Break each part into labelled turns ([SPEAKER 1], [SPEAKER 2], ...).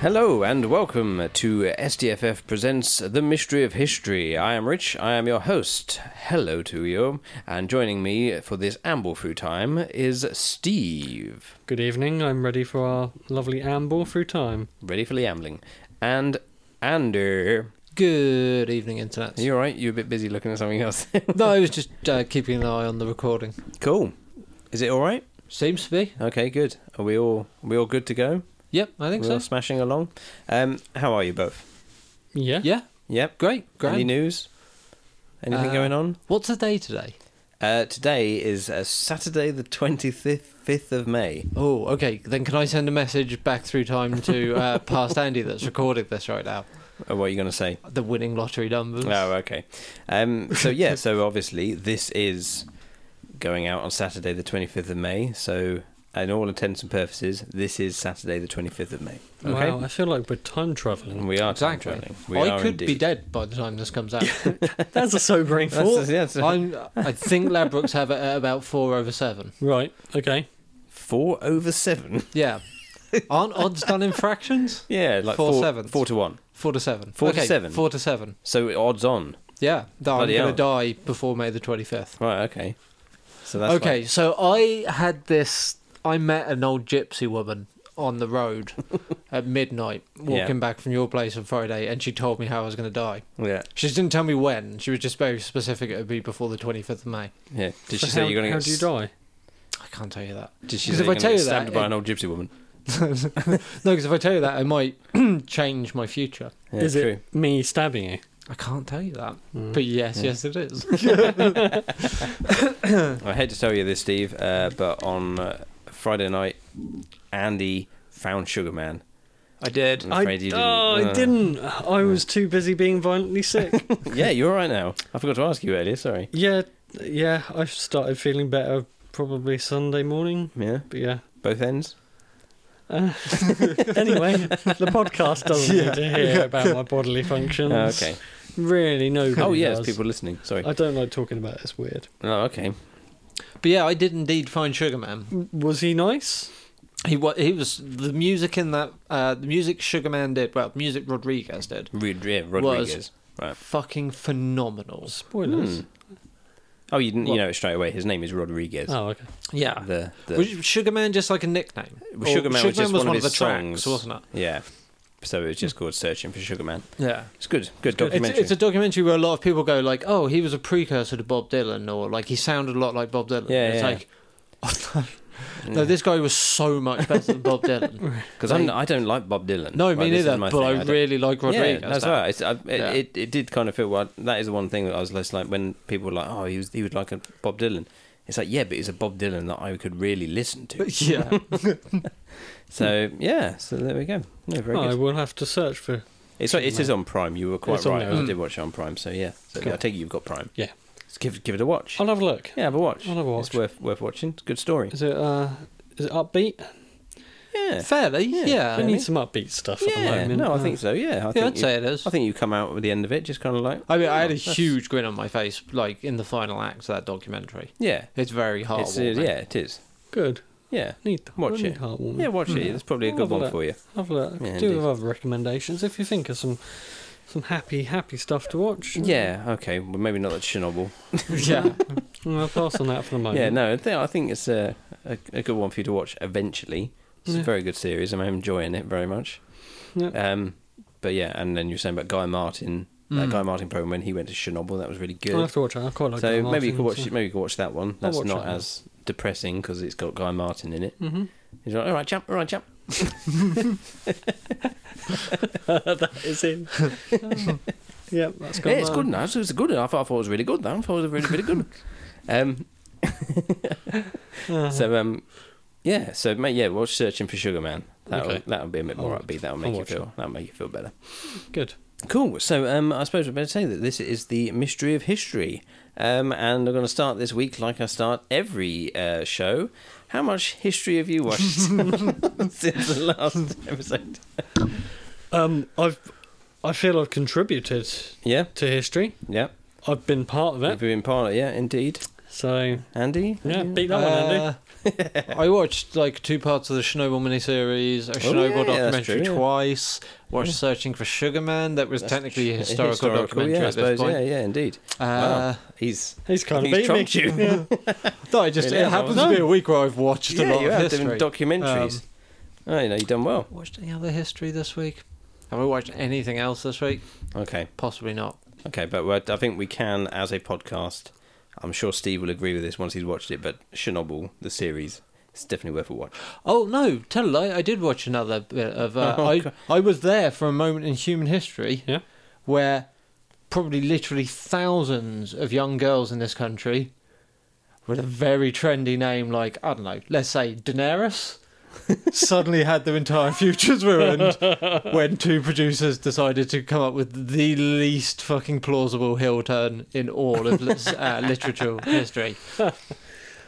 [SPEAKER 1] Hello and welcome to SDFF Presents The Mystery of History. I am Rich, I am your host. Hello to you. And joining me for this amble through time is Steve.
[SPEAKER 2] Good evening. I'm ready for our lovely amble through time.
[SPEAKER 1] Ready for the ambling. And Ander.
[SPEAKER 3] Good evening, internet.
[SPEAKER 1] Are you alright? You're a bit busy looking at something else.
[SPEAKER 3] No, I was just uh, keeping an eye on the recording.
[SPEAKER 1] cool. Is it alright?
[SPEAKER 3] Seems to be.
[SPEAKER 1] Okay, good. Are we all are we all good to go?
[SPEAKER 3] Yep, I think
[SPEAKER 1] We're all
[SPEAKER 3] so.
[SPEAKER 1] smashing along. Um, how are you both?
[SPEAKER 2] Yeah.
[SPEAKER 3] Yeah,
[SPEAKER 1] Yep.
[SPEAKER 3] great, grand.
[SPEAKER 1] Any news? Anything
[SPEAKER 3] Uh,
[SPEAKER 1] going on?
[SPEAKER 3] What's the day today?
[SPEAKER 1] Uh, today is uh, Saturday, the 25th 5th of May.
[SPEAKER 3] Oh, okay. Then can I send a message back through time to uh, past Andy that's recording this right now?
[SPEAKER 1] Oh, what are you going to say?
[SPEAKER 3] The winning lottery numbers.
[SPEAKER 1] Oh, okay. Um, so, yeah, so obviously this is going out on Saturday, the 25th of May. So, in all intents and purposes, this is Saturday, the 25th of May. Okay?
[SPEAKER 2] Wow, I feel like we're time traveling.
[SPEAKER 1] We are time
[SPEAKER 3] Exactly.
[SPEAKER 1] traveling. We
[SPEAKER 3] I
[SPEAKER 1] are
[SPEAKER 3] could be
[SPEAKER 1] indeed.
[SPEAKER 3] dead by the time this comes out.
[SPEAKER 2] That's a sobering
[SPEAKER 1] That's,
[SPEAKER 2] thought.
[SPEAKER 1] that's,
[SPEAKER 3] I'm, I think Labrooks have it at about four over seven.
[SPEAKER 2] Right. Okay.
[SPEAKER 1] four over seven.
[SPEAKER 3] Yeah. Aren't odds done in fractions?
[SPEAKER 1] Yeah, like
[SPEAKER 3] Four
[SPEAKER 1] four,
[SPEAKER 3] sevenths.
[SPEAKER 1] four to one.
[SPEAKER 3] Four to seven.
[SPEAKER 1] Four to
[SPEAKER 3] Okay,
[SPEAKER 1] seven.
[SPEAKER 3] Four to seven.
[SPEAKER 1] So odds on.
[SPEAKER 3] Yeah. No, I'm
[SPEAKER 1] Bloody
[SPEAKER 3] going to die before May the 25th.
[SPEAKER 1] Right. Okay. So that's
[SPEAKER 3] okay, so I had this. I met an old gypsy woman on the road at midnight, walking
[SPEAKER 1] Yeah.
[SPEAKER 3] back from your place on Friday, and she told me how I was going to die.
[SPEAKER 1] like- yeah.
[SPEAKER 3] She just didn't tell me when. She was just very specific. It would be before the twenty fifth of May.
[SPEAKER 1] Yeah. Did
[SPEAKER 2] So
[SPEAKER 1] she say
[SPEAKER 2] how,
[SPEAKER 1] you're going to
[SPEAKER 2] how
[SPEAKER 1] get?
[SPEAKER 2] do you
[SPEAKER 1] s-
[SPEAKER 2] die?
[SPEAKER 3] I can't tell you that.
[SPEAKER 1] Did she say
[SPEAKER 3] Because if
[SPEAKER 1] you're
[SPEAKER 3] I
[SPEAKER 1] gonna
[SPEAKER 3] tell
[SPEAKER 1] get
[SPEAKER 3] you that,
[SPEAKER 1] stabbed by
[SPEAKER 3] it-
[SPEAKER 1] an old gypsy woman?
[SPEAKER 3] No, because if I tell you that, it might change my future.
[SPEAKER 1] Yeah,
[SPEAKER 2] Is
[SPEAKER 1] true.
[SPEAKER 2] it me stabbing you?
[SPEAKER 3] I can't tell you that.
[SPEAKER 2] Mm.
[SPEAKER 3] But yes, yes, it is.
[SPEAKER 1] I hate to tell you this, Steve, uh, but on uh, Friday night, Andy found Sugar Man.
[SPEAKER 3] I did.
[SPEAKER 1] I'm afraid you didn't.
[SPEAKER 2] Oh, I
[SPEAKER 1] Uh,
[SPEAKER 2] didn't. I was too busy being violently sick.
[SPEAKER 1] yeah, you're all right now. I forgot to ask you earlier. Sorry.
[SPEAKER 2] yeah. Yeah. I started feeling better probably Sunday morning.
[SPEAKER 1] Yeah.
[SPEAKER 2] But yeah.
[SPEAKER 1] Both ends.
[SPEAKER 2] Uh, anyway, the podcast doesn't need to hear about my bodily functions.
[SPEAKER 1] Oh, okay.
[SPEAKER 2] Really, nobody.
[SPEAKER 1] Oh yes,
[SPEAKER 2] does.
[SPEAKER 1] people listening. Sorry.
[SPEAKER 2] I don't like talking about it. It's weird.
[SPEAKER 1] Oh okay.
[SPEAKER 3] But yeah, I did indeed find Sugar Man.
[SPEAKER 2] Was he nice?
[SPEAKER 3] He was. He was the music in that. Uh, the music Sugar Man did. Well, music Rodriguez did.
[SPEAKER 1] Rod- yeah, Rodriguez. Right.
[SPEAKER 3] Fucking phenomenal.
[SPEAKER 2] Spoilers.
[SPEAKER 1] Hmm. Oh, you didn't.
[SPEAKER 3] What?
[SPEAKER 1] You know it straight away. His name is Rodriguez.
[SPEAKER 2] Oh, okay.
[SPEAKER 3] Yeah.
[SPEAKER 1] The, the
[SPEAKER 3] was Sugar Man just like a nickname?
[SPEAKER 1] Well, Sugar Man was just one of his songs.
[SPEAKER 3] wasn't it?
[SPEAKER 1] Yeah. So it was just called Searching for Sugar Man.
[SPEAKER 3] Yeah.
[SPEAKER 1] It's good. Good
[SPEAKER 3] It's,
[SPEAKER 1] documentary.
[SPEAKER 3] it's a documentary where a lot of people go like, "Oh, he was a precursor to Bob Dylan," or like he sounded a lot like Bob Dylan.
[SPEAKER 1] Yeah,
[SPEAKER 3] And it's
[SPEAKER 1] yeah.
[SPEAKER 3] like, oh, no. no, this guy was so much better than Bob Dylan.
[SPEAKER 1] Because I'm I don't like Bob Dylan.
[SPEAKER 3] No,
[SPEAKER 1] Like,
[SPEAKER 3] me
[SPEAKER 1] this is
[SPEAKER 3] neither.
[SPEAKER 1] my
[SPEAKER 3] But
[SPEAKER 1] thing.
[SPEAKER 3] I
[SPEAKER 1] don't-
[SPEAKER 3] really like Rodriguez.
[SPEAKER 1] Yeah, that's
[SPEAKER 3] now.
[SPEAKER 1] right. It's, I, it,
[SPEAKER 3] Yeah.
[SPEAKER 1] it, it did kind of feel well. That is the one thing that I was less like when people were like, oh, he was he would like a Bob Dylan. It's like yeah, but it's a Bob Dylan that I could really listen to.
[SPEAKER 3] yeah.
[SPEAKER 1] So yeah, so there we go. No, very
[SPEAKER 2] Oh, I
[SPEAKER 1] good.
[SPEAKER 2] will have to search for.
[SPEAKER 1] It's like, it is on Prime. You were quite
[SPEAKER 2] It's on
[SPEAKER 1] right.
[SPEAKER 2] there.
[SPEAKER 1] I did watch it on Prime. So yeah, so
[SPEAKER 2] Cool.
[SPEAKER 1] I take it you've got Prime.
[SPEAKER 2] Yeah.
[SPEAKER 1] Just give give it a watch.
[SPEAKER 2] I'll have a look.
[SPEAKER 1] Yeah, have a watch.
[SPEAKER 2] I'll have a
[SPEAKER 1] It's
[SPEAKER 2] watch.
[SPEAKER 1] worth worth watching. It's a good story.
[SPEAKER 2] Is it uh, is it upbeat?
[SPEAKER 1] Yeah.
[SPEAKER 3] Fairly.
[SPEAKER 1] Uh, Yeah.
[SPEAKER 3] Yeah.
[SPEAKER 2] I
[SPEAKER 3] I
[SPEAKER 2] need
[SPEAKER 3] mean,
[SPEAKER 2] some upbeat stuff at the
[SPEAKER 1] Yeah,
[SPEAKER 2] moment. Ah,
[SPEAKER 1] no, I think so. Yeah, I
[SPEAKER 3] yeah,
[SPEAKER 1] think
[SPEAKER 3] I'd
[SPEAKER 1] you-
[SPEAKER 3] say it is.
[SPEAKER 1] I think you come out with the end of it, just kind of like,
[SPEAKER 3] I mean, I had a
[SPEAKER 1] Oh, that's-
[SPEAKER 3] huge grin on my face, like in the final act of that documentary.
[SPEAKER 1] yeah,
[SPEAKER 3] It's very hard.
[SPEAKER 1] it's, uh, yeah, it is.
[SPEAKER 2] Good.
[SPEAKER 1] Yeah,
[SPEAKER 2] Need that.
[SPEAKER 1] Watch
[SPEAKER 2] I need
[SPEAKER 1] it.
[SPEAKER 2] Heartwarming. Hmm.
[SPEAKER 1] yeah, watch it. It's probably a
[SPEAKER 2] I'll
[SPEAKER 1] good
[SPEAKER 2] have a
[SPEAKER 1] one
[SPEAKER 2] look.
[SPEAKER 1] for you.
[SPEAKER 2] Have a look.
[SPEAKER 1] Yeah,
[SPEAKER 2] Do
[SPEAKER 1] indeed.
[SPEAKER 2] have other recommendations if you think of some some happy happy stuff to watch.
[SPEAKER 1] Yeah, okay, well maybe not that Chernobyl.
[SPEAKER 3] yeah.
[SPEAKER 2] Mm, I'll pass on that for the moment.
[SPEAKER 1] Yeah, no, I think, I think it's a, a a good one for you to watch eventually. It's a
[SPEAKER 2] Yeah.
[SPEAKER 1] very good series. I'm enjoying it very much.
[SPEAKER 2] Yeah.
[SPEAKER 1] Um, but yeah, and then you were saying about Guy Martin, that
[SPEAKER 3] Mm.
[SPEAKER 1] Guy Martin program when he went to Chernobyl, that was really good.
[SPEAKER 2] I'll have to watch it. Oh, I quite like
[SPEAKER 1] so
[SPEAKER 2] Guy
[SPEAKER 1] maybe you could watch
[SPEAKER 2] Martin,
[SPEAKER 1] maybe you could watch that one. That's
[SPEAKER 2] watch
[SPEAKER 1] not
[SPEAKER 2] that one.
[SPEAKER 1] as depressing because it's got Guy Martin in it.
[SPEAKER 2] so- Mhm.
[SPEAKER 1] He's like, all right, jump, all right, jump.
[SPEAKER 2] that is him. yeah, Mm-hmm. that's good.
[SPEAKER 1] yeah, it's good now. So it's good. I thought, I thought it was really good. Now. I thought it was really, really good. um,
[SPEAKER 2] Uh-huh,
[SPEAKER 1] so
[SPEAKER 3] Mm-hmm.
[SPEAKER 1] um, yeah. So mate, yeah, watch Searching for Sugar Man. That'll
[SPEAKER 2] Okay.
[SPEAKER 1] that'll be a bit more
[SPEAKER 2] Alright.
[SPEAKER 1] upbeat. That'll
[SPEAKER 2] I'll
[SPEAKER 1] make you
[SPEAKER 2] watch
[SPEAKER 1] feel that'll make you feel better.
[SPEAKER 2] good.
[SPEAKER 1] Cool. So um, I suppose we're better say that this is the mystery of history, um, and I'm going to start this week like I start every uh, show. How much history have you watched since the last episode?
[SPEAKER 2] Um, I've, I feel I've contributed
[SPEAKER 1] Yeah,
[SPEAKER 2] to history.
[SPEAKER 1] yeah.
[SPEAKER 2] I've been part of
[SPEAKER 1] Have
[SPEAKER 2] it.
[SPEAKER 1] you been part of? Yeah, indeed.
[SPEAKER 2] So
[SPEAKER 1] Andy.
[SPEAKER 2] yeah, beat that one, Andy.
[SPEAKER 3] Uh, I watched like two parts of the Chernobyl miniseries, a Chernobyl
[SPEAKER 1] Oh, yeah, that's
[SPEAKER 3] documentary
[SPEAKER 1] true, yeah.
[SPEAKER 3] twice. Watched Searching for Sugar Man, that was technically a historical, documentary
[SPEAKER 1] yeah, I
[SPEAKER 3] at this
[SPEAKER 1] suppose,
[SPEAKER 3] point.
[SPEAKER 1] Yeah, yeah, indeed.
[SPEAKER 3] Uh,
[SPEAKER 1] wow. He's
[SPEAKER 2] He's kind of
[SPEAKER 1] he's
[SPEAKER 2] beat me.
[SPEAKER 1] trumped you.
[SPEAKER 2] Yeah.
[SPEAKER 3] No, I just
[SPEAKER 1] Really?
[SPEAKER 3] it happens to be a week where I've watched a
[SPEAKER 1] yeah,
[SPEAKER 3] lot
[SPEAKER 1] you
[SPEAKER 3] of
[SPEAKER 1] have done
[SPEAKER 3] history.
[SPEAKER 1] documentaries.
[SPEAKER 3] Um,
[SPEAKER 1] oh, you know, you've done well.
[SPEAKER 3] watched any other history this week? Have I watched anything else this week?
[SPEAKER 1] Okay,
[SPEAKER 3] Possibly not.
[SPEAKER 1] okay, but we're- I think we can, as a podcast, I'm sure Steve will agree with this once he's watched it. But Chernobyl, the series, it's definitely worth a watch.
[SPEAKER 3] Oh no, tell a lie. I did watch another bit of. Uh,
[SPEAKER 1] Oh,
[SPEAKER 3] I
[SPEAKER 1] God.
[SPEAKER 3] I was there for a moment in human history
[SPEAKER 2] Yeah.
[SPEAKER 3] where probably literally thousands of young girls in this country with a very trendy name like I don't know, let's say Daenerys. suddenly had their entire futures ruined when two producers decided to come up with the least fucking plausible hill turn in all of uh, literature history.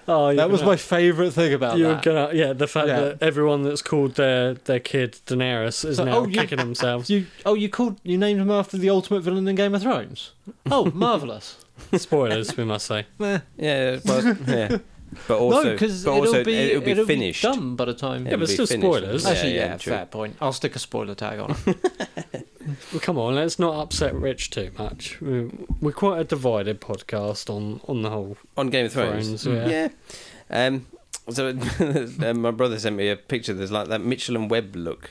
[SPEAKER 2] Oh, you're
[SPEAKER 3] That was
[SPEAKER 2] gonna-
[SPEAKER 3] my favourite thing about
[SPEAKER 2] You were
[SPEAKER 3] that.
[SPEAKER 2] gonna, yeah, the fact
[SPEAKER 3] Yeah.
[SPEAKER 2] that everyone that's called their their kid Daenerys is
[SPEAKER 3] So-
[SPEAKER 2] now
[SPEAKER 3] oh, you-
[SPEAKER 2] kicking themselves.
[SPEAKER 3] You oh you called you named him after the ultimate villain in Game of Thrones. Oh, marvelous.
[SPEAKER 2] Spoilers, we must say.
[SPEAKER 3] Meh.
[SPEAKER 1] Yeah, but yeah, but
[SPEAKER 3] no,
[SPEAKER 1] also,
[SPEAKER 3] because
[SPEAKER 1] but
[SPEAKER 3] it'll,
[SPEAKER 1] also
[SPEAKER 3] be
[SPEAKER 1] it'll be
[SPEAKER 3] it'll
[SPEAKER 1] finished.
[SPEAKER 3] done by the time.
[SPEAKER 2] Yeah,
[SPEAKER 1] It'll
[SPEAKER 2] but
[SPEAKER 1] be
[SPEAKER 2] still
[SPEAKER 1] finished.
[SPEAKER 2] spoilers. Yeah,
[SPEAKER 3] Actually, yeah,
[SPEAKER 1] true.
[SPEAKER 3] fair point. I'll stick a spoiler tag on. it.
[SPEAKER 2] Well, come on, let's not upset Rich too much. We're, we're quite a divided podcast on on the whole.
[SPEAKER 1] on Game of Thrones.
[SPEAKER 2] Thrones,
[SPEAKER 1] yeah.
[SPEAKER 2] yeah.
[SPEAKER 1] Um, so uh, my brother sent me a picture. There's like that Mitchell and Webb look.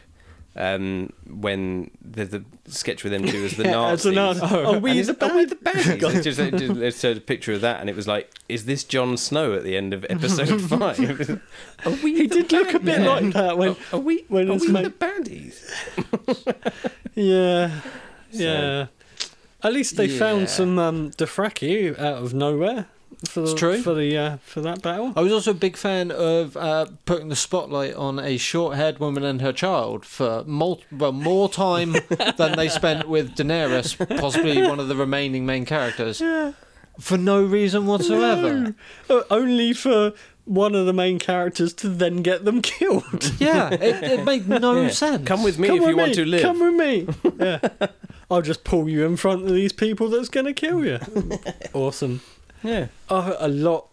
[SPEAKER 1] Um, when the, the sketch with them two as the Nazis.
[SPEAKER 2] Oh,
[SPEAKER 1] And
[SPEAKER 2] we
[SPEAKER 1] it's-
[SPEAKER 2] the
[SPEAKER 1] are we the bad guys? just, it just, it showed a picture of that, and it was like, "Is this Jon Snow at the end of episode five? are we?
[SPEAKER 2] He
[SPEAKER 1] the
[SPEAKER 2] did look a bit
[SPEAKER 1] bad-
[SPEAKER 2] like that when.
[SPEAKER 1] Are we?
[SPEAKER 2] when
[SPEAKER 1] are
[SPEAKER 2] it's
[SPEAKER 1] we
[SPEAKER 2] made-
[SPEAKER 1] the baddies?
[SPEAKER 2] Yeah,
[SPEAKER 1] So-
[SPEAKER 2] yeah. At least they
[SPEAKER 3] Yeah.
[SPEAKER 2] found some um, Dothraki out of nowhere for the
[SPEAKER 3] It's true.
[SPEAKER 2] for the uh, for that battle.
[SPEAKER 1] Oh,
[SPEAKER 3] I was also a big fan of uh, putting the spotlight on a short-haired woman and her child for mul- well, more time than they spent with Daenerys, possibly one of the remaining main characters,
[SPEAKER 2] Yeah.
[SPEAKER 3] for no reason whatsoever.
[SPEAKER 2] No. Uh, only for one of the main characters to then get them killed.
[SPEAKER 3] Yeah, it, it made no
[SPEAKER 1] Yeah.
[SPEAKER 3] sense.
[SPEAKER 1] Come with me
[SPEAKER 2] Come
[SPEAKER 1] if
[SPEAKER 2] with
[SPEAKER 1] you want
[SPEAKER 2] me,
[SPEAKER 1] to live.
[SPEAKER 2] Come with me. Yeah. I'll just pull you in front of these people that's going to kill you. awesome.
[SPEAKER 1] yeah.
[SPEAKER 2] Oh, a lot.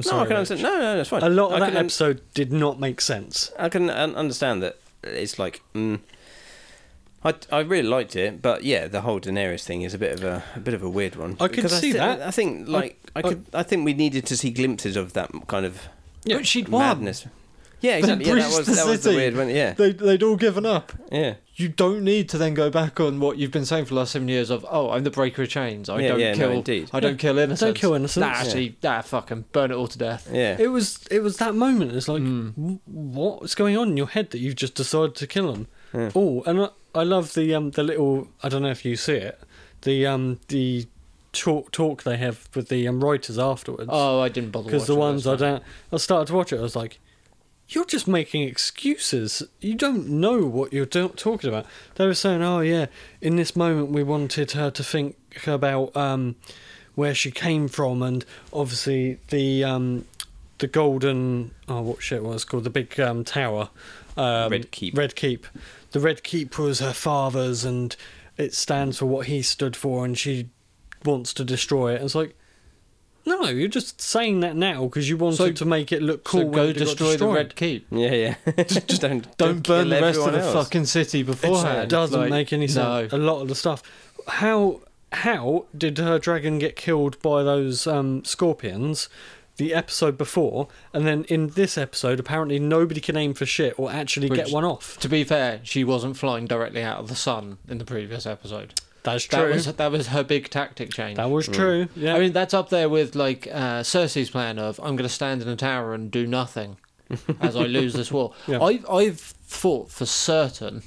[SPEAKER 1] No, I
[SPEAKER 2] sorry.
[SPEAKER 1] can understand. No, no, that's fine.
[SPEAKER 2] A lot
[SPEAKER 1] I
[SPEAKER 2] of that
[SPEAKER 1] can un-
[SPEAKER 2] episode did not make sense.
[SPEAKER 1] I can un- understand that it's like mm, I I really liked it, but yeah, the whole Daenerys thing is a bit of a, a bit of a weird one.
[SPEAKER 2] I could
[SPEAKER 1] Because
[SPEAKER 2] see
[SPEAKER 1] thi-
[SPEAKER 2] that.
[SPEAKER 1] I think like I,
[SPEAKER 2] I-
[SPEAKER 1] could I think we needed to see glimpses of that kind of
[SPEAKER 3] But she'd won.
[SPEAKER 1] madness. Yeah, exactly. Yeah, that
[SPEAKER 3] breached
[SPEAKER 1] was
[SPEAKER 3] the
[SPEAKER 1] that was the
[SPEAKER 3] city.
[SPEAKER 1] weird one. Yeah,
[SPEAKER 3] They, they'd all given up.
[SPEAKER 1] yeah.
[SPEAKER 3] You don't need to then go back on what you've been saying for the last seven years of, oh, I'm the breaker of chains. I
[SPEAKER 1] Yeah,
[SPEAKER 3] don't
[SPEAKER 1] yeah, no,
[SPEAKER 3] kill.
[SPEAKER 1] indeed.
[SPEAKER 3] I don't
[SPEAKER 2] Yeah.
[SPEAKER 3] kill innocents.
[SPEAKER 2] Don't kill innocents.
[SPEAKER 3] Nah, actually, nah, fucking burn it all to death.
[SPEAKER 1] Yeah, Hmm.
[SPEAKER 2] It was it was that moment. It's like,
[SPEAKER 3] Mm.
[SPEAKER 2] w- what's going on in your head that you've just decided to kill him?
[SPEAKER 1] Yeah.
[SPEAKER 2] Oh, and I, I love the um the little. I don't know if you see it. The um the talk talk they have with the um, writers afterwards.
[SPEAKER 3] Oh, I didn't bother.
[SPEAKER 2] because the
[SPEAKER 3] watching
[SPEAKER 2] ones
[SPEAKER 3] this
[SPEAKER 2] I
[SPEAKER 3] one.
[SPEAKER 2] don't, I started to watch it. I was like, "You're just making excuses. You don't know what you're do- talking about." They were saying, "Oh yeah, in this moment we wanted her to think about um, where she came from, and obviously the um, the golden oh what shit was it called the big um, tower, um,
[SPEAKER 1] Red Keep.
[SPEAKER 2] Red Keep. The Red Keep was her father's, and it stands for what he stood for, and she wants to destroy it. And it's like. No, you're just saying that now because you wanted
[SPEAKER 3] So-
[SPEAKER 2] to make it look cool.
[SPEAKER 3] So
[SPEAKER 2] when
[SPEAKER 3] go
[SPEAKER 2] it got
[SPEAKER 3] destroy the
[SPEAKER 2] destroyed.
[SPEAKER 3] Red Keep.
[SPEAKER 1] yeah, yeah. just don't
[SPEAKER 3] Don't burn
[SPEAKER 1] kill
[SPEAKER 3] the rest of
[SPEAKER 1] everyone
[SPEAKER 3] the
[SPEAKER 1] else.
[SPEAKER 3] fucking city beforehand.
[SPEAKER 2] It doesn't
[SPEAKER 3] Like,
[SPEAKER 2] make any sense.
[SPEAKER 3] No.
[SPEAKER 2] A lot of the stuff. How how did her dragon get killed by those um, scorpions? The episode before, and then in this episode, apparently nobody can aim for shit or actually get
[SPEAKER 3] Which-
[SPEAKER 2] one off.
[SPEAKER 3] To be fair, she wasn't flying directly out of the sun in the previous episode.
[SPEAKER 2] That's
[SPEAKER 3] That was that was her big tactic change.
[SPEAKER 2] That was true. Yeah.
[SPEAKER 3] Mm. I mean, that's up there with like uh, Cersei's plan of I'm going to stand in a tower and do nothing as I lose this war.
[SPEAKER 2] Yeah.
[SPEAKER 3] I've I've thought for certain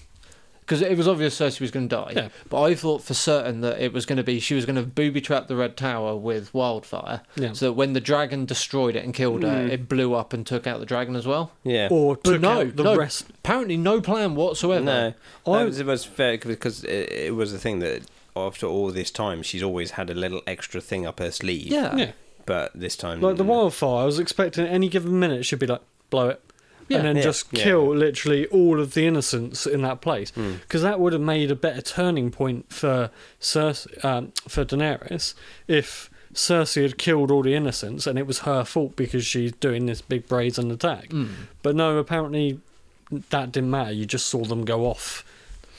[SPEAKER 3] because it was obvious Cersei was going to die.
[SPEAKER 2] Yeah.
[SPEAKER 3] But I thought for certain that it was going to be she was going to booby trap the Red Tower with wildfire,
[SPEAKER 2] Yeah.
[SPEAKER 3] so that when the dragon destroyed it and killed her,
[SPEAKER 1] Mm.
[SPEAKER 3] it blew up and took out the dragon as well.
[SPEAKER 1] Yeah.
[SPEAKER 2] Or
[SPEAKER 3] But
[SPEAKER 2] took
[SPEAKER 3] no,
[SPEAKER 2] out the
[SPEAKER 3] no.
[SPEAKER 2] rest.
[SPEAKER 3] Apparently, no plan whatsoever.
[SPEAKER 1] No,
[SPEAKER 2] I-
[SPEAKER 1] that was, it was fair because it, it was the thing that after all this time she's always had a little extra thing up her sleeve.
[SPEAKER 3] Yeah.
[SPEAKER 2] Yeah.
[SPEAKER 1] but this time mm.
[SPEAKER 2] Like the wildfire, I was expecting at any given minute she'd be like, blow it.
[SPEAKER 3] Yeah.
[SPEAKER 2] and then
[SPEAKER 1] Yeah.
[SPEAKER 2] just
[SPEAKER 1] Yeah.
[SPEAKER 2] kill literally all of the innocents in that place.
[SPEAKER 1] Mm.
[SPEAKER 2] Because that would have made a better turning point for Cersei, um, for Daenerys if Cersei had killed all the innocents and it was her fault because she's doing this big brazen attack.
[SPEAKER 1] Mm.
[SPEAKER 3] Hmm.
[SPEAKER 2] But no, apparently that didn't matter. You just saw them go off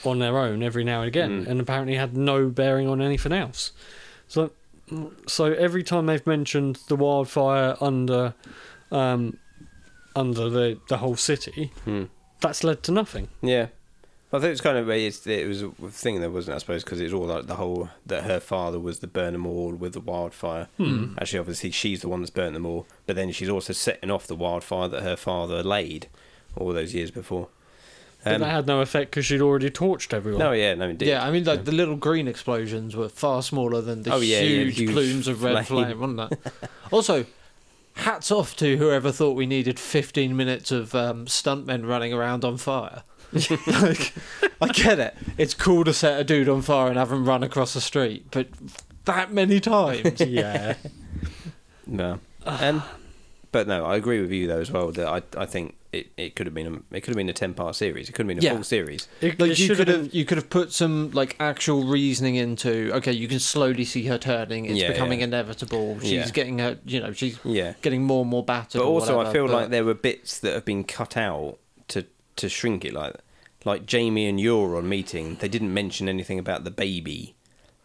[SPEAKER 2] on their own every now and again,
[SPEAKER 1] Mm.
[SPEAKER 2] and apparently had no bearing on anything else. So, so every time they've mentioned the wildfire under, um, under the the whole city,
[SPEAKER 1] Hmm.
[SPEAKER 2] that's led to nothing.
[SPEAKER 1] Yeah. I think it's kind of it's, it was a thing that wasn't, I suppose, because it's all like the whole that her father was the burn them all with the wildfire. Mm. Actually, obviously, she's the one that's burnt them all, but then she's also setting off the wildfire that her father laid all those years before.
[SPEAKER 2] But that
[SPEAKER 1] Um,
[SPEAKER 2] had no effect because she'd already torched everyone.
[SPEAKER 1] no, yeah, no, indeed.
[SPEAKER 3] Yeah, I mean, like the little green explosions were far smaller than the
[SPEAKER 1] Oh, yeah, yeah,
[SPEAKER 3] huge,
[SPEAKER 1] huge
[SPEAKER 3] plumes of red flame,
[SPEAKER 1] flame.
[SPEAKER 3] wasn't that? also, hats off to whoever thought we needed 15 minutes of um, stuntmen running around on fire. like, I get it. It's cool to set a dude on fire and have him run across the street, but that many times.
[SPEAKER 2] yeah,
[SPEAKER 1] No. Um, but no, I agree with you though as well. That I, I think it, it could have been a, it could have been a ten part series. It could have been a
[SPEAKER 3] Yeah.
[SPEAKER 1] full series.
[SPEAKER 2] it,
[SPEAKER 3] Like
[SPEAKER 2] it
[SPEAKER 3] you
[SPEAKER 2] should
[SPEAKER 3] could
[SPEAKER 2] have
[SPEAKER 3] have,
[SPEAKER 2] been-
[SPEAKER 3] you could have put some like actual reasoning into. Okay, you can slowly see her turning. It's
[SPEAKER 1] Yeah,
[SPEAKER 3] becoming
[SPEAKER 1] yeah.
[SPEAKER 3] inevitable. She's
[SPEAKER 1] Yeah.
[SPEAKER 3] getting her. You know, she's
[SPEAKER 1] Yeah.
[SPEAKER 3] getting more and more battered.
[SPEAKER 1] But
[SPEAKER 3] or
[SPEAKER 1] also, I
[SPEAKER 3] whatever,
[SPEAKER 1] feel
[SPEAKER 3] but-
[SPEAKER 1] like there were bits that have been cut out to to shrink it like that. Like Jamie and Euron meeting, they didn't mention anything about the baby.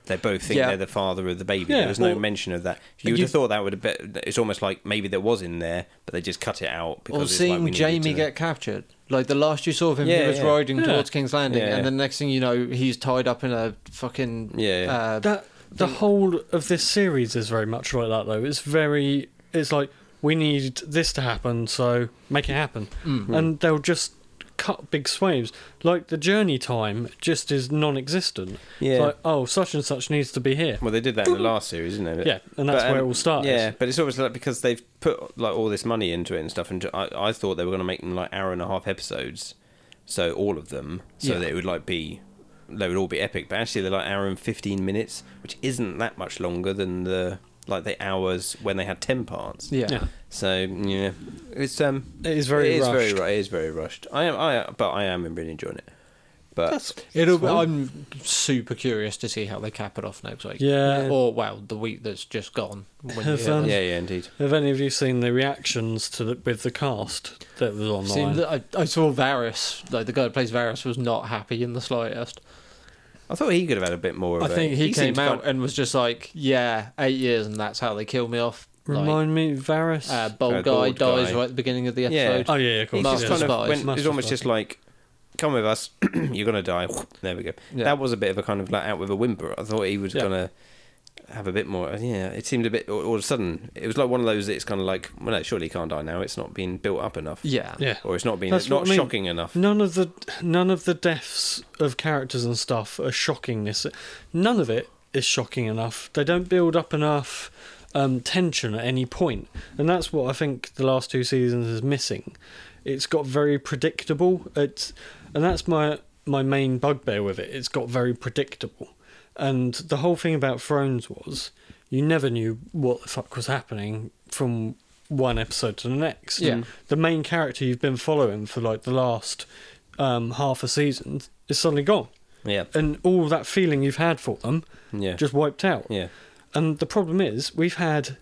[SPEAKER 1] They both think
[SPEAKER 3] Yeah.
[SPEAKER 1] they're the father of the baby.
[SPEAKER 2] Yeah,
[SPEAKER 1] there was no
[SPEAKER 2] well-
[SPEAKER 1] mention of that. You would
[SPEAKER 3] you-
[SPEAKER 1] have thought that would have been. It's almost like maybe there was in there, but they just cut it out. Because
[SPEAKER 3] Or
[SPEAKER 1] it's like
[SPEAKER 3] seeing
[SPEAKER 1] we needed
[SPEAKER 3] Jamie
[SPEAKER 1] to-
[SPEAKER 3] get captured. Like the last you saw of him, he
[SPEAKER 1] Yeah,
[SPEAKER 3] was
[SPEAKER 1] yeah.
[SPEAKER 3] riding
[SPEAKER 2] Yeah.
[SPEAKER 3] towards King's Landing,
[SPEAKER 1] Yeah,
[SPEAKER 3] and
[SPEAKER 1] yeah.
[SPEAKER 3] the next thing you know, he's tied up in a fucking
[SPEAKER 1] Yeah, yeah.
[SPEAKER 3] Uh,
[SPEAKER 2] that the whole of this series is very much like that though it's very it's like we need this to happen so make it happen
[SPEAKER 3] Mm.
[SPEAKER 2] and they'll just cut big swathes like the journey time just is non-existent it's
[SPEAKER 1] Yeah.
[SPEAKER 2] like oh such and such needs to be here
[SPEAKER 1] Well, they did that in the last series, didn't they? um,
[SPEAKER 2] Yeah, and that's where it all started.
[SPEAKER 1] Yeah, but it's always like because they've put like all this money into it and stuff, and I, I thought they were going to make them like hour and a half episodes, so all of them, so
[SPEAKER 2] Yeah.
[SPEAKER 1] that it would like be, they would all be epic. But actually, they're like hour and fifteen minutes, which isn't that much longer than the like the hours when they had ten parts.
[SPEAKER 3] yeah.
[SPEAKER 2] yeah
[SPEAKER 1] So yeah, it's um,
[SPEAKER 2] It is very
[SPEAKER 1] it is very
[SPEAKER 2] rushed.
[SPEAKER 1] ru- it is very rushed. I am I but I am really enjoying it. But
[SPEAKER 3] It'll. Be, I'm super curious to see how they cap it off next week.
[SPEAKER 2] Yeah. Yeah.
[SPEAKER 3] Or well, the week that's just gone. When you
[SPEAKER 2] Have,
[SPEAKER 3] hear
[SPEAKER 2] um,
[SPEAKER 3] this.
[SPEAKER 1] yeah, yeah, indeed.
[SPEAKER 2] have any of you seen the reactions to the, with the cast that was online
[SPEAKER 3] Seen that- I, I saw Varys. Like the guy who plays Varys was not happy in the slightest.
[SPEAKER 1] I thought he could have had a bit more. of
[SPEAKER 3] I
[SPEAKER 1] it.
[SPEAKER 3] think he, came
[SPEAKER 1] seemed
[SPEAKER 3] out
[SPEAKER 1] fun-
[SPEAKER 3] and was just like, "Yeah, eight years, and that's how they kill me off." Like,
[SPEAKER 2] remind me Varys
[SPEAKER 3] uh, bald,
[SPEAKER 1] Uh,
[SPEAKER 3] guy
[SPEAKER 1] bald
[SPEAKER 3] dies
[SPEAKER 1] guy.
[SPEAKER 3] right at the beginning of the
[SPEAKER 1] Yeah.
[SPEAKER 3] episode.
[SPEAKER 2] oh yeah, yeah of
[SPEAKER 1] He's
[SPEAKER 2] course
[SPEAKER 1] just
[SPEAKER 3] Master
[SPEAKER 2] yeah.
[SPEAKER 1] kind of
[SPEAKER 3] Spies.
[SPEAKER 1] went, it was
[SPEAKER 2] Master
[SPEAKER 1] almost
[SPEAKER 2] Spies.
[SPEAKER 1] just like, come with us, you're gonna die. there we go.
[SPEAKER 3] Yeah.
[SPEAKER 1] That was a bit of a kind of like out with a whimper. I thought he was
[SPEAKER 2] Yeah.
[SPEAKER 1] gonna have a bit more. Yeah, it seemed a bit all, all of a sudden. It was like one of those. It's kind of like, well, no, surely you can't die now. It's not being built up enough.
[SPEAKER 3] Yeah.
[SPEAKER 2] yeah
[SPEAKER 1] Or it's not being
[SPEAKER 2] That's
[SPEAKER 1] it's
[SPEAKER 2] what
[SPEAKER 1] not
[SPEAKER 2] I mean.
[SPEAKER 1] shocking enough.
[SPEAKER 2] None of the none of the deaths of characters and stuff are shocking. This none of it is shocking enough. They don't build up enough um, tension at any point, and that's what I think the last two seasons is missing. It's got very predictable. It's and that's my my main bugbear with it. It's got very predictable, and the whole thing about Thrones was you never knew what the fuck was happening from one episode to the next
[SPEAKER 3] Yeah.
[SPEAKER 2] the main character you've been following for like the last um, half a season is suddenly gone,
[SPEAKER 1] Yeah.
[SPEAKER 2] and all that feeling you've had for them
[SPEAKER 1] Yeah.
[SPEAKER 2] just wiped out.
[SPEAKER 1] yeah.
[SPEAKER 2] And the problem is, we've had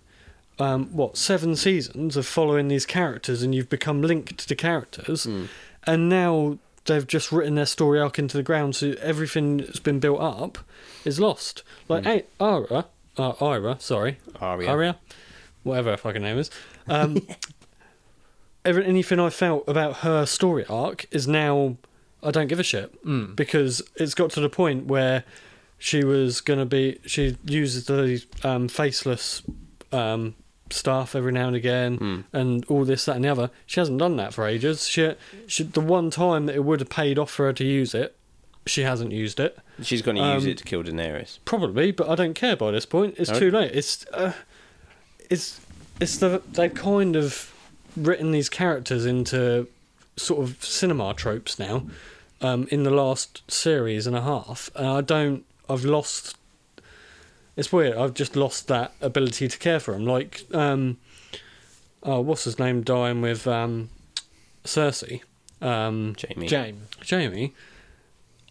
[SPEAKER 2] um, what seven seasons of following these characters, and you've become linked to characters, and now they've just written their story arc into the ground, so everything that's been built up is lost. Like hey, Ara, uh, Ira, sorry,
[SPEAKER 1] Aria.
[SPEAKER 2] Aria, whatever her fucking name is. Um, every, anything I felt about her story arc is now I don't give a shit because it's got to the point where she was gonna be she uses the um, faceless um, staff every now and again and all this that and the other. She hasn't done that for ages. She, she the one time that it would have paid off for her to use it. she hasn't used it.
[SPEAKER 1] She's going to use
[SPEAKER 2] Um,
[SPEAKER 1] it to kill Daenerys.
[SPEAKER 2] Probably, but I don't care by this point. It's
[SPEAKER 1] No.
[SPEAKER 2] too late. It's uh, it's it's the they've kind of written these characters into sort of cinema tropes now um, in the last series and a half, and I don't. I've lost. It's weird. I've just lost that ability to care for him. Like, um, oh, what's his name? Dying with um, Cersei. Um,
[SPEAKER 1] Jamie.
[SPEAKER 3] James.
[SPEAKER 2] Jamie,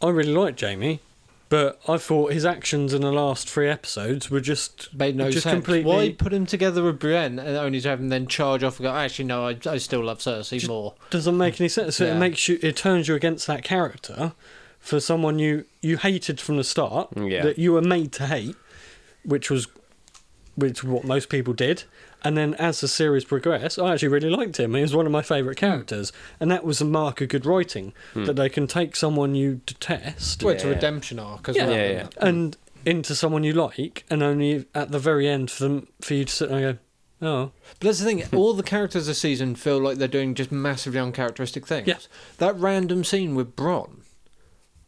[SPEAKER 2] I really like Jamie, but I thought his actions in the last three episodes were just
[SPEAKER 3] Made no
[SPEAKER 2] just
[SPEAKER 3] sense.
[SPEAKER 2] Completely,
[SPEAKER 3] Why put him together with Brienne and only to have him then charge off and go, actually, no, I, I still love Cersei
[SPEAKER 2] Just-
[SPEAKER 3] more.
[SPEAKER 2] doesn't make any sense. So
[SPEAKER 3] Yeah.
[SPEAKER 2] it makes you, it turns you against that character for someone you you hated from the start
[SPEAKER 3] Mm,
[SPEAKER 1] Yeah.
[SPEAKER 2] that you were made to hate, which was which what most people did. And then as the series progressed, I actually really liked him. He was one of my favourite characters, and that was a mark of good writing that they can take someone you detest.
[SPEAKER 3] Hmm. Well, it's a
[SPEAKER 1] Yeah.
[SPEAKER 3] redemption arc as
[SPEAKER 2] Yeah.
[SPEAKER 3] well.
[SPEAKER 1] Yeah,
[SPEAKER 3] isn't
[SPEAKER 1] yeah.
[SPEAKER 3] it?
[SPEAKER 2] and into someone you like, and only at the very end for them for you to sit there and go, oh,
[SPEAKER 3] But that's the thing, all the characters this season feel like they're doing just massively uncharacteristic things.
[SPEAKER 2] Yeah.
[SPEAKER 3] That random scene with Bronn,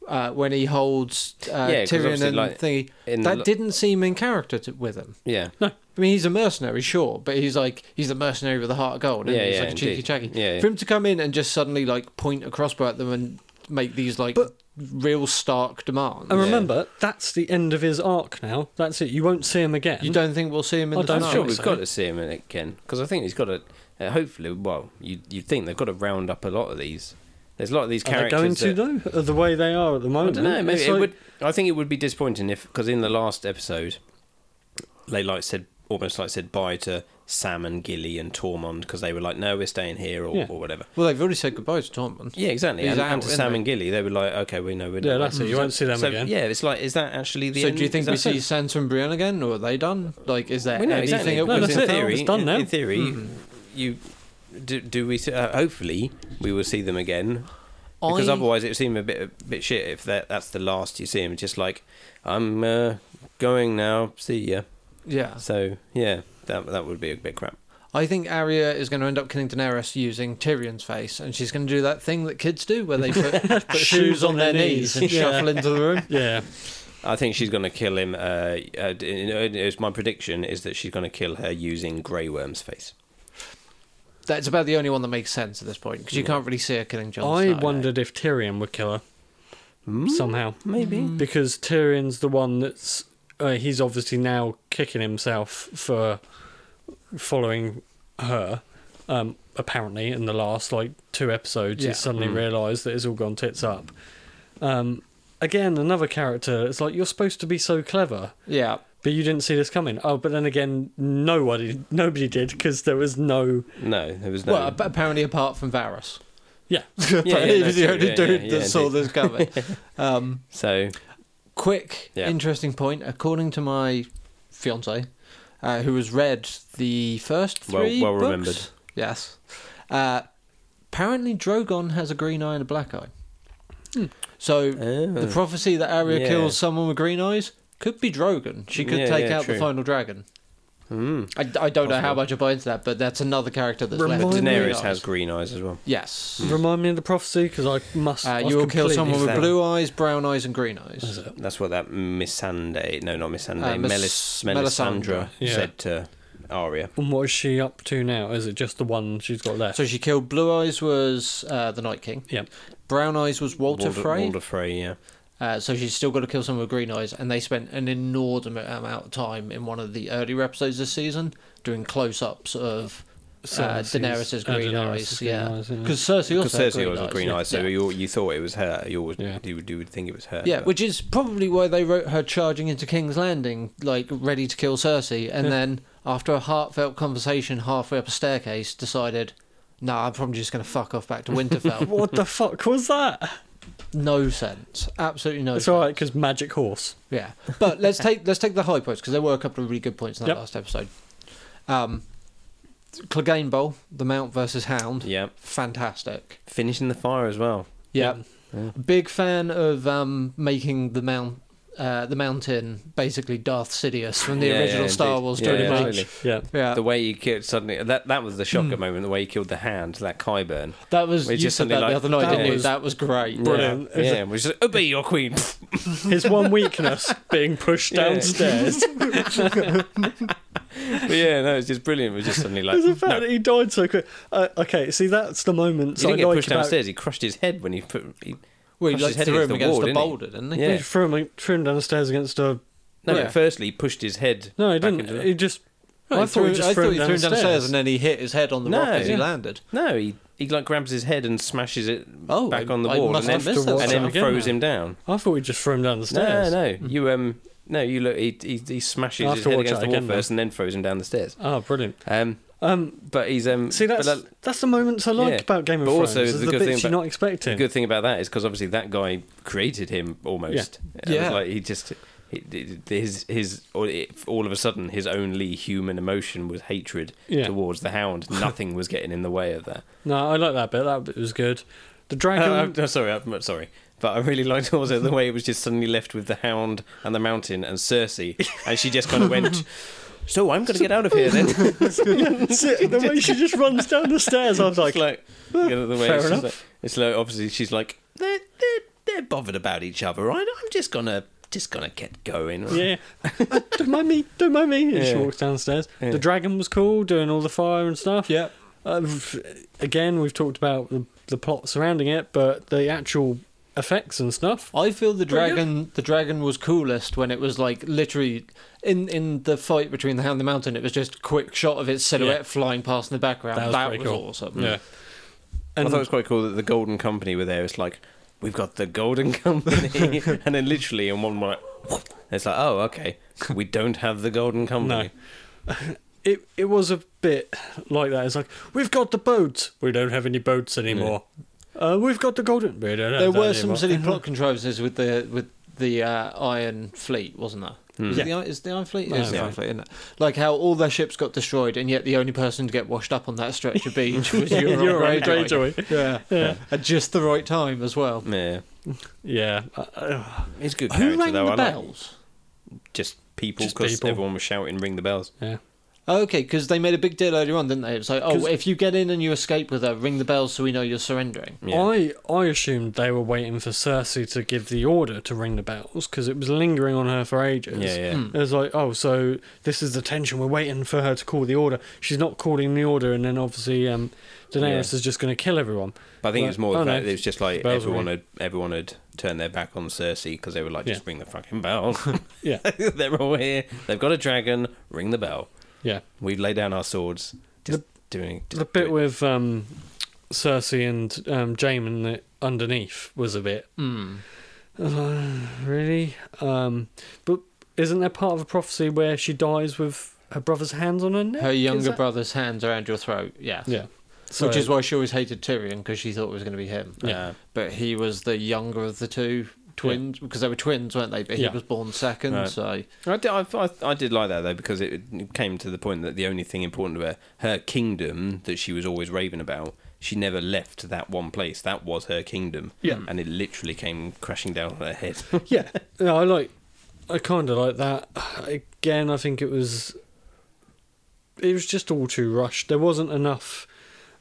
[SPEAKER 3] uh, when he holds uh,
[SPEAKER 1] Yeah, 'cause
[SPEAKER 3] Tyrion
[SPEAKER 1] obviously,
[SPEAKER 3] and
[SPEAKER 1] like,
[SPEAKER 3] thingy,
[SPEAKER 1] in the
[SPEAKER 3] that
[SPEAKER 1] lo-
[SPEAKER 3] didn't seem in character to, with him.
[SPEAKER 1] Yeah.
[SPEAKER 3] I mean, he's a mercenary, sure, but he's like he's the mercenary with a heart of gold. isn't
[SPEAKER 1] Yeah,
[SPEAKER 3] he? he's
[SPEAKER 1] yeah,
[SPEAKER 3] like a cheeky
[SPEAKER 1] indeed.
[SPEAKER 3] chacky.
[SPEAKER 1] Yeah, yeah.
[SPEAKER 3] For him to come in and just suddenly like point a crossbow at them and make these like
[SPEAKER 2] But-
[SPEAKER 3] real stark demands.
[SPEAKER 2] And remember, that's the end of his arc now. That's it. You won't see him again.
[SPEAKER 3] You Oh, don't think we'll see him in
[SPEAKER 2] I
[SPEAKER 3] the
[SPEAKER 2] don't
[SPEAKER 1] I'm
[SPEAKER 3] finale?
[SPEAKER 1] sure
[SPEAKER 2] think
[SPEAKER 1] we've
[SPEAKER 2] so.
[SPEAKER 1] got to see him in it again because I think he's got to. Uh, hopefully, well, you you think they've got to round up a lot of these. There's a lot of these
[SPEAKER 2] Are they
[SPEAKER 1] characters.
[SPEAKER 2] going
[SPEAKER 1] that-
[SPEAKER 2] to though? The way they are at the
[SPEAKER 1] I
[SPEAKER 2] moment.
[SPEAKER 1] don't know. Maybe
[SPEAKER 2] It's
[SPEAKER 1] it
[SPEAKER 2] like-
[SPEAKER 1] would. I think it would be disappointing if because in the last episode, they like said almost like said bye to Sam and Gilly and Tormund because they were like, no, we're staying here or,
[SPEAKER 2] Yeah.
[SPEAKER 1] or whatever.
[SPEAKER 3] Well, they've already said goodbye to Tormund.
[SPEAKER 1] Yeah, exactly.
[SPEAKER 3] He's
[SPEAKER 1] And,
[SPEAKER 3] out,
[SPEAKER 1] and to
[SPEAKER 3] isn't
[SPEAKER 1] Sam
[SPEAKER 3] he?
[SPEAKER 1] and Gilly, they were like, okay, we know we're
[SPEAKER 2] Yeah,
[SPEAKER 1] done.
[SPEAKER 2] that's it. You won't see them
[SPEAKER 1] So,
[SPEAKER 2] again.
[SPEAKER 1] Yeah, it's like is that actually the
[SPEAKER 3] so
[SPEAKER 1] end?
[SPEAKER 3] do you think
[SPEAKER 1] Is
[SPEAKER 3] we
[SPEAKER 1] that-
[SPEAKER 3] see Sansa and Brienne again, or are they done? Like, is there
[SPEAKER 1] We know
[SPEAKER 3] anything
[SPEAKER 1] exactly.
[SPEAKER 3] it
[SPEAKER 2] No,
[SPEAKER 3] was
[SPEAKER 2] that's
[SPEAKER 3] in
[SPEAKER 2] it.
[SPEAKER 3] theory?
[SPEAKER 2] It's done
[SPEAKER 1] oh, in,
[SPEAKER 2] now. Mm-hmm.
[SPEAKER 1] in theory, you do, do we? See, uh, hopefully, we will see them again. Because
[SPEAKER 3] I-
[SPEAKER 1] otherwise, it would seem a bit a bit shit if that that's the last you see him. Just like I'm uh, going now. See ya.
[SPEAKER 3] Yeah,
[SPEAKER 1] So yeah, that that would be a bit crap.
[SPEAKER 3] I think Arya is going to end up killing Daenerys using Tyrion's face, and she's going to do that thing that kids do, where they put, shoes on their knees and
[SPEAKER 2] Yeah.
[SPEAKER 3] shuffle into the room.
[SPEAKER 2] Yeah.
[SPEAKER 1] I think she's going to kill him. Uh, uh, it's my prediction is that she's going to kill her using Grey Worm's face.
[SPEAKER 3] That's about the only one that makes sense at this point because you can't really see her killing eh? Jon.
[SPEAKER 2] I
[SPEAKER 3] Snow.
[SPEAKER 2] wondered if Tyrion would kill her
[SPEAKER 1] Mm.
[SPEAKER 2] somehow
[SPEAKER 1] Maybe.
[SPEAKER 2] because Tyrion's the one that's uh, he's obviously now kicking himself for following her. Um, apparently, in the last like two episodes,
[SPEAKER 3] Yeah. Mm.
[SPEAKER 2] he suddenly realised that it's all gone tits up. Um, again, another character. It's like you're supposed to be so clever.
[SPEAKER 3] Yeah,
[SPEAKER 2] But you didn't see this coming. Oh, but then again, nobody, nobody did because there was no.
[SPEAKER 1] No, there was no.
[SPEAKER 3] well, ap- apparently apart from Varys,
[SPEAKER 2] Yeah,
[SPEAKER 1] yeah,
[SPEAKER 3] he was
[SPEAKER 1] that's
[SPEAKER 3] the
[SPEAKER 1] true.
[SPEAKER 3] only
[SPEAKER 1] Yeah,
[SPEAKER 3] dude
[SPEAKER 1] yeah,
[SPEAKER 3] that
[SPEAKER 1] yeah,
[SPEAKER 3] saw this coming. um,
[SPEAKER 1] so
[SPEAKER 3] quick,
[SPEAKER 1] Yeah.
[SPEAKER 3] interesting point. According to my fiance, uh, who has read the first
[SPEAKER 1] Well-
[SPEAKER 3] three
[SPEAKER 1] well
[SPEAKER 3] books,
[SPEAKER 1] remembered.
[SPEAKER 3] Yes. Uh, apparently, Drogon has a green eye and a black eye.
[SPEAKER 2] Hmm.
[SPEAKER 3] So the
[SPEAKER 1] Oh.
[SPEAKER 3] prophecy that Arya
[SPEAKER 1] Yeah.
[SPEAKER 3] kills someone with green eyes could be Drogon. She could
[SPEAKER 1] Yeah,
[SPEAKER 3] take
[SPEAKER 1] yeah,
[SPEAKER 3] out
[SPEAKER 1] true.
[SPEAKER 3] the final dragon.
[SPEAKER 1] Hmm.
[SPEAKER 3] I, I don't know how
[SPEAKER 1] Possible.
[SPEAKER 3] much I buy into that, but that's another character that's
[SPEAKER 2] Remind
[SPEAKER 3] left. with
[SPEAKER 2] me-
[SPEAKER 3] green
[SPEAKER 1] Daenerys has
[SPEAKER 3] eyes.
[SPEAKER 1] green eyes as well.
[SPEAKER 3] Yes.
[SPEAKER 2] remind me of the prophecy because I must.
[SPEAKER 3] Uh,
[SPEAKER 2] I've
[SPEAKER 3] you will kill
[SPEAKER 2] Hmm. completely
[SPEAKER 3] someone with
[SPEAKER 2] failed.
[SPEAKER 3] blue eyes, brown eyes, and green eyes.
[SPEAKER 2] Is it?
[SPEAKER 1] That's what that Missandei, no, not Missandei,
[SPEAKER 3] Uh,
[SPEAKER 1] Melis,
[SPEAKER 3] Melis-
[SPEAKER 1] Melisandre
[SPEAKER 3] Melisandre.
[SPEAKER 2] Yeah.
[SPEAKER 1] said to Arya.
[SPEAKER 2] And what is she up to now? Is it just the one she's got left?
[SPEAKER 3] So she killed Blue Eyes was uh, the Night King.
[SPEAKER 2] yeah,
[SPEAKER 3] Brown Eyes was Walter Frey.
[SPEAKER 1] Walter Frey, yeah.
[SPEAKER 3] Uh, so she's still got to kill someone with green eyes, and they spent an inordinate amount of time in one of the earlier episodes this season doing close-ups of uh,
[SPEAKER 2] Cersei's-
[SPEAKER 3] Daenerys's
[SPEAKER 2] uh,
[SPEAKER 3] green
[SPEAKER 2] Daenerys'
[SPEAKER 3] eyes.
[SPEAKER 2] green
[SPEAKER 3] Yeah,
[SPEAKER 2] eyes, yeah.
[SPEAKER 3] because Cersei
[SPEAKER 1] Because
[SPEAKER 3] also had
[SPEAKER 1] Cersei was
[SPEAKER 3] green,
[SPEAKER 1] green
[SPEAKER 3] eyes.
[SPEAKER 1] eyes, so
[SPEAKER 3] yeah.
[SPEAKER 1] you, you thought it was her. You always
[SPEAKER 2] Yeah.
[SPEAKER 1] you, would, you would think it was her.
[SPEAKER 3] Yeah,
[SPEAKER 1] but-
[SPEAKER 3] which is probably why they wrote her charging into King's Landing, like ready to kill Cersei, and
[SPEAKER 2] Yeah.
[SPEAKER 3] then after a heartfelt conversation halfway up a staircase, decided, "Nah, I'm probably just going to fuck off back to Winterfell."
[SPEAKER 2] what the fuck was that?
[SPEAKER 3] no sense, absolutely no.
[SPEAKER 2] It's
[SPEAKER 3] sense.
[SPEAKER 2] all right because magic horse.
[SPEAKER 3] Yeah, but let's take let's take the high points because there were a couple of really good points in that
[SPEAKER 2] Yep.
[SPEAKER 3] last episode. Um, Clegane Bowl, the Mount versus Hound,
[SPEAKER 1] yeah.
[SPEAKER 3] fantastic.
[SPEAKER 1] Finishing the fire as well.
[SPEAKER 3] Yeah,
[SPEAKER 2] Yeah.
[SPEAKER 1] Yeah.
[SPEAKER 3] big fan of um, making the Mount uh, the Mountain, basically Darth Sidious from the
[SPEAKER 1] Yeah, yeah,
[SPEAKER 3] original Star
[SPEAKER 1] indeed.
[SPEAKER 3] Wars,
[SPEAKER 1] Yeah,
[SPEAKER 3] pretty
[SPEAKER 1] yeah,
[SPEAKER 3] much.
[SPEAKER 1] absolutely.
[SPEAKER 2] Yeah.
[SPEAKER 3] Yeah,
[SPEAKER 1] The way he killed suddenly that that was the shocker
[SPEAKER 3] Hmm.
[SPEAKER 1] moment. The way he killed the hand, that Kyburn.
[SPEAKER 3] that was
[SPEAKER 1] Where
[SPEAKER 3] you
[SPEAKER 1] it's just
[SPEAKER 3] said
[SPEAKER 1] something
[SPEAKER 3] that
[SPEAKER 1] like-
[SPEAKER 3] the other night,
[SPEAKER 2] That
[SPEAKER 3] didn't you?
[SPEAKER 2] was-
[SPEAKER 3] That was great.
[SPEAKER 2] Brilliant.
[SPEAKER 1] Yeah, yeah. which is obey "Oh, your queen.
[SPEAKER 2] His one weakness being pushed
[SPEAKER 1] Yeah.
[SPEAKER 2] downstairs.
[SPEAKER 1] But yeah, no, it's just brilliant. It was just suddenly like
[SPEAKER 2] It's the fact
[SPEAKER 1] no,
[SPEAKER 2] that he died so quick. Uh, okay, see, that's the moment
[SPEAKER 1] he
[SPEAKER 2] I
[SPEAKER 1] didn't get
[SPEAKER 2] like
[SPEAKER 1] pushed
[SPEAKER 2] about.
[SPEAKER 1] downstairs. He crushed his head when he put. He,
[SPEAKER 3] Well, he
[SPEAKER 1] Crushed
[SPEAKER 3] like,
[SPEAKER 1] his head
[SPEAKER 3] threw
[SPEAKER 1] against
[SPEAKER 3] him
[SPEAKER 1] the
[SPEAKER 3] against
[SPEAKER 1] wall,
[SPEAKER 3] the
[SPEAKER 1] didn't he?
[SPEAKER 3] boulder, didn't he?
[SPEAKER 1] Yeah.
[SPEAKER 2] He threw him, threw him downstairs against a.
[SPEAKER 1] no,
[SPEAKER 3] Oh, Yeah.
[SPEAKER 1] no, firstly he pushed his head.
[SPEAKER 2] No, he
[SPEAKER 1] back
[SPEAKER 2] didn't.
[SPEAKER 1] into the-
[SPEAKER 2] He just.
[SPEAKER 3] Well,
[SPEAKER 2] I thought he just
[SPEAKER 3] I
[SPEAKER 2] threw,
[SPEAKER 3] thought
[SPEAKER 2] him,
[SPEAKER 3] he threw him
[SPEAKER 2] downstairs.
[SPEAKER 3] downstairs and then he hit his head on the
[SPEAKER 1] No.
[SPEAKER 3] rock as he
[SPEAKER 1] Yeah.
[SPEAKER 3] landed.
[SPEAKER 1] no, he he like grabs his head and smashes it
[SPEAKER 3] Oh,
[SPEAKER 1] back
[SPEAKER 3] I-
[SPEAKER 1] on the
[SPEAKER 3] I
[SPEAKER 1] wall
[SPEAKER 3] must
[SPEAKER 1] and
[SPEAKER 3] have
[SPEAKER 1] then
[SPEAKER 3] missed
[SPEAKER 2] that.
[SPEAKER 1] and then
[SPEAKER 2] Again,
[SPEAKER 1] throws
[SPEAKER 2] no.
[SPEAKER 1] him down.
[SPEAKER 2] I thought he just threw him
[SPEAKER 1] No,
[SPEAKER 2] downstairs.
[SPEAKER 1] no, you um, no, you look. He he, he smashes
[SPEAKER 2] I'll
[SPEAKER 1] his
[SPEAKER 2] have to
[SPEAKER 1] head
[SPEAKER 2] watch
[SPEAKER 1] against
[SPEAKER 2] that
[SPEAKER 1] the wall
[SPEAKER 2] again then.
[SPEAKER 1] first and then throws him down the stairs.
[SPEAKER 2] Ah, brilliant.
[SPEAKER 1] Um,
[SPEAKER 2] Um,
[SPEAKER 1] but he's um.
[SPEAKER 2] see,
[SPEAKER 1] but
[SPEAKER 2] that's
[SPEAKER 1] that-
[SPEAKER 2] that's the moments I like
[SPEAKER 1] yeah.
[SPEAKER 2] about Game of
[SPEAKER 1] But
[SPEAKER 2] Thrones.
[SPEAKER 1] also
[SPEAKER 2] is
[SPEAKER 1] the
[SPEAKER 2] the
[SPEAKER 1] good thing
[SPEAKER 2] bits you're
[SPEAKER 1] about-
[SPEAKER 2] not expecting.
[SPEAKER 1] The good thing about that is because obviously that guy created him almost. It was
[SPEAKER 3] Yeah.
[SPEAKER 1] like he just he- he- his his all all of a sudden his only human emotion was hatred
[SPEAKER 2] Yeah.
[SPEAKER 1] towards the Hound. Nothing was getting in the way of that.
[SPEAKER 2] No, I like that bit. That bit was good. The dragon.
[SPEAKER 1] Uh, I'm sorry, I'm sorry. But I really liked also the way it was just suddenly left with the Hound and the Mountain and Cersei, and she just kind of went. So I'm going to get out of here then.
[SPEAKER 2] the way she just runs down the stairs, I was like,
[SPEAKER 1] It's like you know, the way
[SPEAKER 2] Fair
[SPEAKER 1] it's, just
[SPEAKER 2] enough.
[SPEAKER 1] like, it's like obviously she's like they're, they're they're bothered about each other. Right? I'm just gonna just gonna get going.
[SPEAKER 2] yeah, don't mind me, don't mind me. And she
[SPEAKER 1] Yeah.
[SPEAKER 2] walks downstairs.
[SPEAKER 1] Yeah.
[SPEAKER 2] The dragon was cool, doing all the fire and stuff.
[SPEAKER 3] Yeah.
[SPEAKER 2] Uh, again, we've talked about the, the plot surrounding it, but the actual effects and stuff.
[SPEAKER 3] I feel the
[SPEAKER 2] Very good.
[SPEAKER 3] dragon the dragon was coolest when it was like literally in in the fight between the hound and the mountain it was just a quick shot of its silhouette
[SPEAKER 2] Yeah.
[SPEAKER 3] flying past in the background.
[SPEAKER 2] That
[SPEAKER 3] That
[SPEAKER 2] was
[SPEAKER 3] was,
[SPEAKER 2] pretty cool.
[SPEAKER 3] awesome.
[SPEAKER 1] I
[SPEAKER 2] And
[SPEAKER 1] thought it was quite cool that the Golden Company were there. It's like we've got the Golden Company, and then literally in one like it's like oh okay we don't have the Golden
[SPEAKER 2] no,
[SPEAKER 1] Company.
[SPEAKER 2] it it was a bit like that. It's like we've got the boats, we don't have any boats anymore. Uh, we've got the golden. We don't have
[SPEAKER 3] There
[SPEAKER 2] that
[SPEAKER 3] were some
[SPEAKER 2] anymore.
[SPEAKER 3] silly plot contrivances with the with the uh, Iron Fleet, wasn't there?
[SPEAKER 1] Mm. Hmm.
[SPEAKER 3] Is, it the, I- is it the Iron Fleet? It is
[SPEAKER 2] Iron
[SPEAKER 3] the Iron
[SPEAKER 2] Fleet.
[SPEAKER 3] Fleet, isn't it? Like how all their ships got destroyed, and yet the only person to get washed up on that stretch of beach was
[SPEAKER 2] Yeah,
[SPEAKER 3] Euron
[SPEAKER 2] you're right,
[SPEAKER 3] Greyjoy.
[SPEAKER 2] Greyjoy.
[SPEAKER 3] Yeah. at just the right time as well.
[SPEAKER 1] Yeah,
[SPEAKER 2] Yeah. Uh, uh,
[SPEAKER 1] it's a good
[SPEAKER 3] Who
[SPEAKER 1] character
[SPEAKER 3] rang
[SPEAKER 1] though.
[SPEAKER 3] the
[SPEAKER 1] I like
[SPEAKER 3] bells?
[SPEAKER 1] just people
[SPEAKER 2] Just
[SPEAKER 1] because
[SPEAKER 2] people.
[SPEAKER 1] everyone was shouting ring the bells.
[SPEAKER 2] yeah.
[SPEAKER 3] Okay, because they made a big deal earlier on, didn't they? It was like, oh,
[SPEAKER 2] 'Cause-
[SPEAKER 3] if you get in and you escape with her, ring the bells so we know you're surrendering.
[SPEAKER 1] Yeah.
[SPEAKER 2] I I assumed they were waiting for Cersei to give the order to ring the bells because it was lingering on her for ages.
[SPEAKER 1] Yeah, yeah.
[SPEAKER 2] It was like, oh, so this is the tension. We're waiting for her to call the order. She's not calling the order, and then obviously um, Daenerys
[SPEAKER 1] Yeah.
[SPEAKER 2] is just going to kill everyone.
[SPEAKER 1] But I think
[SPEAKER 2] Like,
[SPEAKER 1] it was more
[SPEAKER 2] oh,
[SPEAKER 1] the
[SPEAKER 2] no,
[SPEAKER 1] fact that it was just like
[SPEAKER 2] bells are
[SPEAKER 1] everyone
[SPEAKER 2] ringing.
[SPEAKER 1] had everyone had turned their back on Cersei because they were like, just
[SPEAKER 2] Yeah.
[SPEAKER 1] ring the fucking bell.
[SPEAKER 2] Yeah,
[SPEAKER 1] They're all here. They've got a dragon. Ring the bell.
[SPEAKER 2] yeah.
[SPEAKER 1] We lay down our swords. Just
[SPEAKER 2] The-
[SPEAKER 1] doing just
[SPEAKER 2] The
[SPEAKER 1] do
[SPEAKER 2] bit
[SPEAKER 1] it.
[SPEAKER 2] with um, Cersei and um, Jaime underneath was a bit
[SPEAKER 3] Hmm.
[SPEAKER 2] really, um, but isn't there part of a prophecy where she dies with her brother's hands on her neck?
[SPEAKER 3] Her
[SPEAKER 2] Is
[SPEAKER 3] younger
[SPEAKER 2] that-
[SPEAKER 3] brother's hands around your throat, yeah.
[SPEAKER 2] Yeah.
[SPEAKER 3] Which is why she always hated Tyrion, because she thought it was going to be him.
[SPEAKER 1] Uh,
[SPEAKER 2] yeah.
[SPEAKER 3] But he was the younger of the two twins, because they were twins, weren't they? But
[SPEAKER 2] Yeah.
[SPEAKER 3] he was born second,
[SPEAKER 1] Right.
[SPEAKER 3] so.
[SPEAKER 1] I did, I, I, I did like that though because it came to the point that the only thing important to her, her kingdom that she was always raving about, she never left that one place. That was her kingdom.
[SPEAKER 2] Yeah.
[SPEAKER 1] And it literally came crashing down on her head.
[SPEAKER 2] yeah. No, I like. I kind of like that. Again, I think it was. It was just all too rushed. There wasn't enough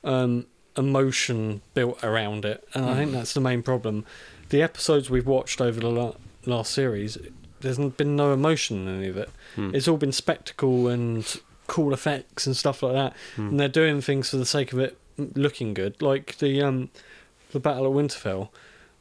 [SPEAKER 2] um, emotion built around it, and I think that's the main problem. The episodes we've watched over the la- last series, there's n- been no emotion in any of it. It's all been spectacle and cool effects and stuff like that, and they're doing things for the sake of it m- looking good, like the um, the Battle at Winterfell.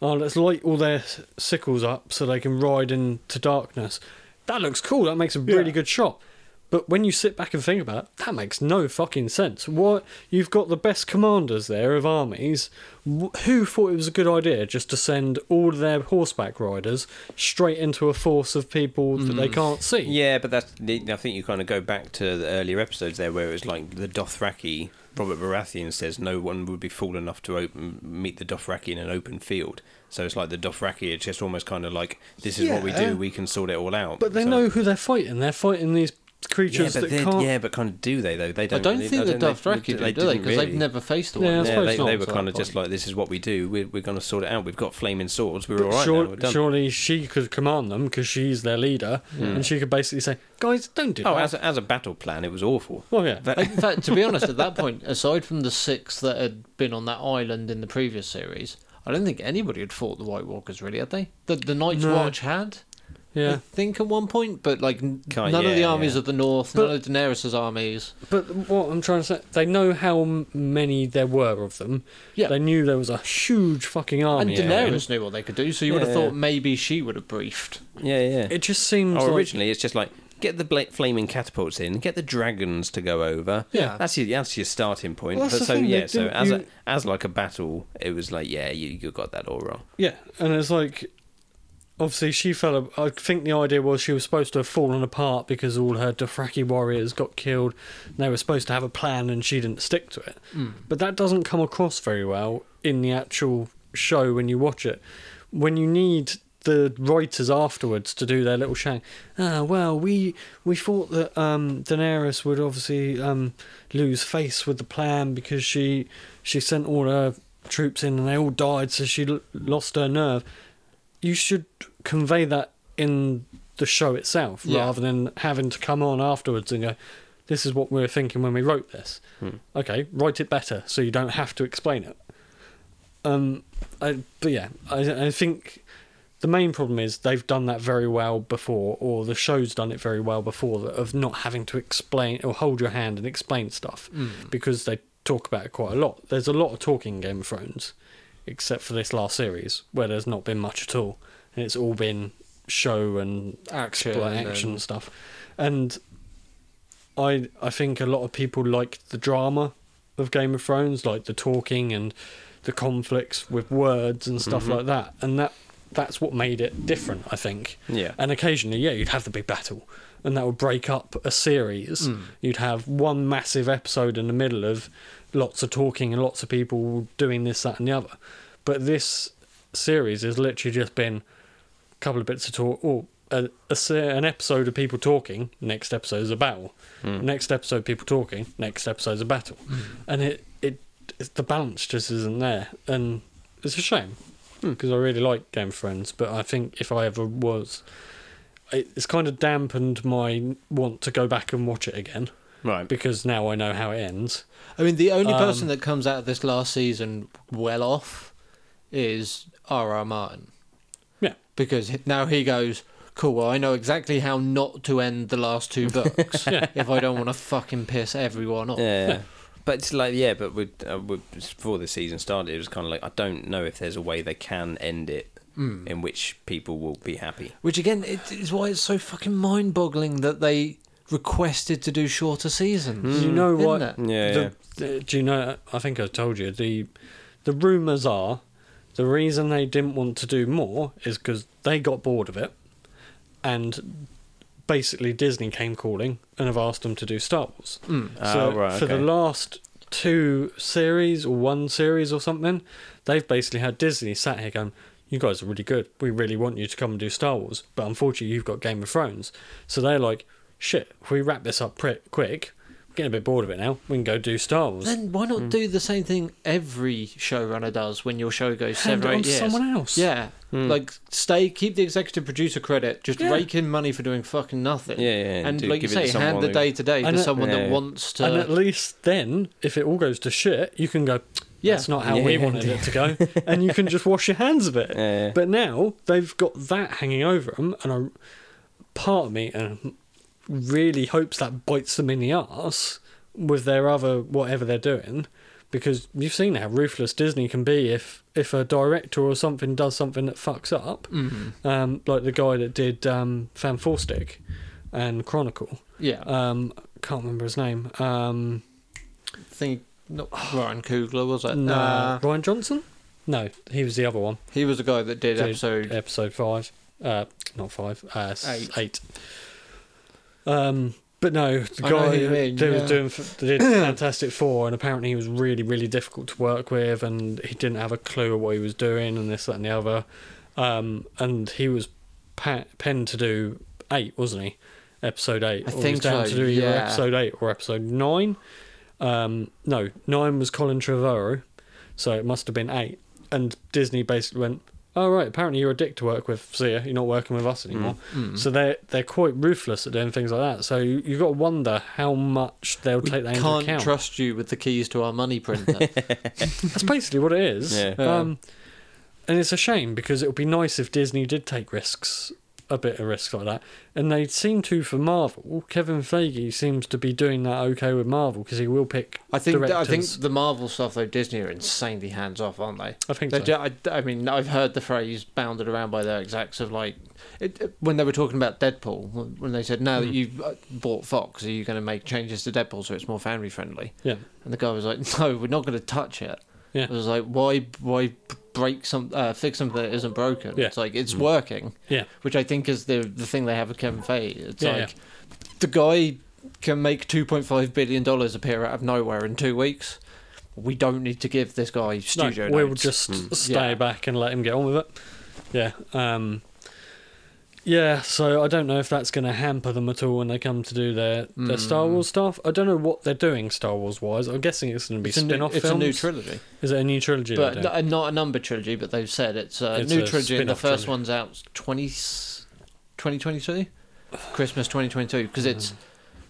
[SPEAKER 2] Oh, let's light all their s- sickles up so they can ride into darkness. That looks cool. That makes a really good shot. But when you sit back and think about it, that makes no fucking sense. What you've got the best commanders there of armies. Wh- Who thought it was a good idea just to send all their horseback riders straight into a force of people that they can't see?
[SPEAKER 1] Yeah, but that's. I think you kind of go back to the earlier episodes there, where it was like the Dothraki. Robert Baratheon says no one would be fool enough to open, meet the Dothraki in an open field. So it's like the Dothraki are just almost kind of like, this is what we
[SPEAKER 2] Yeah.
[SPEAKER 1] do. We can sort it all out.
[SPEAKER 2] But they
[SPEAKER 1] So-
[SPEAKER 2] know who they're fighting. They're fighting these
[SPEAKER 1] Yeah,
[SPEAKER 2] creatures
[SPEAKER 1] but
[SPEAKER 2] that
[SPEAKER 1] they-
[SPEAKER 2] can't.
[SPEAKER 1] yeah, but kind of do they though? They
[SPEAKER 3] I
[SPEAKER 1] don't.
[SPEAKER 3] don't
[SPEAKER 1] really-
[SPEAKER 3] think the Duff
[SPEAKER 1] think
[SPEAKER 3] directed it, do they?
[SPEAKER 1] didn't
[SPEAKER 3] Because they've
[SPEAKER 1] really.
[SPEAKER 3] never faced
[SPEAKER 2] Yeah,
[SPEAKER 3] one.
[SPEAKER 2] I
[SPEAKER 1] Yeah,
[SPEAKER 2] suppose
[SPEAKER 1] they,
[SPEAKER 2] not
[SPEAKER 1] they
[SPEAKER 3] to
[SPEAKER 1] were
[SPEAKER 3] that
[SPEAKER 1] kind of just
[SPEAKER 3] point.
[SPEAKER 1] like, this is what we do. We're, we're going to sort it out. We've got flaming swords. We're
[SPEAKER 2] But
[SPEAKER 1] all right
[SPEAKER 2] sure-
[SPEAKER 1] now. We're done.
[SPEAKER 2] surely she could command them because she's their leader, and she could basically say, "Guys, don't do
[SPEAKER 1] Oh,
[SPEAKER 2] that."
[SPEAKER 1] as a, as a battle plan, it was awful.
[SPEAKER 2] well, yeah,
[SPEAKER 1] That-
[SPEAKER 3] In fact, to be honest, at that point, aside from the six that had been on that island in the previous series, I don't think anybody had fought the White Walkers, really, had they? The, the Night's
[SPEAKER 2] No.
[SPEAKER 3] Watch had, I
[SPEAKER 2] yeah.
[SPEAKER 3] think, at one point, but like n-
[SPEAKER 1] Kind-
[SPEAKER 3] none of the
[SPEAKER 1] yeah,
[SPEAKER 3] armies
[SPEAKER 1] yeah.
[SPEAKER 3] of the North,
[SPEAKER 2] But-
[SPEAKER 3] none of Daenerys' armies.
[SPEAKER 2] But what I'm trying to say, they know how m- many there were of them.
[SPEAKER 3] Yeah.
[SPEAKER 2] they knew there was a huge fucking
[SPEAKER 3] And
[SPEAKER 2] army. out there.
[SPEAKER 3] Daenerys knew what they could do, so you would
[SPEAKER 1] Yeah.
[SPEAKER 3] have thought maybe she would have briefed.
[SPEAKER 1] yeah, yeah.
[SPEAKER 2] It just seems
[SPEAKER 1] Or
[SPEAKER 2] like
[SPEAKER 1] Oh, originally, it's just like get the bla- flaming catapults in, get the dragons to go over.
[SPEAKER 3] Yeah.
[SPEAKER 1] that's your that's your starting point.
[SPEAKER 2] Well, that's
[SPEAKER 1] but
[SPEAKER 2] the
[SPEAKER 1] so
[SPEAKER 2] thing, they
[SPEAKER 1] yeah, so
[SPEAKER 2] didn't-
[SPEAKER 1] as a,
[SPEAKER 2] you-
[SPEAKER 1] as like a battle, it was like yeah, you, you got that all wrong.
[SPEAKER 2] yeah, and it's like obviously she fell. I think the idea was she was supposed to have fallen apart because all her Dothraki warriors got killed. And they were supposed to have a plan, and she didn't stick to it. But that doesn't come across very well in the actual show when you watch it. When you need the writers afterwards to do their little shang, ah, well, we we thought that um, Daenerys would obviously um, lose face with the plan because she she sent all her troops in and they all died, so she l- lost her nerve. You should convey that in the show itself
[SPEAKER 3] Yeah.
[SPEAKER 2] rather than having to come on afterwards and go, this is what we were thinking when we wrote this. Okay, write it better so you don't have to explain it. Um, I, but yeah, I, I think the main problem is they've done that very well before, or the show's done it very well before, that of not having to explain or hold your hand and explain stuff
[SPEAKER 3] Mm.
[SPEAKER 2] because they talk about it quite a lot. There's a lot of talking in Game of Thrones, except for this last series where there's not been much at all, and it's all been show and
[SPEAKER 3] Action
[SPEAKER 2] explanation
[SPEAKER 3] and-
[SPEAKER 2] stuff. And I I think a lot of people like the drama of Game of Thrones, like the talking and the conflicts with words and stuff like that. And that that's what made it different, I think.
[SPEAKER 1] Yeah.
[SPEAKER 2] And occasionally, yeah, you'd have the big battle, and that would break up a series. You'd have one massive episode in the middle of lots of talking and lots of people doing this, that, and the other. But this series has literally just been a couple of bits of talk, or a, a, se- an episode of people talking. Next episode is a battle. Next episode, people talking. Next episode is a battle, and it, it it the balance just isn't there, and it's a shame because I really like Game of Thrones, but I think if I ever was, it, it's kind of dampened my want to go back and watch it again
[SPEAKER 1] Right.
[SPEAKER 2] because now I know how it ends.
[SPEAKER 3] I mean, the only
[SPEAKER 2] Um,
[SPEAKER 3] person that comes out of this last season well off is R.R. Martin.
[SPEAKER 2] Yeah.
[SPEAKER 3] Because h- now he goes, cool, well, I know exactly how not to end the last two books if I don't want to fucking piss everyone off.
[SPEAKER 1] Yeah. But it's like yeah, but we, uh, we, before the season started, it was kind of like I don't know if there's a way they can end it
[SPEAKER 3] Hmm.
[SPEAKER 1] in which people will be happy.
[SPEAKER 3] Which, again, it is why it's so fucking mind boggling that they requested to do shorter seasons.
[SPEAKER 2] You know
[SPEAKER 3] Hmm. Isn't
[SPEAKER 2] what?
[SPEAKER 3] it?
[SPEAKER 1] Yeah,
[SPEAKER 2] the, the- do you know? I think I told you the the rumors are the reason they didn't want to do more is because they got bored of it, and basically Disney came calling and have asked them to do Star Wars. So
[SPEAKER 1] Oh, right,
[SPEAKER 2] for the
[SPEAKER 1] okay.
[SPEAKER 2] last two series or one series or something, they've basically had Disney sat here going, "You guys are really good. We really want you to come and do Star Wars, but unfortunately, you've got Game of Thrones." So they're like, "Shit, if we wrap this up pretty quick, we're getting a bit bored of it now. We can go do Star Wars."
[SPEAKER 3] Then why
[SPEAKER 2] Hmm.
[SPEAKER 3] not do the same thing every showrunner does when your show goes
[SPEAKER 2] Hand
[SPEAKER 3] seven
[SPEAKER 2] it
[SPEAKER 3] or
[SPEAKER 2] on
[SPEAKER 3] eight
[SPEAKER 2] to
[SPEAKER 3] years?
[SPEAKER 2] someone else.
[SPEAKER 3] Yeah,
[SPEAKER 1] Hmm.
[SPEAKER 3] like stay, keep the executive producer credit, just
[SPEAKER 2] Yeah.
[SPEAKER 3] rake in money for doing fucking nothing.
[SPEAKER 1] Yeah, yeah,
[SPEAKER 3] and
[SPEAKER 1] do
[SPEAKER 3] like you
[SPEAKER 1] give it to
[SPEAKER 3] say, hand
[SPEAKER 1] someone
[SPEAKER 3] the
[SPEAKER 1] who-
[SPEAKER 3] day to day
[SPEAKER 2] And
[SPEAKER 3] to
[SPEAKER 2] it-
[SPEAKER 3] someone
[SPEAKER 1] Yeah.
[SPEAKER 3] that wants
[SPEAKER 2] and at
[SPEAKER 3] to.
[SPEAKER 2] least then, if it all goes to shit, you can go.
[SPEAKER 3] Yeah.
[SPEAKER 2] That's not how
[SPEAKER 1] Yeah,
[SPEAKER 2] we
[SPEAKER 1] yeah,
[SPEAKER 2] wanted it to go, and you can just wash your hands of it.
[SPEAKER 1] Yeah, yeah.
[SPEAKER 2] But now they've got that hanging over them, and I'm, part of me and really hopes that bites them in the arse with their other whatever they're doing, because you've seen how ruthless Disney can be if if a director or something does something that fucks up,
[SPEAKER 3] Mm-hmm.
[SPEAKER 2] um, like the guy that did um, Fan Stick and Chronicle.
[SPEAKER 3] Yeah,
[SPEAKER 2] Um, can't remember his name. Um,
[SPEAKER 3] I think not Ryan Coogler was it?
[SPEAKER 2] no,
[SPEAKER 3] Nah.
[SPEAKER 2] Ryan Johnson. No, he was the other one.
[SPEAKER 3] he was the guy that did
[SPEAKER 2] Did
[SPEAKER 3] episode.
[SPEAKER 2] episode five. Uh, not five. Uh, s-
[SPEAKER 3] Eight.
[SPEAKER 2] eight. Um, but no, the
[SPEAKER 3] I know
[SPEAKER 2] guy
[SPEAKER 3] who you mean,
[SPEAKER 2] that
[SPEAKER 3] yeah.
[SPEAKER 2] was doing f- that did Fantastic Four, and apparently he was really, really difficult to work with, and he didn't have a clue of what he was doing, and this, that, and the other. Um, and he was pa- penned to do eight, wasn't he? episode eight.
[SPEAKER 3] I
[SPEAKER 2] or
[SPEAKER 3] think
[SPEAKER 2] was down
[SPEAKER 3] so,
[SPEAKER 2] to do either
[SPEAKER 3] yeah.
[SPEAKER 2] episode eight or episode nine. Um, no, nine was Colin Trevorrow, so it must have been eight. And Disney basically went, "Oh right, apparently you're a dick to work with. See ya, you're not working with us anymore."
[SPEAKER 3] Mm.
[SPEAKER 2] So they're they're quite ruthless at doing things like that. So you, you've got to wonder how much they'll
[SPEAKER 3] We
[SPEAKER 2] take that into
[SPEAKER 3] can't
[SPEAKER 2] account.
[SPEAKER 3] trust you with the keys to our money printer.
[SPEAKER 2] That's basically what it is.
[SPEAKER 1] Yeah.
[SPEAKER 3] Yeah.
[SPEAKER 2] Um, and it's a shame because it would be nice if Disney did take risks, a bit of risk like that. And they seem to for Marvel. Kevin Feige seems to be doing that okay with Marvel because he will pick.
[SPEAKER 3] I think I think
[SPEAKER 2] directors.
[SPEAKER 3] the Marvel stuff though Disney are insanely hands off, aren't they?
[SPEAKER 2] I think
[SPEAKER 3] They
[SPEAKER 2] so.
[SPEAKER 3] ju- I, I mean, I've heard the phrase bounded around by their execs of like, it, it- when they were talking about Deadpool, when- when they said, now
[SPEAKER 2] Hmm.
[SPEAKER 3] that you've uh, bought Fox, are you going to make changes to Deadpool so it's more family friendly?
[SPEAKER 2] Yeah.
[SPEAKER 3] And the guy was like, no, we're not going to touch it.
[SPEAKER 2] Yeah.
[SPEAKER 3] It was like, why, why break some, uh, fix something that isn't broken?
[SPEAKER 2] Yeah. Hmm.
[SPEAKER 3] It's like, it's working,
[SPEAKER 2] Yeah.
[SPEAKER 3] which I think is the the thing they have with Kevin Feige. It's
[SPEAKER 2] Yeah,
[SPEAKER 3] like, the guy can make $2.5 billion appear out of nowhere in two weeks. We don't need to give this guy
[SPEAKER 2] No,
[SPEAKER 3] studio
[SPEAKER 2] we'll
[SPEAKER 3] notes. Hmm.
[SPEAKER 2] just stay
[SPEAKER 3] Yeah.
[SPEAKER 2] back and let him get on with it. Yeah. Um, yeah, so I don't know if that's going to hamper them at all when they come to do their, their
[SPEAKER 3] Hmm.
[SPEAKER 2] Star Wars stuff. I don't know what they're doing Star Wars wise. I'm guessing it's going to be
[SPEAKER 3] a new-
[SPEAKER 2] spin off
[SPEAKER 3] it's
[SPEAKER 2] films.
[SPEAKER 3] a new trilogy,
[SPEAKER 2] Is it a new trilogy? they're
[SPEAKER 3] but
[SPEAKER 2] doing?
[SPEAKER 3] n- not a number trilogy. But they've said it's a
[SPEAKER 2] It's
[SPEAKER 3] new
[SPEAKER 2] a
[SPEAKER 3] trilogy, and the
[SPEAKER 2] spin-off
[SPEAKER 3] first
[SPEAKER 2] trilogy.
[SPEAKER 3] one's out 20, 2022? Christmas twenty twenty two, because it's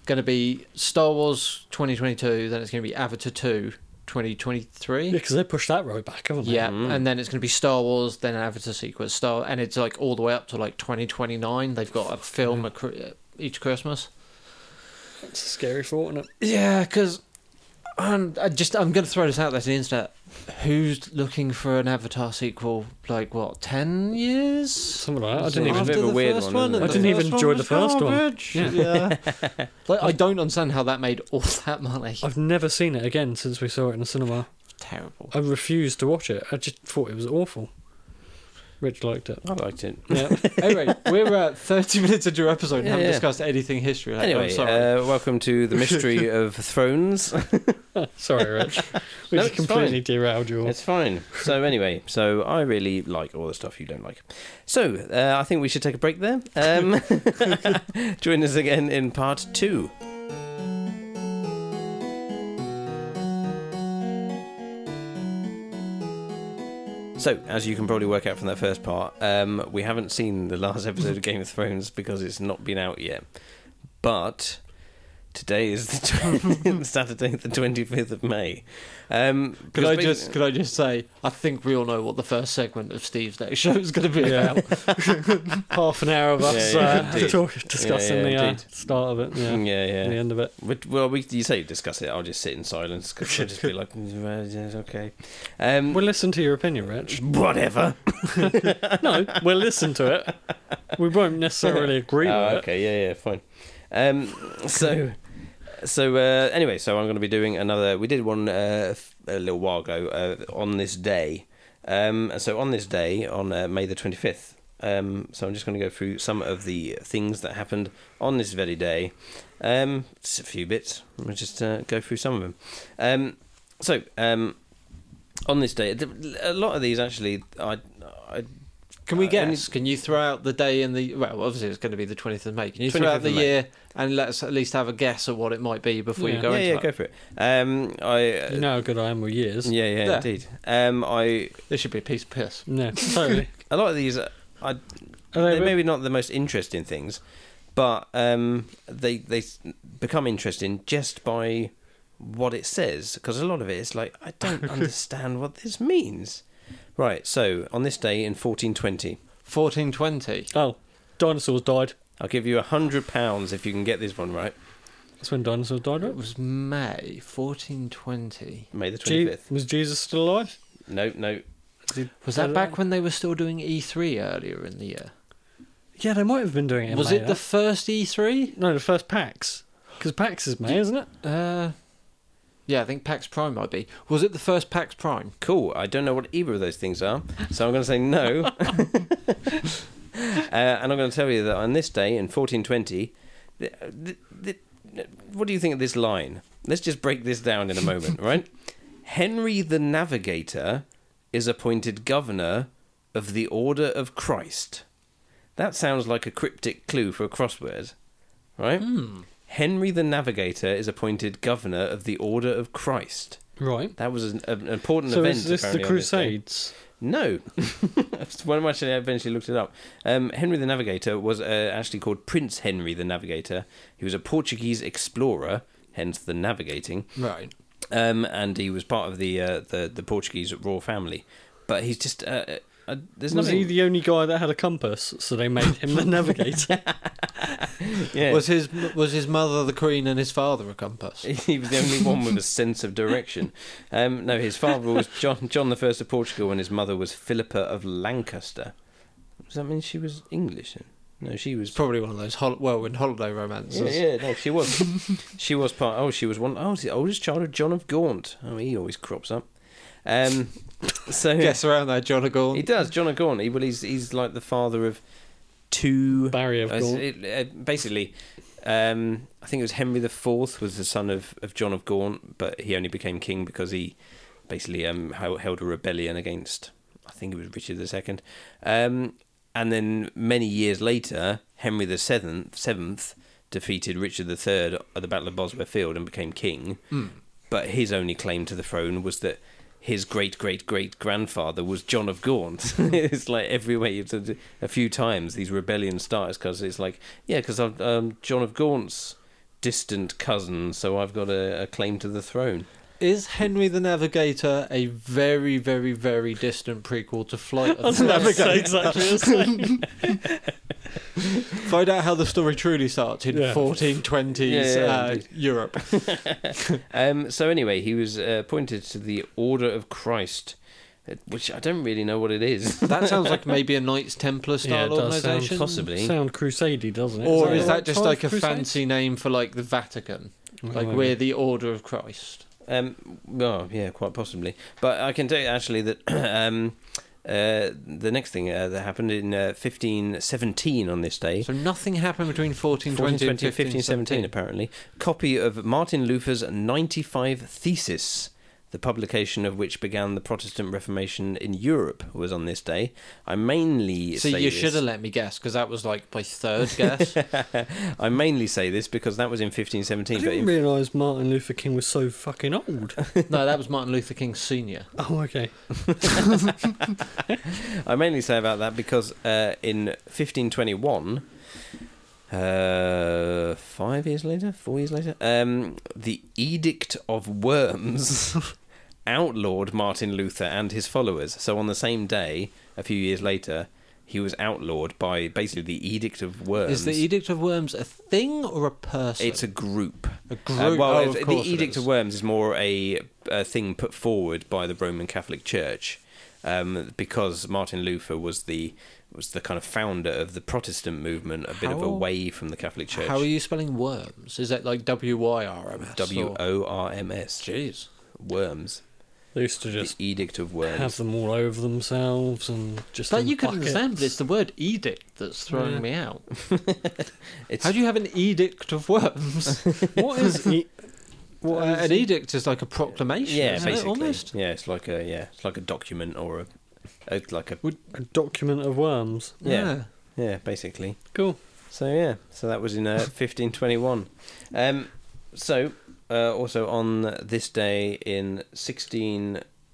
[SPEAKER 2] Mm-hmm.
[SPEAKER 3] going to be Star Wars twenty twenty two, then it's going to be Avatar 2, 2023.
[SPEAKER 2] Yeah, because they pushed that right back, haven't they?
[SPEAKER 3] Yeah,
[SPEAKER 1] Mm.
[SPEAKER 3] and then it's going to be Star Wars, then Avatar sequel, Star, and it's like all the way up to like twenty twenty nine. They've got a film
[SPEAKER 2] Mm-hmm.
[SPEAKER 3] a cr- each Christmas.
[SPEAKER 2] It's a scary thought, isn't it?
[SPEAKER 3] Yeah, because I'm I just I'm gonna throw this out there to the internet. Who's looking for an Avatar sequel? Like what, ten years?
[SPEAKER 2] Something like that. I
[SPEAKER 1] It's
[SPEAKER 2] didn't
[SPEAKER 1] a
[SPEAKER 2] even.
[SPEAKER 1] bit of a weird
[SPEAKER 3] first
[SPEAKER 1] one, isn't
[SPEAKER 3] and
[SPEAKER 1] it?
[SPEAKER 2] I didn't even
[SPEAKER 3] first one
[SPEAKER 2] enjoy the
[SPEAKER 3] was
[SPEAKER 2] first one.
[SPEAKER 3] garbage.
[SPEAKER 2] Yeah.
[SPEAKER 3] like I don't understand how that made all that money.
[SPEAKER 2] I've never seen it again since we saw it in the cinema.
[SPEAKER 3] Terrible.
[SPEAKER 2] I refused to watch it. I just thought it was awful. Rich liked it.
[SPEAKER 1] I liked it.
[SPEAKER 2] Yeah.
[SPEAKER 3] anyway, we're uh, thirty minutes into your episode and
[SPEAKER 1] Yeah,
[SPEAKER 3] haven't
[SPEAKER 1] yeah.
[SPEAKER 3] discussed anything history. Like, I'm
[SPEAKER 1] Anyway,
[SPEAKER 3] sorry.
[SPEAKER 1] uh, welcome to the mystery of thrones.
[SPEAKER 2] Sorry, Rich. We
[SPEAKER 1] No,
[SPEAKER 2] just
[SPEAKER 1] it's
[SPEAKER 2] completely derailed your.
[SPEAKER 1] It's fine. So anyway, so I really like all the stuff you don't like. So uh, I think we should take a break there. Um, join us again in part two. So, as you can probably work out from that first part, um, we haven't seen the last episode of Game of Thrones because it's not been out yet. But today is the tw- Saturday, the twenty fifth of May. Um,
[SPEAKER 3] Could
[SPEAKER 1] because
[SPEAKER 3] I
[SPEAKER 1] basi-
[SPEAKER 3] just could I just say I think we all know what the first segment of Steve's next show is going to be
[SPEAKER 2] Yeah.
[SPEAKER 3] about.
[SPEAKER 2] Half an hour of us
[SPEAKER 1] Yeah, yeah,
[SPEAKER 2] uh,
[SPEAKER 1] indeed.
[SPEAKER 2] talk, discussing
[SPEAKER 1] Yeah, yeah,
[SPEAKER 2] the uh,
[SPEAKER 1] indeed.
[SPEAKER 2] start of it. Yeah.
[SPEAKER 1] Mm, yeah, yeah.
[SPEAKER 2] and The end of it.
[SPEAKER 1] But- Well, we, you say discuss it. I'll just sit in silence because I'll just be like, "Mm, well, yes, okay, um,
[SPEAKER 2] We'll listen to your opinion, Rich.
[SPEAKER 1] whatever.
[SPEAKER 2] no, we'll listen to it. We won't necessarily agree
[SPEAKER 1] Oh,
[SPEAKER 2] with it.
[SPEAKER 1] okay, yeah, yeah, fine. Um, so, so uh, anyway, so I'm going to be doing another. We did one uh, f- a little while ago uh, on this day. Um, so on this day, on uh, May the 25th. Um, so I'm just going to go through some of the things that happened on this very day. Um, just a few bits. We'll just uh, go through some of them. Um, so um, on this day, th- a lot of these actually, I, I
[SPEAKER 3] Can we
[SPEAKER 1] Uh, only-
[SPEAKER 3] guess? Can you throw out the day and the well? Obviously, it's going to be the twentieth of May. Can you throw
[SPEAKER 1] 25th
[SPEAKER 3] out the
[SPEAKER 1] of May.
[SPEAKER 3] year and let's at least have a guess at what it might be before
[SPEAKER 2] Yeah.
[SPEAKER 3] you go
[SPEAKER 1] yeah,
[SPEAKER 3] into
[SPEAKER 1] yeah,
[SPEAKER 3] that?
[SPEAKER 1] go for it. Um, I uh,
[SPEAKER 2] You know how good I am with years.
[SPEAKER 1] Yeah, yeah,
[SPEAKER 3] Yeah.
[SPEAKER 1] indeed. Um, I
[SPEAKER 3] This should be a piece of piss.
[SPEAKER 2] No, totally.
[SPEAKER 1] a lot of these, uh, I
[SPEAKER 2] Are
[SPEAKER 1] they're
[SPEAKER 2] they
[SPEAKER 1] maybe not the most interesting things, but um, they they s- become interesting just by what it says because a lot of it is like I don't understand what this means. Right. So on this day in 1420,
[SPEAKER 3] Fourteen twenty.
[SPEAKER 2] Oh, dinosaurs died.
[SPEAKER 1] I'll give you a hundred pounds if you can get this one right.
[SPEAKER 2] That's when dinosaurs died, right?
[SPEAKER 3] It was May fourteen twenty.
[SPEAKER 1] May the 25th.
[SPEAKER 2] Je- was Jesus still alive?
[SPEAKER 1] No, no.
[SPEAKER 2] Did-
[SPEAKER 3] Was
[SPEAKER 2] I
[SPEAKER 3] that
[SPEAKER 2] don't
[SPEAKER 3] back
[SPEAKER 2] know.
[SPEAKER 3] when they were still doing E three earlier in the year?
[SPEAKER 2] Yeah, they might have been doing it. In
[SPEAKER 3] was
[SPEAKER 2] May,
[SPEAKER 3] it the
[SPEAKER 2] that.
[SPEAKER 3] first E three?
[SPEAKER 2] no the first PAX? Because PAX is May, isn't it?
[SPEAKER 3] Uh, yeah, I think PAX Prime might be. Was it the first PAX Prime?
[SPEAKER 1] Cool. I don't know what either of those things are, so I'm going to say no. uh, and I'm going to tell you that on this day in 1420, th- th- th- what do you think of this line? Let's just break this down in a moment, right? Henry the Navigator is appointed governor of the Order of Christ. That sounds like a cryptic clue for a crossword. right?
[SPEAKER 4] Hmm.
[SPEAKER 1] Henry the Navigator is appointed governor of the Order of Christ.
[SPEAKER 2] Right.
[SPEAKER 1] That was an, an important
[SPEAKER 2] So
[SPEAKER 1] event.
[SPEAKER 2] is this the
[SPEAKER 1] apparently, on this day.
[SPEAKER 2] Crusades?
[SPEAKER 1] No. when I actually eventually looked it up, um, Henry the Navigator was uh, actually called Prince Henry the Navigator. He was a Portuguese explorer, hence the navigating,
[SPEAKER 4] Right.
[SPEAKER 1] um, and he was part of the uh, the, the Portuguese royal family. But he's just uh, uh, uh, there's
[SPEAKER 2] was
[SPEAKER 1] nothing.
[SPEAKER 2] he the only guy that had a compass? So they made him the navigator.
[SPEAKER 1] yeah.
[SPEAKER 3] Was his was his mother the queen and his father a compass?
[SPEAKER 1] he was the only one with a sense of direction. Um, no, his father was John John the First of Portugal, and his mother was Philippa of Lancaster. Does that mean she was English? then? No, she was
[SPEAKER 3] It's probably one of those hol- whirlwind holiday romances.
[SPEAKER 1] Yeah, yeah, no, she was. she was part. Oh, she was one. Oh, it's the oldest child of John of Gaunt. Oh, he always crops up. Um, so
[SPEAKER 3] Guess around there, John
[SPEAKER 1] he
[SPEAKER 3] O'Gorn.
[SPEAKER 1] does. John of Gaunt. He well, he's he's like the father of two.
[SPEAKER 2] Barry of
[SPEAKER 1] uh,
[SPEAKER 2] Gaul.
[SPEAKER 1] it- uh, basically, um, I think it was Henry the Fourth was the son of, of John of Gaunt, but he only became king because he basically um, hel- held a rebellion against. I think it was Richard the Second. Um, and then many years later, Henry the Seventh, seventh defeated Richard the Third at the Battle of Bosworth Field and became king. But his only claim to the throne was that his great great great grandfather was John of Gaunt. it's like everywhere you've said a few times these rebellion starts because it's like yeah, because I'm um, John of Gaunt's distant cousin, so I've got a, a claim to the throne.
[SPEAKER 3] Is Henry the Navigator a very, very, very distant prequel to Flight of the
[SPEAKER 2] Crusades,
[SPEAKER 3] Navigator?
[SPEAKER 2] actually, that's it.
[SPEAKER 3] Find out how the story truly starts in
[SPEAKER 2] Yeah.
[SPEAKER 3] 1420s
[SPEAKER 1] Yeah, yeah,
[SPEAKER 3] uh,
[SPEAKER 1] indeed.
[SPEAKER 3] Europe.
[SPEAKER 1] Um, so anyway, he was uh, appointed to the Order of Christ, uh, which I don't really know what it is.
[SPEAKER 3] That sounds like maybe a Knights Templar
[SPEAKER 2] Yeah,
[SPEAKER 3] style
[SPEAKER 2] it does sound
[SPEAKER 3] organisation.
[SPEAKER 1] Possibly.
[SPEAKER 2] Sound crusady, doesn't it?
[SPEAKER 3] Or
[SPEAKER 2] Is
[SPEAKER 3] is
[SPEAKER 2] the
[SPEAKER 3] that
[SPEAKER 2] right
[SPEAKER 3] just
[SPEAKER 2] time
[SPEAKER 3] like
[SPEAKER 2] for
[SPEAKER 3] a
[SPEAKER 2] Crusades?
[SPEAKER 3] fancy name for like the Vatican? Like
[SPEAKER 2] Oh,
[SPEAKER 3] we're the Order of Christ.
[SPEAKER 1] Um, well, yeah, quite possibly. But I can tell you actually that um, uh, the next thing uh, that happened in uh, 1517 on this day.
[SPEAKER 3] So nothing happened between
[SPEAKER 1] 1420
[SPEAKER 3] 1420 and
[SPEAKER 1] 1517
[SPEAKER 3] 1517.
[SPEAKER 1] apparently copy of martin luther's 95 thesis the publication of which began the protestant reformation in europe was on this day i mainly
[SPEAKER 3] So
[SPEAKER 1] say
[SPEAKER 3] you
[SPEAKER 1] this-
[SPEAKER 3] should have let me guess because that was like my third guess.
[SPEAKER 1] i mainly say this because that was in 1517
[SPEAKER 2] I
[SPEAKER 1] but
[SPEAKER 2] didn't
[SPEAKER 1] in
[SPEAKER 2] realise Martin Luther King was so fucking old.
[SPEAKER 3] no, that was Martin Luther King Sr.
[SPEAKER 2] Oh, okay.
[SPEAKER 1] I mainly say about that because uh, in 1521, uh, five years later, four years later, um, the Edict of Worms outlawed Martin Luther and his followers. So on the same day, a few years later, he was outlawed by basically the Edict of Worms.
[SPEAKER 3] Is the Edict of Worms a thing or a person?
[SPEAKER 1] it's a group.
[SPEAKER 3] a
[SPEAKER 1] Uh,
[SPEAKER 3] group.
[SPEAKER 1] well,
[SPEAKER 3] Oh,
[SPEAKER 1] it's-
[SPEAKER 3] of
[SPEAKER 1] the
[SPEAKER 3] course it
[SPEAKER 1] Edict
[SPEAKER 3] is.
[SPEAKER 1] of Worms is more a, a thing put forward by the Roman Catholic Church, um, because Martin Luther was the was the kind of founder of the Protestant movement, a bit of
[SPEAKER 3] How-
[SPEAKER 1] away from the Catholic Church.
[SPEAKER 3] How are you spelling worms? Is that like W Y R M S?
[SPEAKER 1] W O R M S.
[SPEAKER 3] Jeez.
[SPEAKER 1] Worms.
[SPEAKER 2] They used to
[SPEAKER 1] The
[SPEAKER 2] just
[SPEAKER 1] Edict of
[SPEAKER 2] have
[SPEAKER 1] Worms.
[SPEAKER 2] them all over themselves and just.
[SPEAKER 3] But
[SPEAKER 2] in
[SPEAKER 3] you can understand,
[SPEAKER 2] buckets.
[SPEAKER 3] but it's the word edict that's throwing
[SPEAKER 2] Yeah.
[SPEAKER 3] me out.
[SPEAKER 1] It's
[SPEAKER 3] How do you have an edict of worms?
[SPEAKER 2] What is e-
[SPEAKER 3] well,
[SPEAKER 2] is
[SPEAKER 3] an
[SPEAKER 2] it?
[SPEAKER 3] edict is like a proclamation,
[SPEAKER 1] yeah,
[SPEAKER 3] isn't it,
[SPEAKER 1] basically.
[SPEAKER 3] almost?
[SPEAKER 1] Yeah, it's like a yeah, it's like a document or a, a like a
[SPEAKER 2] a document of worms?
[SPEAKER 1] Yeah. yeah, basically.
[SPEAKER 2] Cool.
[SPEAKER 1] So yeah, so that was in uh, 1521. Um, so uh, also on this day in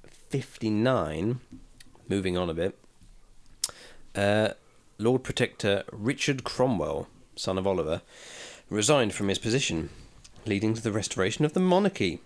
[SPEAKER 1] 1659, moving on a bit, uh, Lord Protector Richard Cromwell, son of Oliver, resigned from his position, leading to the restoration of the monarchy.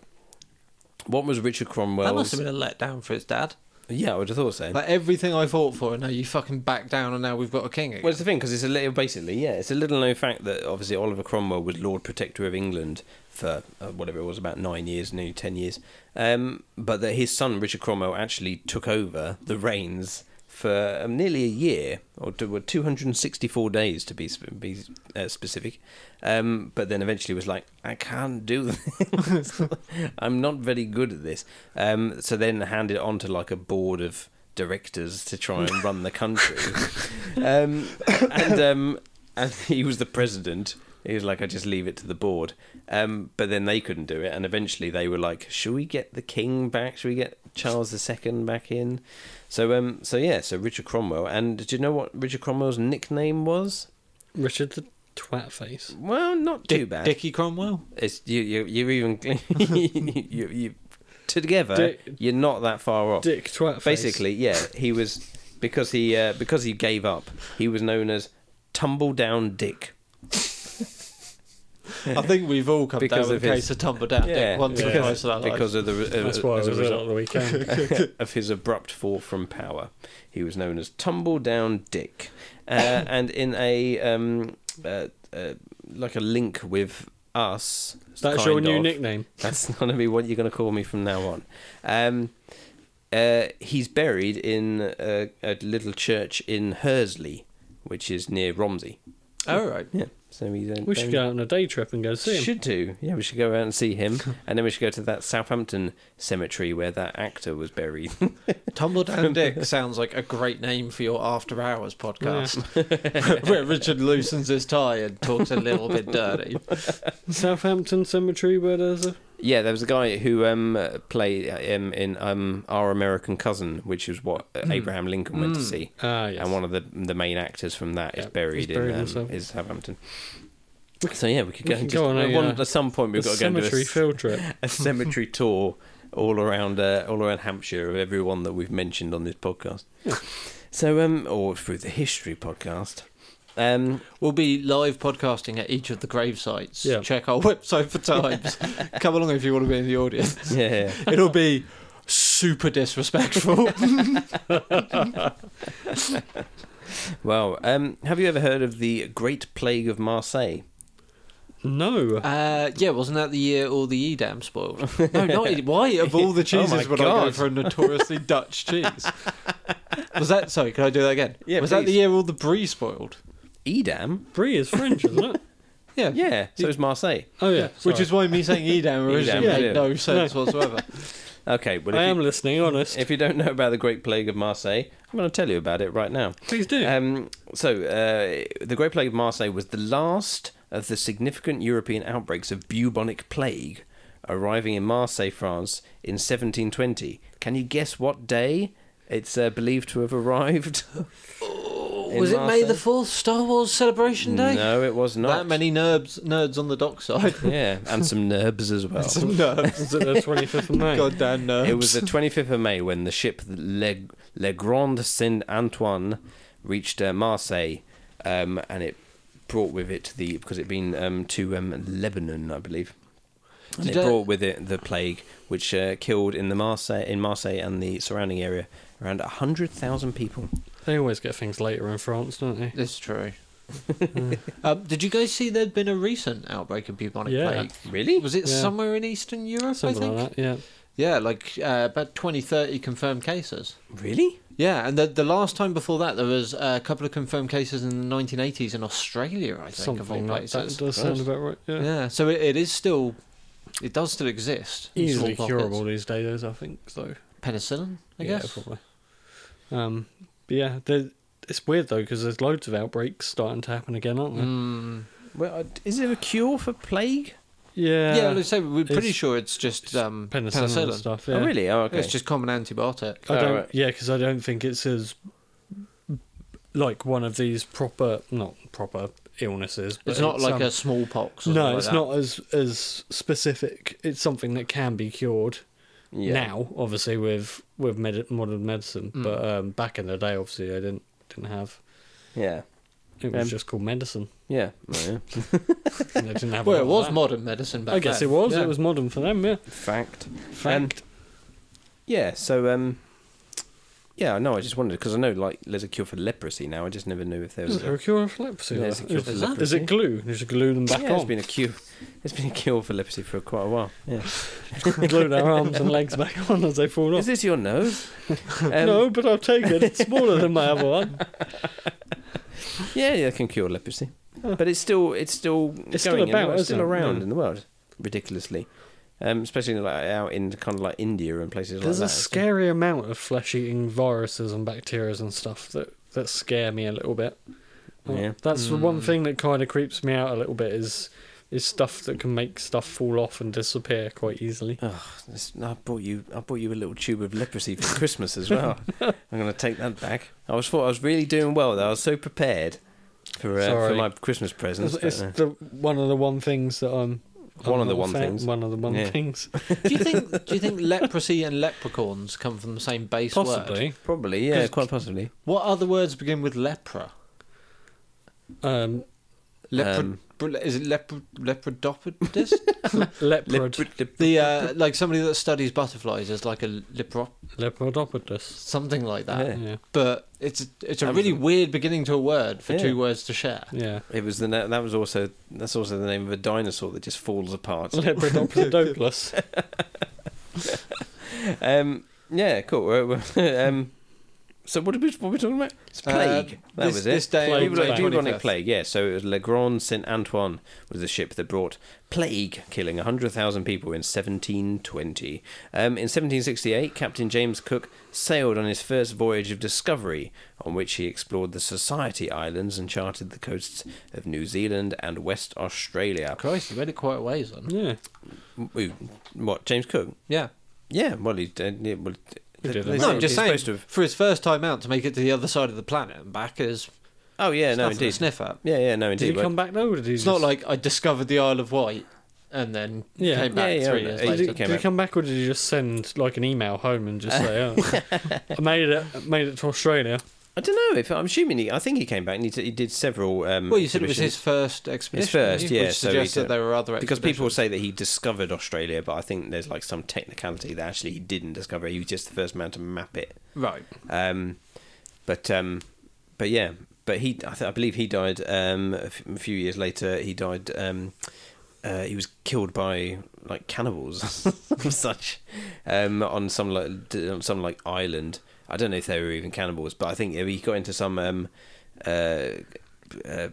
[SPEAKER 1] What was Richard Cromwell's?
[SPEAKER 3] that must have been a letdown for his dad.
[SPEAKER 1] Yeah, I would have thought so.
[SPEAKER 3] Like everything I fought for, and now you fucking back down, and now we've got a king again.
[SPEAKER 1] Well, it's the thing because it's a little, basically, yeah, it's a little known fact that obviously Oliver Cromwell was Lord Protector of England for uh, whatever it was, about nine years, nearly ten years, um, but that his son Richard Cromwell actually took over the reins for um, nearly a year or two hundred and sixty-four days to be sp- be uh, specific, um, but then eventually was like, I can't do this. I'm not very good at this. Um, so then handed it on to like a board of directors to try and run the country. um, and um, and he was the president. He was like, I just leave it to the board. Um, but then they couldn't do it, and eventually they were like, Should we get the king back? Should we get Charles II back in? So um, so yeah, so Richard Cromwell. And do you know what Richard Cromwell's nickname was?
[SPEAKER 2] Richard the twat face.
[SPEAKER 1] Well, not too
[SPEAKER 3] Dick-
[SPEAKER 1] bad.
[SPEAKER 3] Dickie Cromwell.
[SPEAKER 1] It's you. You. You're even. you. You. Together,
[SPEAKER 2] Dick-
[SPEAKER 1] you're not that far off.
[SPEAKER 2] Dick twat face.
[SPEAKER 1] Oh. Basically, yeah, he was because he uh, because he gave up. He was known as Tumble Down Dick.
[SPEAKER 3] I think we've all come
[SPEAKER 1] Because
[SPEAKER 3] down with
[SPEAKER 1] of
[SPEAKER 3] a
[SPEAKER 1] his-
[SPEAKER 3] case of tumble down
[SPEAKER 1] Yeah,
[SPEAKER 3] dick once or
[SPEAKER 2] yeah.
[SPEAKER 3] twice in our lives.
[SPEAKER 1] because of the
[SPEAKER 2] That's why I
[SPEAKER 1] uh, as
[SPEAKER 2] was
[SPEAKER 1] a
[SPEAKER 2] out
[SPEAKER 1] result
[SPEAKER 2] on the weekend.
[SPEAKER 1] of his abrupt fall from power. He was known as Tumble Down Dick, uh, and in a um, uh, uh, like a link with us.
[SPEAKER 2] That's
[SPEAKER 1] kind
[SPEAKER 2] your new
[SPEAKER 1] of.
[SPEAKER 2] nickname.
[SPEAKER 1] That's going to be what you're going to call me from now on. Um, uh, he's buried in a, a little church in Hersley, which is near Romsey.
[SPEAKER 3] All right.
[SPEAKER 1] Yeah, so he's. uh,
[SPEAKER 2] We should
[SPEAKER 1] buried-
[SPEAKER 2] go out on a day trip and go see him.
[SPEAKER 1] Should do. Yeah, we should go out and see him, and then we should go to that Southampton cemetery where that actor was buried.
[SPEAKER 3] Tumble Down Dick sounds like a great name for your after hours podcast. Where Richard loosens his tie and talks a little bit dirty.
[SPEAKER 2] Southampton Cemetery, where there's a.
[SPEAKER 1] yeah, there was a guy who um uh, played um, in um Our American Cousin, which is what uh, Abraham Lincoln went to
[SPEAKER 3] Mm.
[SPEAKER 1] see,
[SPEAKER 2] Ah, Hmm. yes.
[SPEAKER 1] and one of the the main actors from that is
[SPEAKER 2] Yeah,
[SPEAKER 1] buried,
[SPEAKER 2] he's buried in
[SPEAKER 1] in um,
[SPEAKER 2] Southampton.
[SPEAKER 1] is Southampton. So yeah, we could
[SPEAKER 2] we
[SPEAKER 1] go
[SPEAKER 2] can
[SPEAKER 1] and
[SPEAKER 2] go
[SPEAKER 1] just,
[SPEAKER 2] on a,
[SPEAKER 1] one-
[SPEAKER 2] uh,
[SPEAKER 1] at some point
[SPEAKER 2] a
[SPEAKER 1] we've got to go and do
[SPEAKER 2] cemetery
[SPEAKER 1] a,
[SPEAKER 2] field trip.
[SPEAKER 1] a cemetery tour all around uh, all around Hampshire of everyone that we've mentioned on this podcast. So um, or through the history podcast. Um,
[SPEAKER 3] We'll be live podcasting at each of the grave sites.
[SPEAKER 2] Yeah.
[SPEAKER 3] Check our website for times. Come along if you want to be in the audience.
[SPEAKER 1] yeah,
[SPEAKER 3] It'll be super disrespectful.
[SPEAKER 1] well, um, have you ever heard of the Great Plague of Marseille?
[SPEAKER 2] No.
[SPEAKER 3] uh, yeah, wasn't that the year all the Edam spoiled? No, not Edam. Why of all the
[SPEAKER 1] Oh my
[SPEAKER 3] cheeses would I go
[SPEAKER 1] God.
[SPEAKER 3] for a notoriously Dutch cheese? Was that sorry? Can I do that again?
[SPEAKER 1] Yeah,
[SPEAKER 3] Was that the
[SPEAKER 1] please.
[SPEAKER 3] year all the brie spoiled?
[SPEAKER 1] Edam,
[SPEAKER 2] Brie is French, isn't it? Uh,
[SPEAKER 3] Yeah.
[SPEAKER 1] yeah. So is Marseille.
[SPEAKER 2] Oh, yeah.
[SPEAKER 3] Which is why me saying Edam originally
[SPEAKER 1] Edam,
[SPEAKER 3] made
[SPEAKER 1] yeah.
[SPEAKER 3] no sense whatsoever.
[SPEAKER 1] Okay, well,
[SPEAKER 2] I
[SPEAKER 1] if
[SPEAKER 2] am
[SPEAKER 1] you,
[SPEAKER 2] listening, honest.
[SPEAKER 1] if you don't know about the Great Plague of Marseille, I'm going to tell you about it right now.
[SPEAKER 2] Please do.
[SPEAKER 1] Um, so, uh, the Great Plague of Marseille was the last of the significant European outbreaks of bubonic plague, arriving in Marseille, France, in 1720. Can you guess what day it's uh, believed to have arrived? In
[SPEAKER 3] Oh. Was it May the
[SPEAKER 1] Marseille?
[SPEAKER 3] Fourth, Star Wars Celebration Day?
[SPEAKER 1] No, it was not.
[SPEAKER 3] That many nerds, nerds on the dockside.
[SPEAKER 1] Yeah, and some nerbs as well.
[SPEAKER 3] Some nerds.
[SPEAKER 2] Is it the 25th of May?
[SPEAKER 3] Goddamn nerds.
[SPEAKER 1] It was the 25th of May when the ship Le, Le Grand Saint Antoine reached uh, Marseille, um, and it brought with it the because it'd been um, to um, Lebanon, I believe. And
[SPEAKER 3] Did
[SPEAKER 1] it
[SPEAKER 3] I-
[SPEAKER 1] brought with it the plague, which uh, killed in the Marseille in Marseille and the surrounding area around hundred thousand people.
[SPEAKER 2] They always get things later in France, don't they?
[SPEAKER 3] It's true. um, did you guys see there'd been a recent outbreak of bubonic
[SPEAKER 2] Yeah.
[SPEAKER 3] plague?
[SPEAKER 1] Really?
[SPEAKER 3] Was it
[SPEAKER 2] Yeah.
[SPEAKER 3] somewhere in Eastern Europe? I
[SPEAKER 2] Something
[SPEAKER 3] think.
[SPEAKER 2] like that, yeah.
[SPEAKER 3] Yeah, like uh, about 20, 30 confirmed cases.
[SPEAKER 1] Really?
[SPEAKER 3] Yeah, and the the last time before that there was a couple of confirmed cases in the nineteen eighties in Australia, I think, of all
[SPEAKER 2] Something like that.
[SPEAKER 3] places.
[SPEAKER 2] It does sound about right, yeah.
[SPEAKER 3] Yeah, so it, it is still, it does still exist. in small
[SPEAKER 2] Easily
[SPEAKER 3] pockets.
[SPEAKER 2] curable these days, I think, so.
[SPEAKER 3] Penicillin, I
[SPEAKER 2] yeah,
[SPEAKER 3] guess.
[SPEAKER 2] probably. Um, but yeah, there- it's weird though because there's loads of outbreaks starting to happen again, aren't there?
[SPEAKER 3] Mm.
[SPEAKER 1] Well, uh, is there a cure for plague?
[SPEAKER 2] Yeah.
[SPEAKER 3] yeah, let's say we're pretty
[SPEAKER 2] it's-
[SPEAKER 3] sure it's just um,
[SPEAKER 2] penicillin,
[SPEAKER 3] penicillin.
[SPEAKER 2] and stuff. Yeah.
[SPEAKER 1] Oh, really? Oh, okay.
[SPEAKER 3] It's just common antibiotic.
[SPEAKER 2] I don't.
[SPEAKER 1] Alright.
[SPEAKER 2] Yeah, because I don't think it's as like one of these proper, not proper illnesses. But
[SPEAKER 3] It's not like
[SPEAKER 2] um,
[SPEAKER 3] a smallpox. Or
[SPEAKER 2] No,
[SPEAKER 3] something
[SPEAKER 2] it's
[SPEAKER 3] like
[SPEAKER 2] not as as specific. It's something that can be cured
[SPEAKER 1] yeah.
[SPEAKER 2] now, obviously with with med- modern medicine.
[SPEAKER 3] Mm.
[SPEAKER 2] But um, back in the day, obviously, I didn't didn't have.
[SPEAKER 1] Yeah.
[SPEAKER 2] It was
[SPEAKER 1] Um,
[SPEAKER 2] just called medicine.
[SPEAKER 1] Yeah. Oh, yeah.
[SPEAKER 2] and They didn't have.
[SPEAKER 3] that. Well,
[SPEAKER 2] a
[SPEAKER 3] it
[SPEAKER 2] lot
[SPEAKER 3] was
[SPEAKER 2] of that.
[SPEAKER 3] modern medicine back
[SPEAKER 2] I guess
[SPEAKER 3] then.
[SPEAKER 2] it was.
[SPEAKER 3] Yeah.
[SPEAKER 2] It was modern for them. Yeah.
[SPEAKER 1] Fact.
[SPEAKER 2] Fact.
[SPEAKER 1] Yeah, so um, yeah, no, I just wondered because I know like there's a cure for leprosy now. I just never knew if there was.
[SPEAKER 2] Is there a cure for leprosy?
[SPEAKER 1] There's a
[SPEAKER 2] though?
[SPEAKER 1] cure
[SPEAKER 2] Is-
[SPEAKER 1] for
[SPEAKER 2] is
[SPEAKER 1] leprosy.
[SPEAKER 2] it glue? You just glue them back
[SPEAKER 1] yeah, there's
[SPEAKER 2] on.
[SPEAKER 1] been a cure. There's been a cure for leprosy for quite a while. Yeah.
[SPEAKER 2] glue their arms and legs back on as they fall off.
[SPEAKER 1] Is this your nose? Um,
[SPEAKER 2] no, but I'll take it. It's smaller than my other one.
[SPEAKER 1] Yeah, yeah, it can cure leprosy, but it's still it's still
[SPEAKER 2] It's still
[SPEAKER 1] going in the
[SPEAKER 2] about,
[SPEAKER 1] world, it's
[SPEAKER 2] isn't
[SPEAKER 1] still
[SPEAKER 2] it?
[SPEAKER 1] around
[SPEAKER 2] Yeah.
[SPEAKER 1] in the world, ridiculously, um, especially like out in kind of like India and places
[SPEAKER 2] There's a
[SPEAKER 1] like that.
[SPEAKER 2] scary amount of flesh-eating viruses and bacteria and stuff that that scare me a little bit. Like,
[SPEAKER 1] Yeah.
[SPEAKER 2] that's the one
[SPEAKER 3] Mm.
[SPEAKER 2] thing that kind of creeps me out a little bit is is stuff that can make stuff fall off and disappear quite easily.
[SPEAKER 1] It's- I bought you I bought you a little tube of leprosy for Christmas as well. I'm going to take that back. I was thought I was really doing well though. I was so prepared. for, uh, for
[SPEAKER 2] Sorry.
[SPEAKER 1] my Christmas presents.
[SPEAKER 2] It's,
[SPEAKER 1] but,
[SPEAKER 2] it's
[SPEAKER 1] uh,
[SPEAKER 2] the one of the one things that I'm. I'm
[SPEAKER 1] One of
[SPEAKER 2] not
[SPEAKER 1] the
[SPEAKER 2] a
[SPEAKER 1] one things.
[SPEAKER 2] One of the one
[SPEAKER 1] Yeah.
[SPEAKER 2] things.
[SPEAKER 3] Do you think? Do you think leprosy and leprechauns come from the same base word?
[SPEAKER 2] Possibly.
[SPEAKER 1] probably, yeah,
[SPEAKER 3] 'Cause-
[SPEAKER 1] quite possibly.
[SPEAKER 3] What other words begin with lepra?
[SPEAKER 2] Um,
[SPEAKER 3] Lepra.
[SPEAKER 1] Um,
[SPEAKER 3] br- is it lepra, leprodopodist?
[SPEAKER 2] leopard.
[SPEAKER 3] the uh, like somebody that studies butterflies is like a lepro
[SPEAKER 2] Leopardopodus.
[SPEAKER 3] something like that.
[SPEAKER 1] Yeah.
[SPEAKER 2] Yeah.
[SPEAKER 3] But it's it's a
[SPEAKER 1] That was
[SPEAKER 3] really
[SPEAKER 1] a-
[SPEAKER 3] weird beginning to a word for
[SPEAKER 1] Yeah.
[SPEAKER 3] two words to share.
[SPEAKER 2] Yeah.
[SPEAKER 1] It was the na- that was also that's also the name of a dinosaur that just falls apart.
[SPEAKER 2] Leopardopodus.
[SPEAKER 1] um, yeah, cool. We're- we're- um, so what did we what were we talking about? It's
[SPEAKER 3] Uh,
[SPEAKER 1] plague. that
[SPEAKER 3] this-
[SPEAKER 1] was it.
[SPEAKER 3] this day
[SPEAKER 2] on
[SPEAKER 1] Bubonic-
[SPEAKER 2] the 25th.
[SPEAKER 1] bubonic plague. Yeah. So it was Le Grand Saint Antoine was the ship that brought plague, killing hundred thousand people in 1720. Um, in 1768, Captain James Cook sailed on his first voyage of discovery, on which he explored the Society Islands and charted the coasts of New Zealand and West Australia.
[SPEAKER 3] Christ, you read it quite a ways on.
[SPEAKER 2] yeah.
[SPEAKER 1] Ooh, What James Cook?
[SPEAKER 3] Yeah.
[SPEAKER 1] Yeah, well, he did. Yeah, well,
[SPEAKER 2] He did,
[SPEAKER 1] they
[SPEAKER 2] It's
[SPEAKER 3] no,
[SPEAKER 1] say
[SPEAKER 3] I'm just
[SPEAKER 1] he's
[SPEAKER 3] saying,
[SPEAKER 1] supposed to have-
[SPEAKER 3] for his first time out, to make it to the other side of the planet and back is
[SPEAKER 1] oh, yeah,
[SPEAKER 3] it's
[SPEAKER 1] no,
[SPEAKER 3] nothing to
[SPEAKER 1] indeed.
[SPEAKER 3] sniff at.
[SPEAKER 1] Yeah, yeah, no, indeed.
[SPEAKER 2] Did he
[SPEAKER 1] but-
[SPEAKER 2] come back though? Or did he
[SPEAKER 3] It's
[SPEAKER 2] just-
[SPEAKER 3] not like I discovered the Isle of Wight and then
[SPEAKER 2] Yeah.
[SPEAKER 3] came back
[SPEAKER 1] Yeah, yeah,
[SPEAKER 3] three
[SPEAKER 1] no,
[SPEAKER 3] years
[SPEAKER 1] he
[SPEAKER 2] Did,
[SPEAKER 1] Like,
[SPEAKER 2] he,
[SPEAKER 1] it
[SPEAKER 3] later.
[SPEAKER 1] came
[SPEAKER 2] did he
[SPEAKER 1] back-
[SPEAKER 2] come back, or did he just send like an email home and just say, "Oh, I made it, made it to Australia"?
[SPEAKER 1] I don't know if I'm assuming he. I think he came back and he, t- he did several. Um,
[SPEAKER 3] Well, you said it was
[SPEAKER 1] exhibitions.
[SPEAKER 3] his first expedition.
[SPEAKER 1] first,
[SPEAKER 3] didn't you?
[SPEAKER 1] yeah,
[SPEAKER 3] Which
[SPEAKER 1] so he
[SPEAKER 3] suggests
[SPEAKER 1] did.
[SPEAKER 3] that there were other
[SPEAKER 1] because
[SPEAKER 3] expeditions.
[SPEAKER 1] people say that he discovered Australia, but I think there's like some technicality that actually he didn't discover. it. He was just the first man to map it.
[SPEAKER 3] Right.
[SPEAKER 1] Um, but um, but yeah, but he. I, th- I believe he died um, a, f- a few years later. He died. Um, uh, he was killed by like cannibals or such um, on some like d- on some like island. I don't know if they were even cannibals, but I think he got into some um, uh, uh,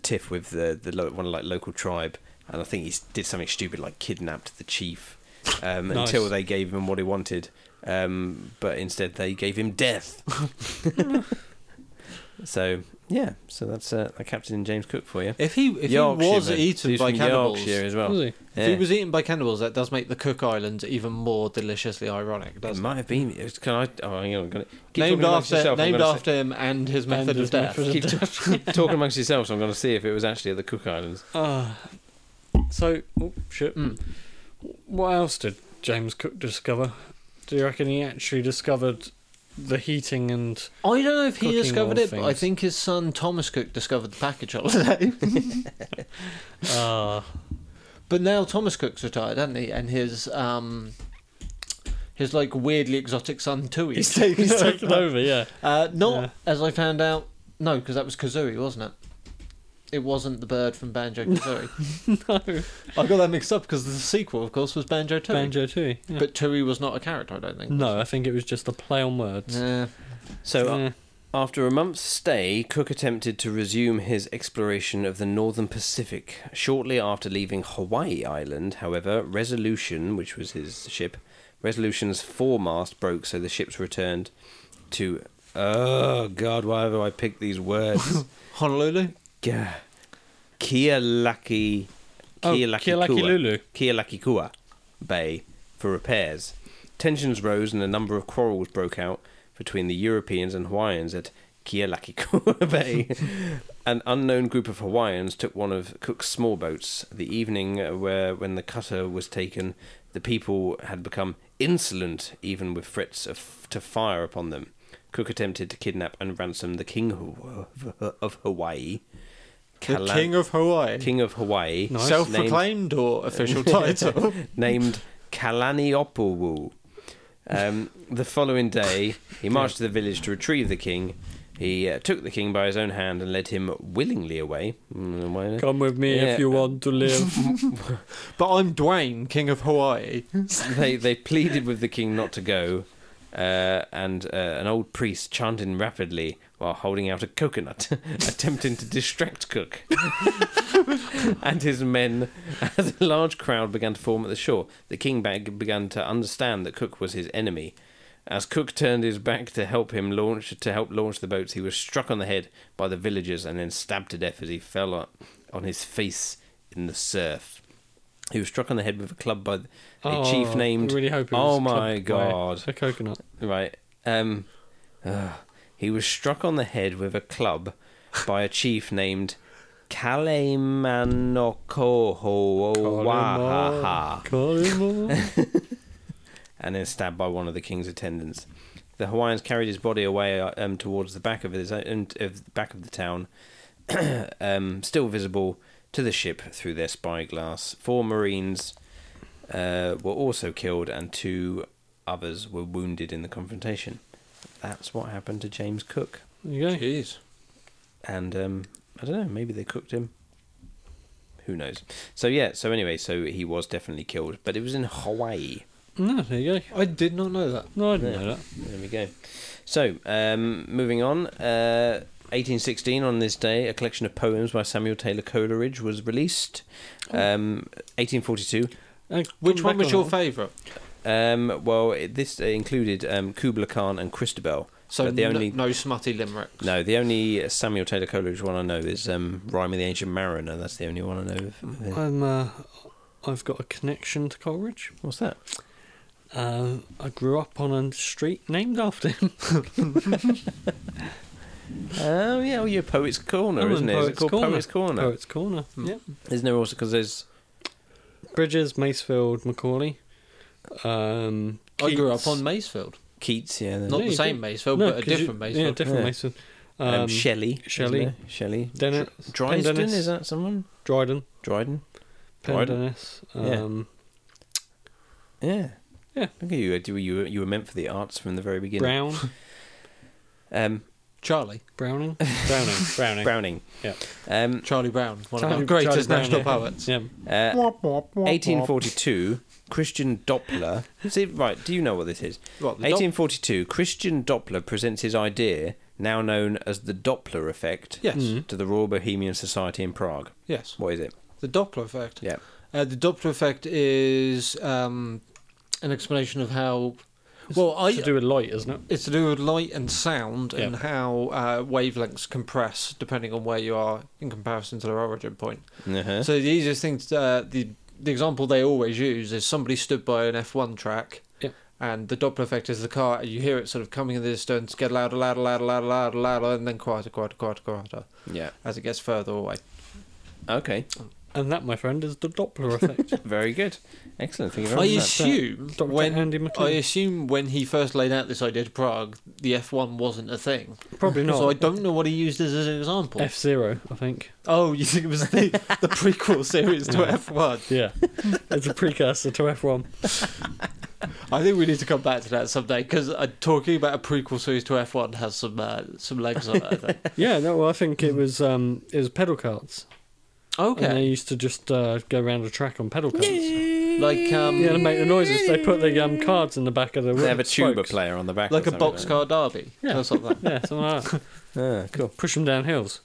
[SPEAKER 1] tiff with the the lo- one like local tribe, and I think he s- did something stupid like kidnapped the chief um,
[SPEAKER 2] Nice.
[SPEAKER 1] until they gave him what he wanted. Um, but instead, they gave him death. so yeah, so that's uh, a Captain James Cook for you.
[SPEAKER 3] If he if he
[SPEAKER 1] Yorkshire,
[SPEAKER 3] was
[SPEAKER 1] man.
[SPEAKER 3] eaten
[SPEAKER 1] He's
[SPEAKER 3] by
[SPEAKER 1] from
[SPEAKER 3] cannibals,
[SPEAKER 1] Yorkshire as
[SPEAKER 2] Was
[SPEAKER 1] well.
[SPEAKER 2] he?
[SPEAKER 1] Yeah.
[SPEAKER 3] if he was eaten by cannibals, that does make the Cook Islands even more deliciously ironic,
[SPEAKER 1] It
[SPEAKER 3] doesn't it?
[SPEAKER 1] might have been. It was, can I? Oh, hang on. I'm gonna, keep
[SPEAKER 3] Named
[SPEAKER 1] talking amongst
[SPEAKER 3] after
[SPEAKER 1] yourself, I'm
[SPEAKER 3] named
[SPEAKER 1] gonna
[SPEAKER 3] after him and his method
[SPEAKER 2] And
[SPEAKER 3] of
[SPEAKER 2] his
[SPEAKER 3] death.
[SPEAKER 2] method
[SPEAKER 1] Say, keep ta- talking amongst yourselves. I'm going to see if it was actually at the Cook Islands.
[SPEAKER 2] Ah, so oh, shit.
[SPEAKER 3] Mm.
[SPEAKER 2] What else did James Cook discover? Do you reckon he actually discovered the heating and
[SPEAKER 3] I don't know if he
[SPEAKER 2] Cooking
[SPEAKER 3] discovered
[SPEAKER 2] all
[SPEAKER 3] it, but I
[SPEAKER 2] things.
[SPEAKER 3] think his son Thomas Cook discovered the package holiday.
[SPEAKER 2] uh,
[SPEAKER 3] but now Thomas Cook's retired, hasn't he? And his um, his like weirdly exotic son Tui.
[SPEAKER 2] he's taken, he's taken over? Yeah,
[SPEAKER 3] Uh, not
[SPEAKER 2] Yeah.
[SPEAKER 3] as I found out. No, because that was Kazooie, wasn't it? It wasn't the bird from Banjo Kazooie.
[SPEAKER 2] no,
[SPEAKER 3] I got that mixed up because the sequel, of course, was Banjo Tooie.
[SPEAKER 2] Banjo Tooie. yeah.
[SPEAKER 3] But Tui was not a character, I don't think.
[SPEAKER 2] no, I think it was just a play on words. uh,
[SPEAKER 3] Nah.
[SPEAKER 1] So
[SPEAKER 2] Yeah.
[SPEAKER 1] After a month's stay, Cook attempted to resume his exploration of the northern Pacific. Shortly after leaving Hawaii Island, however, Resolution, which was his ship, Resolution's foremast broke, so the ships returned to. Oh, God, why have I picked these words?
[SPEAKER 3] Honolulu?
[SPEAKER 1] Gah. Kealaki.
[SPEAKER 2] Oh,
[SPEAKER 1] Kealakekua-
[SPEAKER 2] Kealakekulu.
[SPEAKER 1] Kealakekua Bay for repairs. Tensions rose and a number of quarrels broke out between the Europeans and Hawaiians at Kealakekua Bay. An unknown group of Hawaiians took one of Cook's small boats. The evening uh, where when the cutter was taken, the people had become insolent, even with threats of, to fire upon them. Cook attempted to kidnap and ransom the king of, of Hawaii.
[SPEAKER 3] The
[SPEAKER 1] Kala-
[SPEAKER 3] King of Hawaii.
[SPEAKER 1] King of Hawaii,
[SPEAKER 2] Nice.
[SPEAKER 3] Self
[SPEAKER 1] named,
[SPEAKER 3] proclaimed or official title?
[SPEAKER 1] named Kalaniopulu. Um, the following day, he marched to the village to retrieve the king. He uh, took the king by his own hand and led him willingly away. Mm, why not?
[SPEAKER 2] Come with me
[SPEAKER 1] Yeah.
[SPEAKER 2] if you want to live.
[SPEAKER 3] but I'm Dwayne, King of Hawaii.
[SPEAKER 1] they they pleaded with the king not to go, uh, and uh, an old priest chanting rapidly while holding out a coconut, attempting to distract Cook and his men. As a large crowd began to form at the shore, the king bag began to understand that Cook was his enemy. As Cook turned his back to help him launch to help launch the boats, he was struck on the head by the villagers and then stabbed to death as he fell on- on his face in the surf. He was struck on the head with a club by th- a
[SPEAKER 2] Oh,
[SPEAKER 1] chief
[SPEAKER 2] I
[SPEAKER 1] named.
[SPEAKER 2] really hope it
[SPEAKER 1] oh
[SPEAKER 2] was
[SPEAKER 1] my
[SPEAKER 2] clubbed by
[SPEAKER 1] god!
[SPEAKER 2] a coconut.
[SPEAKER 1] ah, Right. Um, ugh. he was struck on the head with a club by a chief named Kalemanokohowahaha and then stabbed by one of the king's attendants. The Hawaiians carried his body away um, towards the back of his own, um, of the back of the town, um, still visible to the ship through their spyglass. Four Marines uh, were also killed, and two others were wounded in the confrontation. That's what happened to James Cook.
[SPEAKER 2] There you go.
[SPEAKER 3] Jeez.
[SPEAKER 1] And um, I don't know, maybe they cooked him. Who knows? So yeah. So anyway, so he was definitely killed, but it was in Hawaii.
[SPEAKER 2] No, there you go.
[SPEAKER 3] I did not know that.
[SPEAKER 2] No, I didn't
[SPEAKER 1] Yeah.
[SPEAKER 2] know that.
[SPEAKER 1] There we go. So, um, moving on. Uh, 1816, on this day, a collection of poems by Samuel Taylor Coleridge was released. Um, 1842.
[SPEAKER 2] Uh,
[SPEAKER 3] Which
[SPEAKER 2] come
[SPEAKER 3] one
[SPEAKER 2] back on
[SPEAKER 3] was your
[SPEAKER 2] that
[SPEAKER 3] favourite?
[SPEAKER 1] Um, well, it, this included um, Kubla Khan and Christabel.
[SPEAKER 3] So
[SPEAKER 1] But the
[SPEAKER 3] no,
[SPEAKER 1] only-
[SPEAKER 3] no smutty limericks.
[SPEAKER 1] No, the only Samuel Taylor Coleridge one I know is um, Rhyme of the Ancient Mariner. That's the only one I know. Of.
[SPEAKER 2] one. I'm. Uh, I've got a connection to Coleridge.
[SPEAKER 1] What's that?
[SPEAKER 2] Uh, I grew up on a street named after him.
[SPEAKER 1] Oh, yeah, well, your Poet's Corner,
[SPEAKER 2] I'm
[SPEAKER 1] isn't
[SPEAKER 2] in
[SPEAKER 1] it? Is it
[SPEAKER 2] Poets'
[SPEAKER 1] called
[SPEAKER 2] Corner.
[SPEAKER 1] Poet's Corner?
[SPEAKER 2] Poets Corner.
[SPEAKER 3] Hmm.
[SPEAKER 2] Yep.
[SPEAKER 1] Isn't there also, because there's.
[SPEAKER 2] Bridges, Macefield, Macaulay. Um,
[SPEAKER 3] I grew up
[SPEAKER 2] Keats.
[SPEAKER 3] on Masefield.
[SPEAKER 1] Keats, yeah. there's-
[SPEAKER 3] Not
[SPEAKER 2] Yeah,
[SPEAKER 3] the
[SPEAKER 2] you
[SPEAKER 3] same Masefield,
[SPEAKER 2] No,
[SPEAKER 3] but a
[SPEAKER 2] 'cause you-
[SPEAKER 3] different
[SPEAKER 2] Yeah,
[SPEAKER 3] Masefield.
[SPEAKER 2] different
[SPEAKER 1] Yeah.
[SPEAKER 2] Macefield.
[SPEAKER 1] Um,
[SPEAKER 2] Um,
[SPEAKER 1] Shelley.
[SPEAKER 2] Shelley.
[SPEAKER 1] isn't there? Shelley.
[SPEAKER 2] Dennis-
[SPEAKER 1] Dr- Drysden,
[SPEAKER 2] Pendennis.
[SPEAKER 1] is that someone?
[SPEAKER 2] Dryden,
[SPEAKER 1] Dryden. Dryden.
[SPEAKER 2] Pendennis.
[SPEAKER 1] Yeah.
[SPEAKER 2] Um,
[SPEAKER 1] Yeah.
[SPEAKER 2] Yeah.
[SPEAKER 1] Look at you. uh, do- You were, you were meant for the arts from the very beginning.
[SPEAKER 2] Brown,
[SPEAKER 1] Um,
[SPEAKER 3] Charlie.
[SPEAKER 2] Browning, Browning, Browning.
[SPEAKER 1] Browning.
[SPEAKER 2] Yeah.
[SPEAKER 1] Um,
[SPEAKER 3] Charlie Brown, one of
[SPEAKER 2] Charlie-
[SPEAKER 3] our greatest
[SPEAKER 2] Charlie Brown,
[SPEAKER 3] national
[SPEAKER 2] yeah.
[SPEAKER 3] poets.
[SPEAKER 2] Yeah,
[SPEAKER 1] uh, 1842, Christian Doppler. See, right, do you know what this is?
[SPEAKER 3] What, the
[SPEAKER 1] 1842, Christian Doppler presents his idea, now known as the Doppler effect,
[SPEAKER 3] Yes. Mhm.
[SPEAKER 1] to the Royal Bohemian Society in Prague.
[SPEAKER 3] Yes.
[SPEAKER 1] What is it?
[SPEAKER 3] The Doppler effect.
[SPEAKER 1] Yeah.
[SPEAKER 3] Uh, the Doppler effect is um, an explanation of how. Well, I,
[SPEAKER 2] to do with light, isn't it?
[SPEAKER 3] it's to do with light and sound and
[SPEAKER 2] Yeah.
[SPEAKER 3] how uh, wavelengths compress depending on where you are in comparison to their origin point.
[SPEAKER 1] Uh-huh.
[SPEAKER 3] So the easiest thing, to, uh, the the example they always use is somebody stood by an F1 track,
[SPEAKER 2] Yeah.
[SPEAKER 3] and the Doppler effect is the car, and you hear it sort of coming in the distance, get louder, louder, louder, louder, louder, louder, and then quieter, quieter, quieter, quieter
[SPEAKER 1] yeah.
[SPEAKER 3] as it gets further away.
[SPEAKER 1] Okay.
[SPEAKER 2] And that, my friend, is the Doppler effect.
[SPEAKER 1] Very good. Excellent. Thank you very
[SPEAKER 3] I
[SPEAKER 1] much.
[SPEAKER 3] assume
[SPEAKER 2] Dr.
[SPEAKER 3] when
[SPEAKER 2] Andy
[SPEAKER 3] I
[SPEAKER 2] McLean.
[SPEAKER 3] assume when he first laid out this idea to Prague, the F1 wasn't a thing.
[SPEAKER 2] Probably not.
[SPEAKER 3] So I don't know what he used as an example.
[SPEAKER 2] F zero, I think.
[SPEAKER 3] oh, you think it was the, the prequel series to F1?
[SPEAKER 2] Yeah, it's a precursor to F one.
[SPEAKER 3] I think we need to come back to that someday because uh, talking about a prequel series to F1 has some uh, some legs on it. I think.
[SPEAKER 2] Yeah, no, well, I think
[SPEAKER 3] Mm.
[SPEAKER 2] it was um, it was pedal carts. And they
[SPEAKER 3] okay,
[SPEAKER 2] used to just uh, go around a track on pedal carts.
[SPEAKER 3] like um,
[SPEAKER 2] Yeah, to make the noises. They put the um, cards in the back of the.
[SPEAKER 1] They have a tuba
[SPEAKER 2] spokes.
[SPEAKER 1] player on the back.
[SPEAKER 3] like
[SPEAKER 1] or
[SPEAKER 3] a
[SPEAKER 1] something that.
[SPEAKER 3] boxcar derby.
[SPEAKER 2] Yeah.
[SPEAKER 3] or something.
[SPEAKER 2] Yeah, something like that.
[SPEAKER 1] Ah, cool.
[SPEAKER 2] Push them down hills.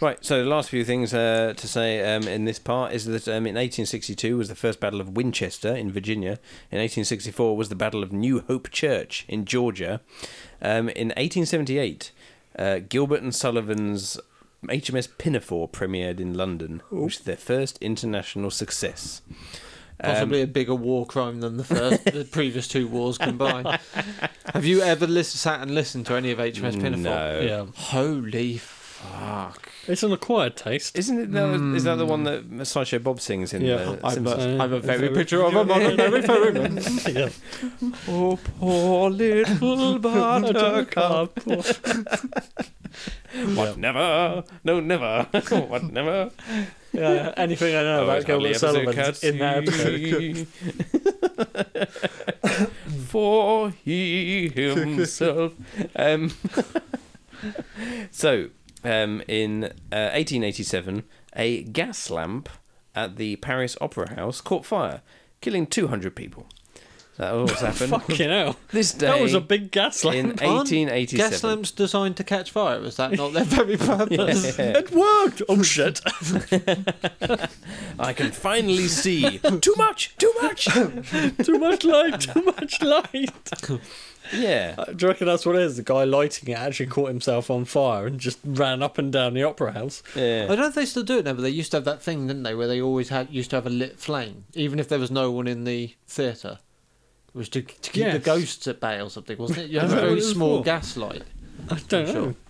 [SPEAKER 1] Right, so the last few things uh, to say um, in this part is that um, in 1862 was the first Battle of Winchester in Virginia. In 1864 was the Battle of New Hope Church in Georgia. Um, in 1878, uh, Gilbert and Sullivan's HMS Pinafore premiered in London, which was their first international success. Um,
[SPEAKER 3] Possibly a bigger war crime than the first, the previous two wars combined. Have you ever listen, sat and listened to any of HMS Pinafore?
[SPEAKER 1] No.
[SPEAKER 2] Yeah,
[SPEAKER 3] Holy fuck!
[SPEAKER 2] it's an acquired taste.
[SPEAKER 1] Isn't it? That, is that the one that Sideshow Bob sings in?
[SPEAKER 2] Yeah.
[SPEAKER 1] the
[SPEAKER 2] I-
[SPEAKER 1] Simpsons?
[SPEAKER 2] Uh,
[SPEAKER 3] I'm a
[SPEAKER 2] is
[SPEAKER 3] very
[SPEAKER 2] that-
[SPEAKER 3] picture of a very fairy man.
[SPEAKER 2] yeah.
[SPEAKER 1] Oh, poor little buttercup. what never? No, never. what never?
[SPEAKER 2] Yeah, anything I know
[SPEAKER 1] Oh,
[SPEAKER 2] about
[SPEAKER 1] it's hardly ever
[SPEAKER 2] Gilbert
[SPEAKER 1] so
[SPEAKER 2] Sullivan in that episode.
[SPEAKER 1] curtsy. For he himself. Um, so, um, in uh, 1887, a gas lamp at the Paris Opera House caught fire, killing 200 people. That always happened.
[SPEAKER 2] Fucking hell.
[SPEAKER 1] This day
[SPEAKER 2] That was a big gas
[SPEAKER 1] in
[SPEAKER 2] lamp.
[SPEAKER 3] Aren't
[SPEAKER 1] 1887.
[SPEAKER 3] Gas lamps designed to catch fire. Is that not their very purpose?
[SPEAKER 1] Yeah.
[SPEAKER 2] It worked! Oh shit.
[SPEAKER 1] I can finally see. too much, too much.
[SPEAKER 2] too much light, too much light.
[SPEAKER 1] Yeah.
[SPEAKER 2] Uh, Do you reckon that's what it is? The guy lighting it actually caught himself on fire and just ran up and down the opera house.
[SPEAKER 3] I
[SPEAKER 1] Yeah.
[SPEAKER 3] don't know if they still do it now, but they used to have that thing, didn't they, where they always had used to have a lit flame, even if there was no one in the theatre. It was to, to keep the
[SPEAKER 2] Yes.
[SPEAKER 3] ghosts at bay or something, wasn't it? You had
[SPEAKER 2] Is
[SPEAKER 3] a
[SPEAKER 2] that what it
[SPEAKER 3] very
[SPEAKER 2] was
[SPEAKER 3] small
[SPEAKER 2] for?
[SPEAKER 3] gas light.
[SPEAKER 2] I don't know.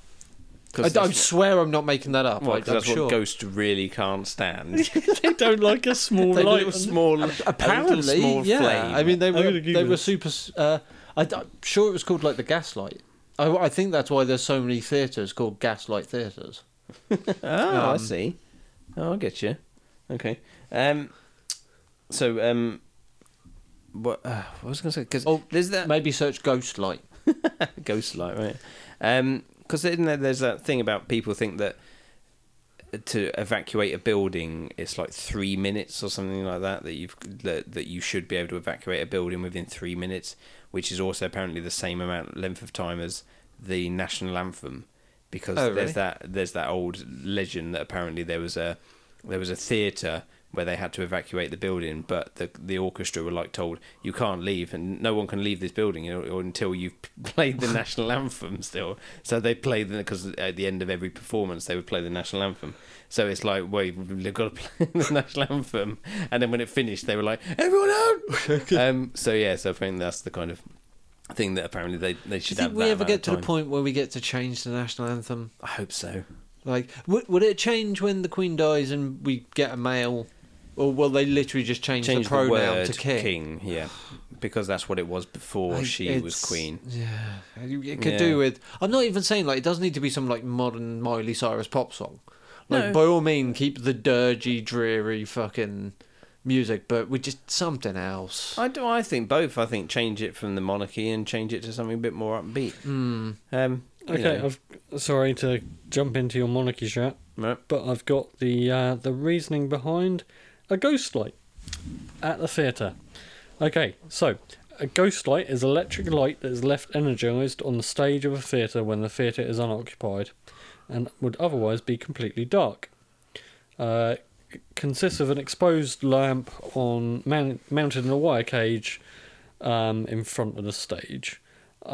[SPEAKER 3] Sure. I,
[SPEAKER 1] Because
[SPEAKER 3] I swear I'm not making that up.
[SPEAKER 1] well,
[SPEAKER 3] I,
[SPEAKER 1] 'cause
[SPEAKER 3] am
[SPEAKER 1] that's
[SPEAKER 3] sure.
[SPEAKER 1] what Ghost really can't stand.
[SPEAKER 2] they don't like a small
[SPEAKER 1] a
[SPEAKER 2] light.
[SPEAKER 1] little small, a
[SPEAKER 3] Apparently,
[SPEAKER 1] little small
[SPEAKER 3] yeah.
[SPEAKER 1] flame.
[SPEAKER 3] I mean, they
[SPEAKER 2] I'm
[SPEAKER 3] were
[SPEAKER 2] gonna
[SPEAKER 3] they
[SPEAKER 2] Google
[SPEAKER 3] were
[SPEAKER 2] it.
[SPEAKER 3] super. s- Uh, I, am sure it was called like the Gaslight. I, I think that's why there's so many theatres called Gaslight theatres.
[SPEAKER 1] Oh, I
[SPEAKER 3] Um,
[SPEAKER 1] see. Oh, I get you. Okay. Um. So, um, what, uh, what was I going to say? Because
[SPEAKER 3] Oh,
[SPEAKER 1] there's that
[SPEAKER 3] Maybe search Ghostlight.
[SPEAKER 1] ghost light, right? Um, because there's that thing about people think that to evacuate a building it's like three minutes or something like that that you've that, that you should be able to evacuate a building within three minutes, which is also apparently the same amount length of time as the national anthem, because
[SPEAKER 3] Oh, really?
[SPEAKER 1] there's that there's that old legend that apparently there was a there was a theatre where they had to evacuate the building, but the the orchestra were like told you can't leave and no one can leave this building you know, or until you've p- played the national anthem. Still, so they played the because at the end of every performance they would play the national anthem. So it's like well you've got to play the national anthem, and then when it finished they were like everyone out. um, so yeah, so I think that's the kind of thing that apparently they they
[SPEAKER 3] Do you
[SPEAKER 1] should
[SPEAKER 3] think
[SPEAKER 1] have.
[SPEAKER 3] we
[SPEAKER 1] that
[SPEAKER 3] ever
[SPEAKER 1] amount
[SPEAKER 3] get
[SPEAKER 1] of
[SPEAKER 3] to the
[SPEAKER 1] time.
[SPEAKER 3] point where we get to change the national anthem?
[SPEAKER 1] I hope so.
[SPEAKER 3] Like, would, would it change when the Queen dies and we get a male, or will they literally just change,
[SPEAKER 1] Change the,
[SPEAKER 3] the pronoun
[SPEAKER 1] word
[SPEAKER 3] to king?
[SPEAKER 1] yeah, because that's what it was before
[SPEAKER 3] Like,
[SPEAKER 1] she was
[SPEAKER 3] it's-
[SPEAKER 1] queen.
[SPEAKER 3] Yeah, You- it could
[SPEAKER 1] Yeah.
[SPEAKER 3] do with. I'm not even saying like it doesn't need to be some like modern Miley Cyrus pop song. Like
[SPEAKER 1] No.
[SPEAKER 3] by all means, keep the dirgy, dreary fucking music, but with just something else.
[SPEAKER 1] I do. I think both. I think change it from the monarchy and change it to something a bit more upbeat.
[SPEAKER 3] Mm.
[SPEAKER 1] Um, you
[SPEAKER 2] Okay,
[SPEAKER 1] know,
[SPEAKER 2] I've, sorry to jump into your monarchy chat,
[SPEAKER 1] right.
[SPEAKER 2] but I've got the uh, the reasoning behind a ghost light at the theatre. Okay, so a ghost light is electric light that is left energized on the stage of a theatre when the theatre is unoccupied, and would otherwise be completely dark. Uh, it consists of an exposed lamp on man- mounted in a wire cage um, in front of the stage,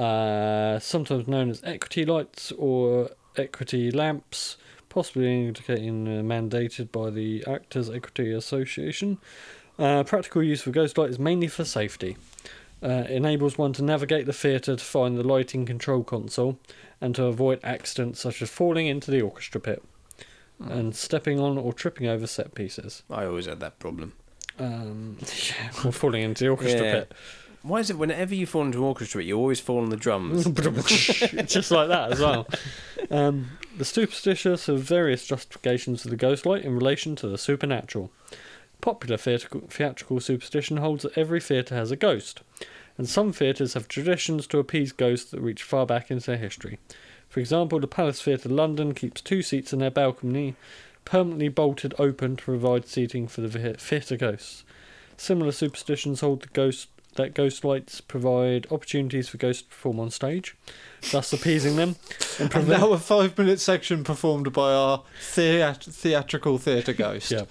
[SPEAKER 2] uh, sometimes known as equity lights or equity lamps, possibly indicating uh, mandated by the Actors Equity Association. Uh, practical use for ghost light is mainly for safety. Uh, enables one to navigate the theatre to find the lighting control console and to avoid accidents such as falling into the orchestra pit and stepping on or tripping over set pieces.
[SPEAKER 1] I always had that problem.
[SPEAKER 2] Um, yeah, or falling into the orchestra
[SPEAKER 1] Yeah.
[SPEAKER 2] pit.
[SPEAKER 1] Why is it whenever you fall into orchestra, you always fall on the drums?
[SPEAKER 2] just like that as well. Um, the superstitious have various justifications for the ghost light in relation to the supernatural. Popular theatrical, theatrical superstition holds that every theatre has a ghost, and some theatres have traditions to appease ghosts that reach far back into their history. For example, the Palace Theatre London keeps two seats in their balcony permanently bolted open to provide seating for the ve- theatre ghosts. Similar superstitions hold the ghost that ghost lights provide opportunities for ghosts to perform on stage, thus appeasing them and
[SPEAKER 3] And
[SPEAKER 2] prevent
[SPEAKER 3] now a five-minute section performed by our theat- theatrical theatre ghost.
[SPEAKER 2] Yeah.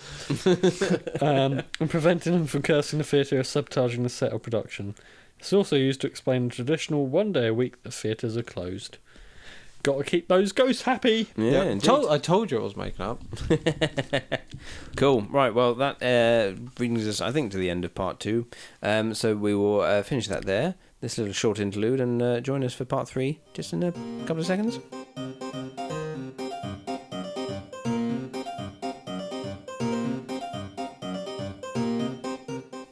[SPEAKER 2] um, and preventing them from cursing the theatre or sabotaging the set or production. It's also used to explain the traditional one day a week that theatres are closed. Got to keep those ghosts happy.
[SPEAKER 1] yeah,
[SPEAKER 3] I
[SPEAKER 1] indeed.
[SPEAKER 3] told, I told you I was making up.
[SPEAKER 1] cool. Right. Well, that uh, brings us, I think, to the end of part two. Um, so we will uh, finish that there. This little short interlude, and uh, join us for part three just in a couple of seconds.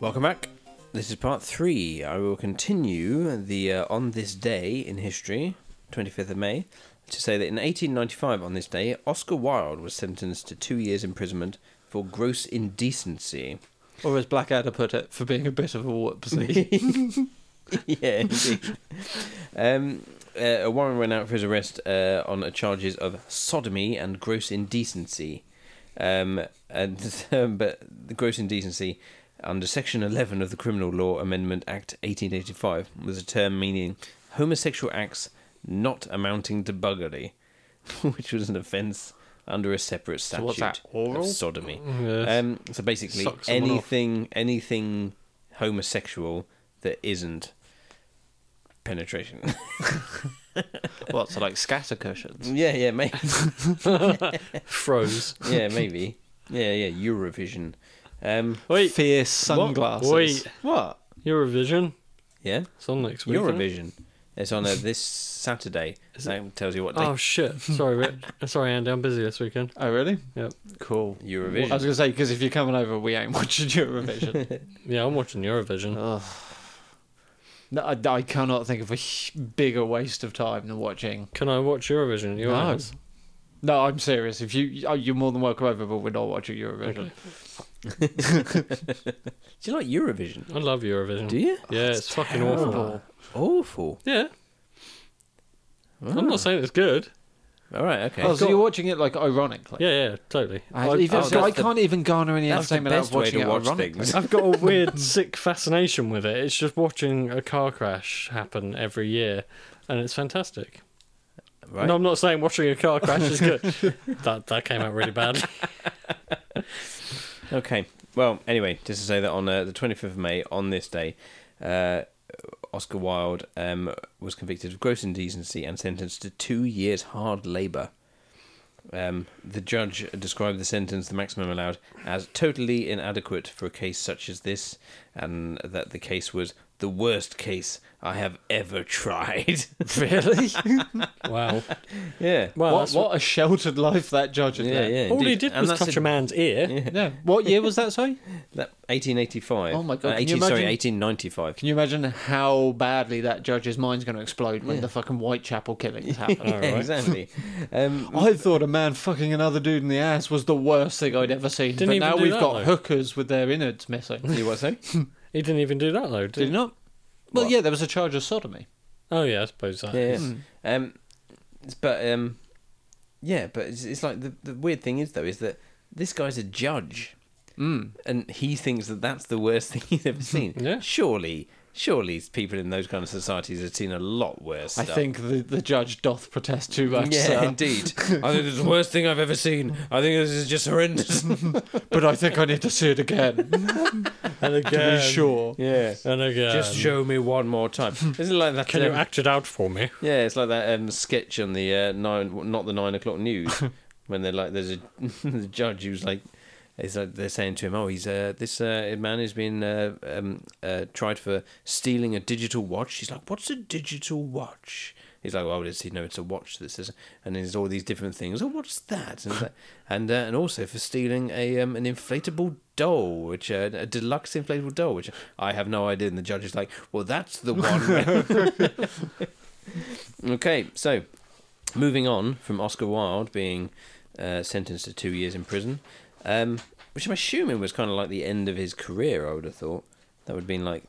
[SPEAKER 1] Welcome back. This is part three. I will continue the uh, on this day in history, 25th of May, to say that in 1895, on this day, Oscar Wilde was sentenced to two years' imprisonment for gross indecency.
[SPEAKER 3] Or as Blackadder put it, for being a bit of a whoopsie.
[SPEAKER 1] yeah. indeed. um, uh, a warrant went out for his arrest uh, on charges of sodomy and gross indecency. Um, and um, but the gross indecency under Section 11 of the Criminal Law Amendment Act 1885 was a term meaning homosexual acts not amounting to buggery, which was an offence under a separate statute
[SPEAKER 3] what's that, oral? Mm,
[SPEAKER 1] of sodomy.
[SPEAKER 2] Yes.
[SPEAKER 1] Um, so basically,
[SPEAKER 3] Suck someone off.
[SPEAKER 1] anything anything homosexual that isn't penetration.
[SPEAKER 3] what, so like scatter cushions?
[SPEAKER 1] yeah, yeah, maybe.
[SPEAKER 2] Froze.
[SPEAKER 1] yeah, maybe. Yeah, yeah, Eurovision. Um,
[SPEAKER 2] Wait.
[SPEAKER 3] Fierce sunglasses.
[SPEAKER 2] Wait.
[SPEAKER 1] what?
[SPEAKER 2] Eurovision.
[SPEAKER 1] Yeah,
[SPEAKER 2] It's on next week. isn't it?
[SPEAKER 1] Eurovision. It's on uh, this Saturday. That tells you what day.
[SPEAKER 2] Oh shit! Sorry, Rich. Uh, Sorry, Andy. I'm busy this weekend.
[SPEAKER 3] Oh, really?
[SPEAKER 2] Yep.
[SPEAKER 3] Cool.
[SPEAKER 1] Eurovision.
[SPEAKER 3] I was gonna say because if you're coming over, we ain't watching Eurovision.
[SPEAKER 2] Yeah, I'm watching Eurovision.
[SPEAKER 1] Uh,
[SPEAKER 3] Ugh. No, I, I cannot think of a h- bigger waste of time than watching.
[SPEAKER 2] Can I watch Eurovision? You
[SPEAKER 3] No.
[SPEAKER 2] ass?
[SPEAKER 3] No, I'm serious. If you, oh, you're more than welcome over, but we're not watching Eurovision.
[SPEAKER 2] Okay.
[SPEAKER 1] Do you like Eurovision?
[SPEAKER 2] I love Eurovision.
[SPEAKER 1] Do you?
[SPEAKER 2] Yeah, it's fucking awful.
[SPEAKER 3] terrible.
[SPEAKER 1] Awful.
[SPEAKER 2] Yeah. I'm not saying it's good.
[SPEAKER 1] All right. Okay.
[SPEAKER 3] Oh, so you're watching it like ironically.
[SPEAKER 2] Yeah, yeah, totally.
[SPEAKER 3] I,
[SPEAKER 2] I-
[SPEAKER 3] even,
[SPEAKER 1] oh,
[SPEAKER 3] so I
[SPEAKER 1] that's the-
[SPEAKER 3] can't even garner any
[SPEAKER 1] that's the
[SPEAKER 3] entertainment out of
[SPEAKER 1] best way to
[SPEAKER 3] watching it
[SPEAKER 1] watch
[SPEAKER 3] ironically.
[SPEAKER 1] things.
[SPEAKER 2] I've got a weird, sick fascination with it. It's just watching a car crash happen every year, and it's fantastic.
[SPEAKER 1] right.
[SPEAKER 2] No, I'm not saying watching a car crash is good. that that came out really bad.
[SPEAKER 1] Okay. Well, anyway, just to say that on uh, the 25th of May, on this day, uh, Oscar Wilde um, was convicted of gross indecency and sentenced to two years hard labour. Um, the judge described the sentence, the maximum allowed, as totally inadequate for a case such as this, and that the case was the worst case I have ever tried.
[SPEAKER 3] Really?
[SPEAKER 2] Wow.
[SPEAKER 1] yeah.
[SPEAKER 2] Well,
[SPEAKER 3] what,
[SPEAKER 2] that's
[SPEAKER 3] what a sheltered life that judge had
[SPEAKER 1] yeah,
[SPEAKER 3] led.
[SPEAKER 1] yeah.
[SPEAKER 2] all he
[SPEAKER 1] indeed.
[SPEAKER 2] did
[SPEAKER 1] And
[SPEAKER 2] was
[SPEAKER 1] that's
[SPEAKER 2] touch a, man's ear.
[SPEAKER 3] Yeah. What year was that, sorry?
[SPEAKER 1] That 1885.
[SPEAKER 3] Oh my
[SPEAKER 1] Uh,
[SPEAKER 3] God, can you
[SPEAKER 1] 18, sorry,
[SPEAKER 3] imagine-
[SPEAKER 1] 1895.
[SPEAKER 3] Can you imagine how badly that judge's mind's going to explode when the fucking Whitechapel killings happen?
[SPEAKER 1] Yeah, exactly. Um,
[SPEAKER 3] I thought a man fucking another dude in the ass was the worst thing I'd ever seen.
[SPEAKER 2] Didn't
[SPEAKER 3] but
[SPEAKER 2] even
[SPEAKER 3] now
[SPEAKER 2] do
[SPEAKER 3] we've
[SPEAKER 2] that,
[SPEAKER 3] got
[SPEAKER 2] though.
[SPEAKER 3] hookers with their innards missing.
[SPEAKER 1] you what, sorry?
[SPEAKER 2] He didn't even do that though, did,
[SPEAKER 3] Did
[SPEAKER 2] he?
[SPEAKER 3] it not? Well,
[SPEAKER 1] What?
[SPEAKER 3] yeah, there was a charge of sodomy.
[SPEAKER 2] Oh yeah, I suppose that.
[SPEAKER 1] yeah.
[SPEAKER 2] is.
[SPEAKER 1] yeah. Um, it's- but um, yeah, but it's, it's like the the weird thing is though is that this guy's a judge,
[SPEAKER 3] Mm.
[SPEAKER 1] and he thinks that that's the worst thing he's ever seen.
[SPEAKER 2] Yeah.
[SPEAKER 1] Surely, surely people in those kind of societies have seen a lot worse.
[SPEAKER 3] I
[SPEAKER 1] stuff.
[SPEAKER 3] think uh, the, the judge doth protest too much,
[SPEAKER 1] Yeah,
[SPEAKER 3] sir.
[SPEAKER 1] indeed. I think it's the worst thing I've ever seen. I think this is just horrendous.
[SPEAKER 3] but I think I need to see it again
[SPEAKER 2] And
[SPEAKER 3] to
[SPEAKER 2] again,
[SPEAKER 3] be sure.
[SPEAKER 1] yeah.
[SPEAKER 2] and again.
[SPEAKER 1] Just show me one more time. Isn't it like that?
[SPEAKER 2] Um, Can you
[SPEAKER 1] um,
[SPEAKER 2] act it out for me?
[SPEAKER 1] Yeah, it's like that um, sketch on the uh, nine, not the nine o'clock news, when they're like, there's a the judge who's like, it's like they're saying to him, oh, he's uh, this uh, man is being uh, um, uh, tried for stealing a digital watch. He's like, what's a digital watch? He's like, well, it's, you know, it's a watch that says, and there's all these different things. Oh, what's that? And it's like- and, uh, and also for stealing a um, an inflatable doll, which uh, a deluxe inflatable doll, which I have no idea. And the judge is like, well, that's the one. Okay, so moving on from Oscar Wilde being uh, sentenced to two years in prison, um, which I'm assuming was kind of like the end of his career. I would have thought that would have been like,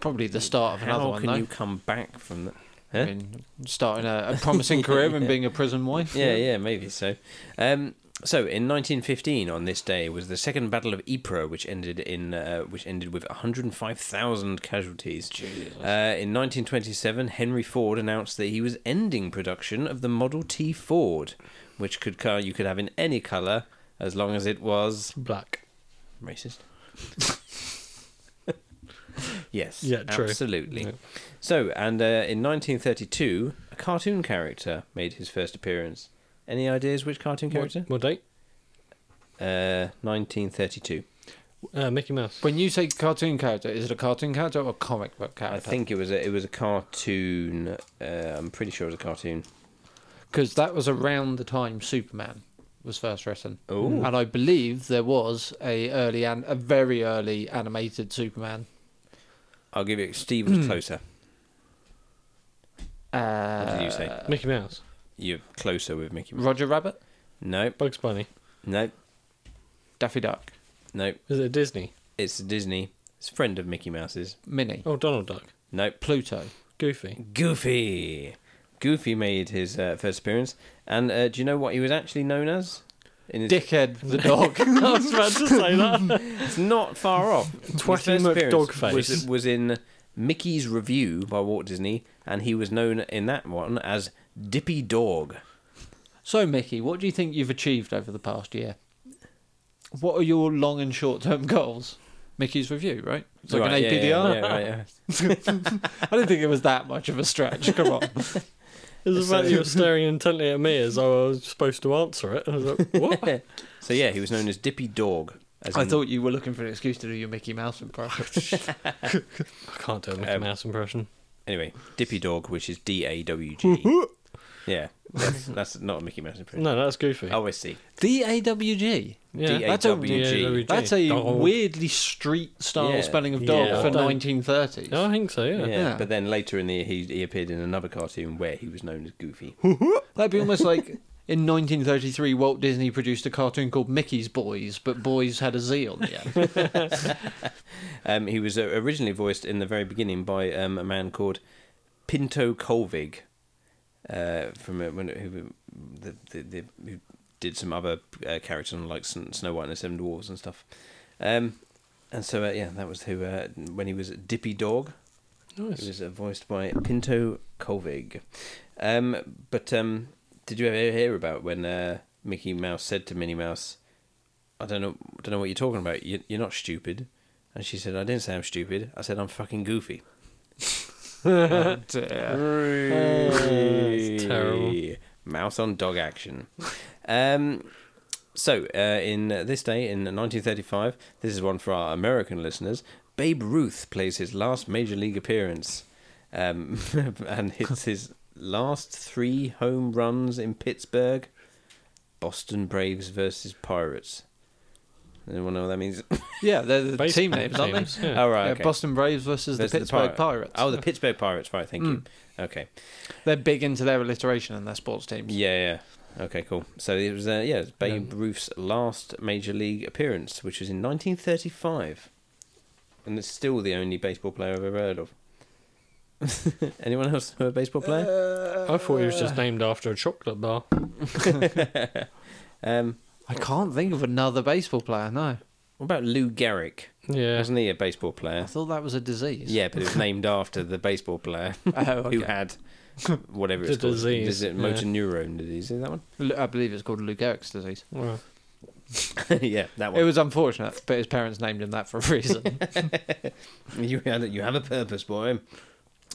[SPEAKER 3] Probably the start of another
[SPEAKER 1] how
[SPEAKER 3] one,
[SPEAKER 1] can
[SPEAKER 3] though.
[SPEAKER 1] you come back from that?
[SPEAKER 3] I mean, starting a, a promising career and being a prison wife.
[SPEAKER 1] Yeah, yeah, maybe so. Um, so in 1915, on this day, was the Second Battle of Ypres, which ended in uh, which ended with 105,000 casualties. Uh, in 1927, Henry Ford announced that he was ending production of the Model T Ford, which could car you could have in any color as long as it was
[SPEAKER 2] Black.
[SPEAKER 1] racist. yes.
[SPEAKER 2] Yeah, true.
[SPEAKER 1] Absolutely.
[SPEAKER 2] Yeah.
[SPEAKER 1] So, and uh, in 1932, a cartoon character made his first appearance. Any ideas which cartoon
[SPEAKER 2] What,
[SPEAKER 1] character?
[SPEAKER 2] what date?
[SPEAKER 1] Uh, 1932.
[SPEAKER 2] Uh, Mickey Mouse.
[SPEAKER 3] When you say cartoon character, is it a cartoon character or a comic book
[SPEAKER 1] I
[SPEAKER 3] character?
[SPEAKER 1] think it was a, it was a cartoon. Uh, I'm pretty sure it was a cartoon.
[SPEAKER 3] because that was around the time Superman was first written,
[SPEAKER 1] Ooh.
[SPEAKER 3] and I believe there was a early and a very early animated Superman.
[SPEAKER 1] I'll give you. Steve was closer.
[SPEAKER 3] Uh,
[SPEAKER 1] What did you say?
[SPEAKER 2] Mickey Mouse.
[SPEAKER 1] You're closer with Mickey. Mouse.
[SPEAKER 3] Roger Rabbit,
[SPEAKER 1] No,
[SPEAKER 2] Bugs Bunny.
[SPEAKER 1] no,
[SPEAKER 3] Daffy Duck,
[SPEAKER 1] no.
[SPEAKER 2] Is it Disney?
[SPEAKER 1] It's Disney. It's a friend of Mickey Mouse's.
[SPEAKER 3] Minnie,
[SPEAKER 2] Oh, Donald Duck.
[SPEAKER 1] Nope.
[SPEAKER 3] Pluto.
[SPEAKER 2] Goofy.
[SPEAKER 1] Goofy. Goofy made his uh, first appearance, and uh, do you know what he was actually known as? In his,
[SPEAKER 3] Dickhead the dog.
[SPEAKER 2] I was about to say that.
[SPEAKER 1] It's not far off. His
[SPEAKER 2] Twatty
[SPEAKER 1] first appearance
[SPEAKER 2] McDogface.
[SPEAKER 1] was, was in Mickey's Review by Walt Disney, and he was known in that one as Dippy Dog.
[SPEAKER 3] so Mickey, what do you think you've achieved over the past year? What are your long and short term goals? Mickey's review, right? It's like
[SPEAKER 1] Right,
[SPEAKER 3] an
[SPEAKER 1] yeah,
[SPEAKER 3] APDR.
[SPEAKER 1] yeah, yeah, right, yeah.
[SPEAKER 3] I don't think it was that much of a stretch. Come on.
[SPEAKER 2] It was about you were staring intently at me as though I was supposed to answer it. I was like, what?
[SPEAKER 1] So yeah, he was known as Dippy Dog. As
[SPEAKER 3] I
[SPEAKER 1] in-
[SPEAKER 3] thought you were looking for an excuse to do your Mickey Mouse impression.
[SPEAKER 2] I can't do a Mickey
[SPEAKER 1] Um,
[SPEAKER 2] Mouse impression.
[SPEAKER 1] Anyway, Dippy Dog, which is D A W G. Yeah, that's, that's not a Mickey Mouse impression.
[SPEAKER 2] No, that's goofy.
[SPEAKER 1] Oh, I see.
[SPEAKER 3] D A W G.
[SPEAKER 2] yeah,
[SPEAKER 1] DA.
[SPEAKER 3] That's a,
[SPEAKER 1] AWG.
[SPEAKER 2] AWG.
[SPEAKER 3] that's a
[SPEAKER 2] Dog.
[SPEAKER 3] weirdly street style
[SPEAKER 1] Yeah.
[SPEAKER 3] spelling of
[SPEAKER 2] Yeah.
[SPEAKER 3] dog
[SPEAKER 2] Yeah.
[SPEAKER 3] for
[SPEAKER 2] Don't-
[SPEAKER 3] 1930s.
[SPEAKER 2] No, I think so.
[SPEAKER 1] Yeah.
[SPEAKER 2] Yeah.
[SPEAKER 3] Yeah.
[SPEAKER 1] But then later in the year, he, he appeared in another cartoon where he was known as Goofy.
[SPEAKER 3] That'd be almost like in 1933, Walt Disney produced a cartoon called Mickey's Boys, but Boys had a Z on the end.
[SPEAKER 1] Um, he was uh, originally voiced in the very beginning by um, a man called Pinto Colvig, uh, from uh, when, who, the, the, the, who did some other uh, characters on like Sn- Snow White and the Seven Dwarfs and stuff. Um, and so uh, yeah, that was who uh, when he was Dippy Dog. It
[SPEAKER 2] Nice.
[SPEAKER 1] was uh, voiced by Pinto Colvig. Um, but um, did you ever hear about when uh, Mickey Mouse said to Minnie Mouse, "I don't know, don't know what you're talking about. You, you're not stupid." And she said, "I didn't say I'm stupid. I said I'm fucking goofy."
[SPEAKER 2] That's terrible.
[SPEAKER 1] Mouse on dog action. Um, so, uh, in uh, this day in 1935, this is one for our American listeners. Babe Ruth plays his last major league appearance, um, and hits his last three home runs in Pittsburgh. Boston Braves versus Pirates. Anyone know what that means?
[SPEAKER 3] yeah, they're the
[SPEAKER 2] Baseball
[SPEAKER 3] team names, aren't
[SPEAKER 2] teams,
[SPEAKER 3] they?
[SPEAKER 2] yeah.
[SPEAKER 1] All right,
[SPEAKER 3] Yeah,
[SPEAKER 1] okay.
[SPEAKER 3] Boston Braves versus,
[SPEAKER 1] Versus
[SPEAKER 3] the
[SPEAKER 1] Pirate-
[SPEAKER 3] Pittsburgh Pirates.
[SPEAKER 1] Oh, the Pittsburgh Pirates. Right,
[SPEAKER 2] Hmm.
[SPEAKER 1] thank you. Okay.
[SPEAKER 3] They're big into their alliteration and their sports teams.
[SPEAKER 1] Yeah, yeah. Okay, cool. So it was, uh, yeah, it was Babe Ruth's last major league appearance, which was in 1935, and it's still the only baseball player I've ever heard of. Anyone else know a baseball player?
[SPEAKER 2] I thought he was just named after a chocolate bar.
[SPEAKER 1] Um,
[SPEAKER 3] I can't think of another baseball player, no.
[SPEAKER 1] what about Lou Gehrig?
[SPEAKER 2] Yeah.
[SPEAKER 1] Wasn't he a baseball
[SPEAKER 3] I
[SPEAKER 1] player?
[SPEAKER 3] thought that was a disease.
[SPEAKER 1] Yeah, but it was named after the baseball player
[SPEAKER 3] Oh,
[SPEAKER 1] who
[SPEAKER 3] okay.
[SPEAKER 1] had whatever it's
[SPEAKER 2] The
[SPEAKER 1] called.
[SPEAKER 2] disease,
[SPEAKER 1] Is it motor neurone disease? Is that one?
[SPEAKER 3] L- I believe it's called Lou Gehrig's disease.
[SPEAKER 2] Well,
[SPEAKER 1] yeah, that
[SPEAKER 3] It
[SPEAKER 1] one.
[SPEAKER 3] was unfortunate, but his parents named him that for a reason.
[SPEAKER 1] you had it. You have a purpose, boy.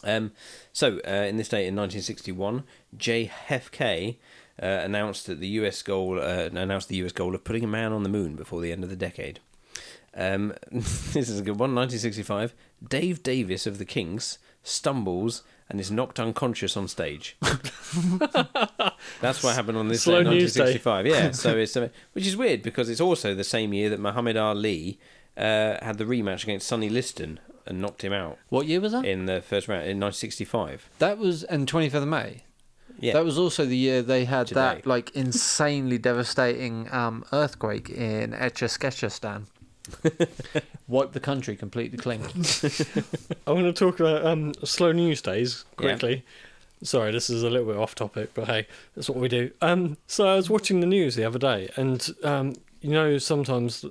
[SPEAKER 1] Um, so, uh, in this date in 1961, JFK uh, announced that the U.S. goal uh, announced the U.S. goal of putting a man on the moon before the end of the decade. Um, this is a good one. 1965, Dave Davis of the Kinks stumbles and is knocked unconscious on stage. That's what happened on this
[SPEAKER 2] Slow
[SPEAKER 1] day,
[SPEAKER 2] news day.
[SPEAKER 1] 1965. Yeah, so it's uh, which is weird because it's also the same year that Muhammad Ali uh, had the rematch against Sonny Liston and knocked him out
[SPEAKER 3] what year was that?
[SPEAKER 1] in the first round in 1965.
[SPEAKER 3] That was and 25th of May.
[SPEAKER 1] Yeah,
[SPEAKER 3] That was also the year they had that
[SPEAKER 1] Today.
[SPEAKER 3] like insanely devastating um, earthquake in Etchasketchastan. Wiped the country completely clean.
[SPEAKER 2] I want to talk about um, slow news days
[SPEAKER 1] Yeah.
[SPEAKER 2] quickly. Sorry, this is a little bit off topic, but hey, that's what we do. Um, so I was watching the news the other day, and um, you know sometimes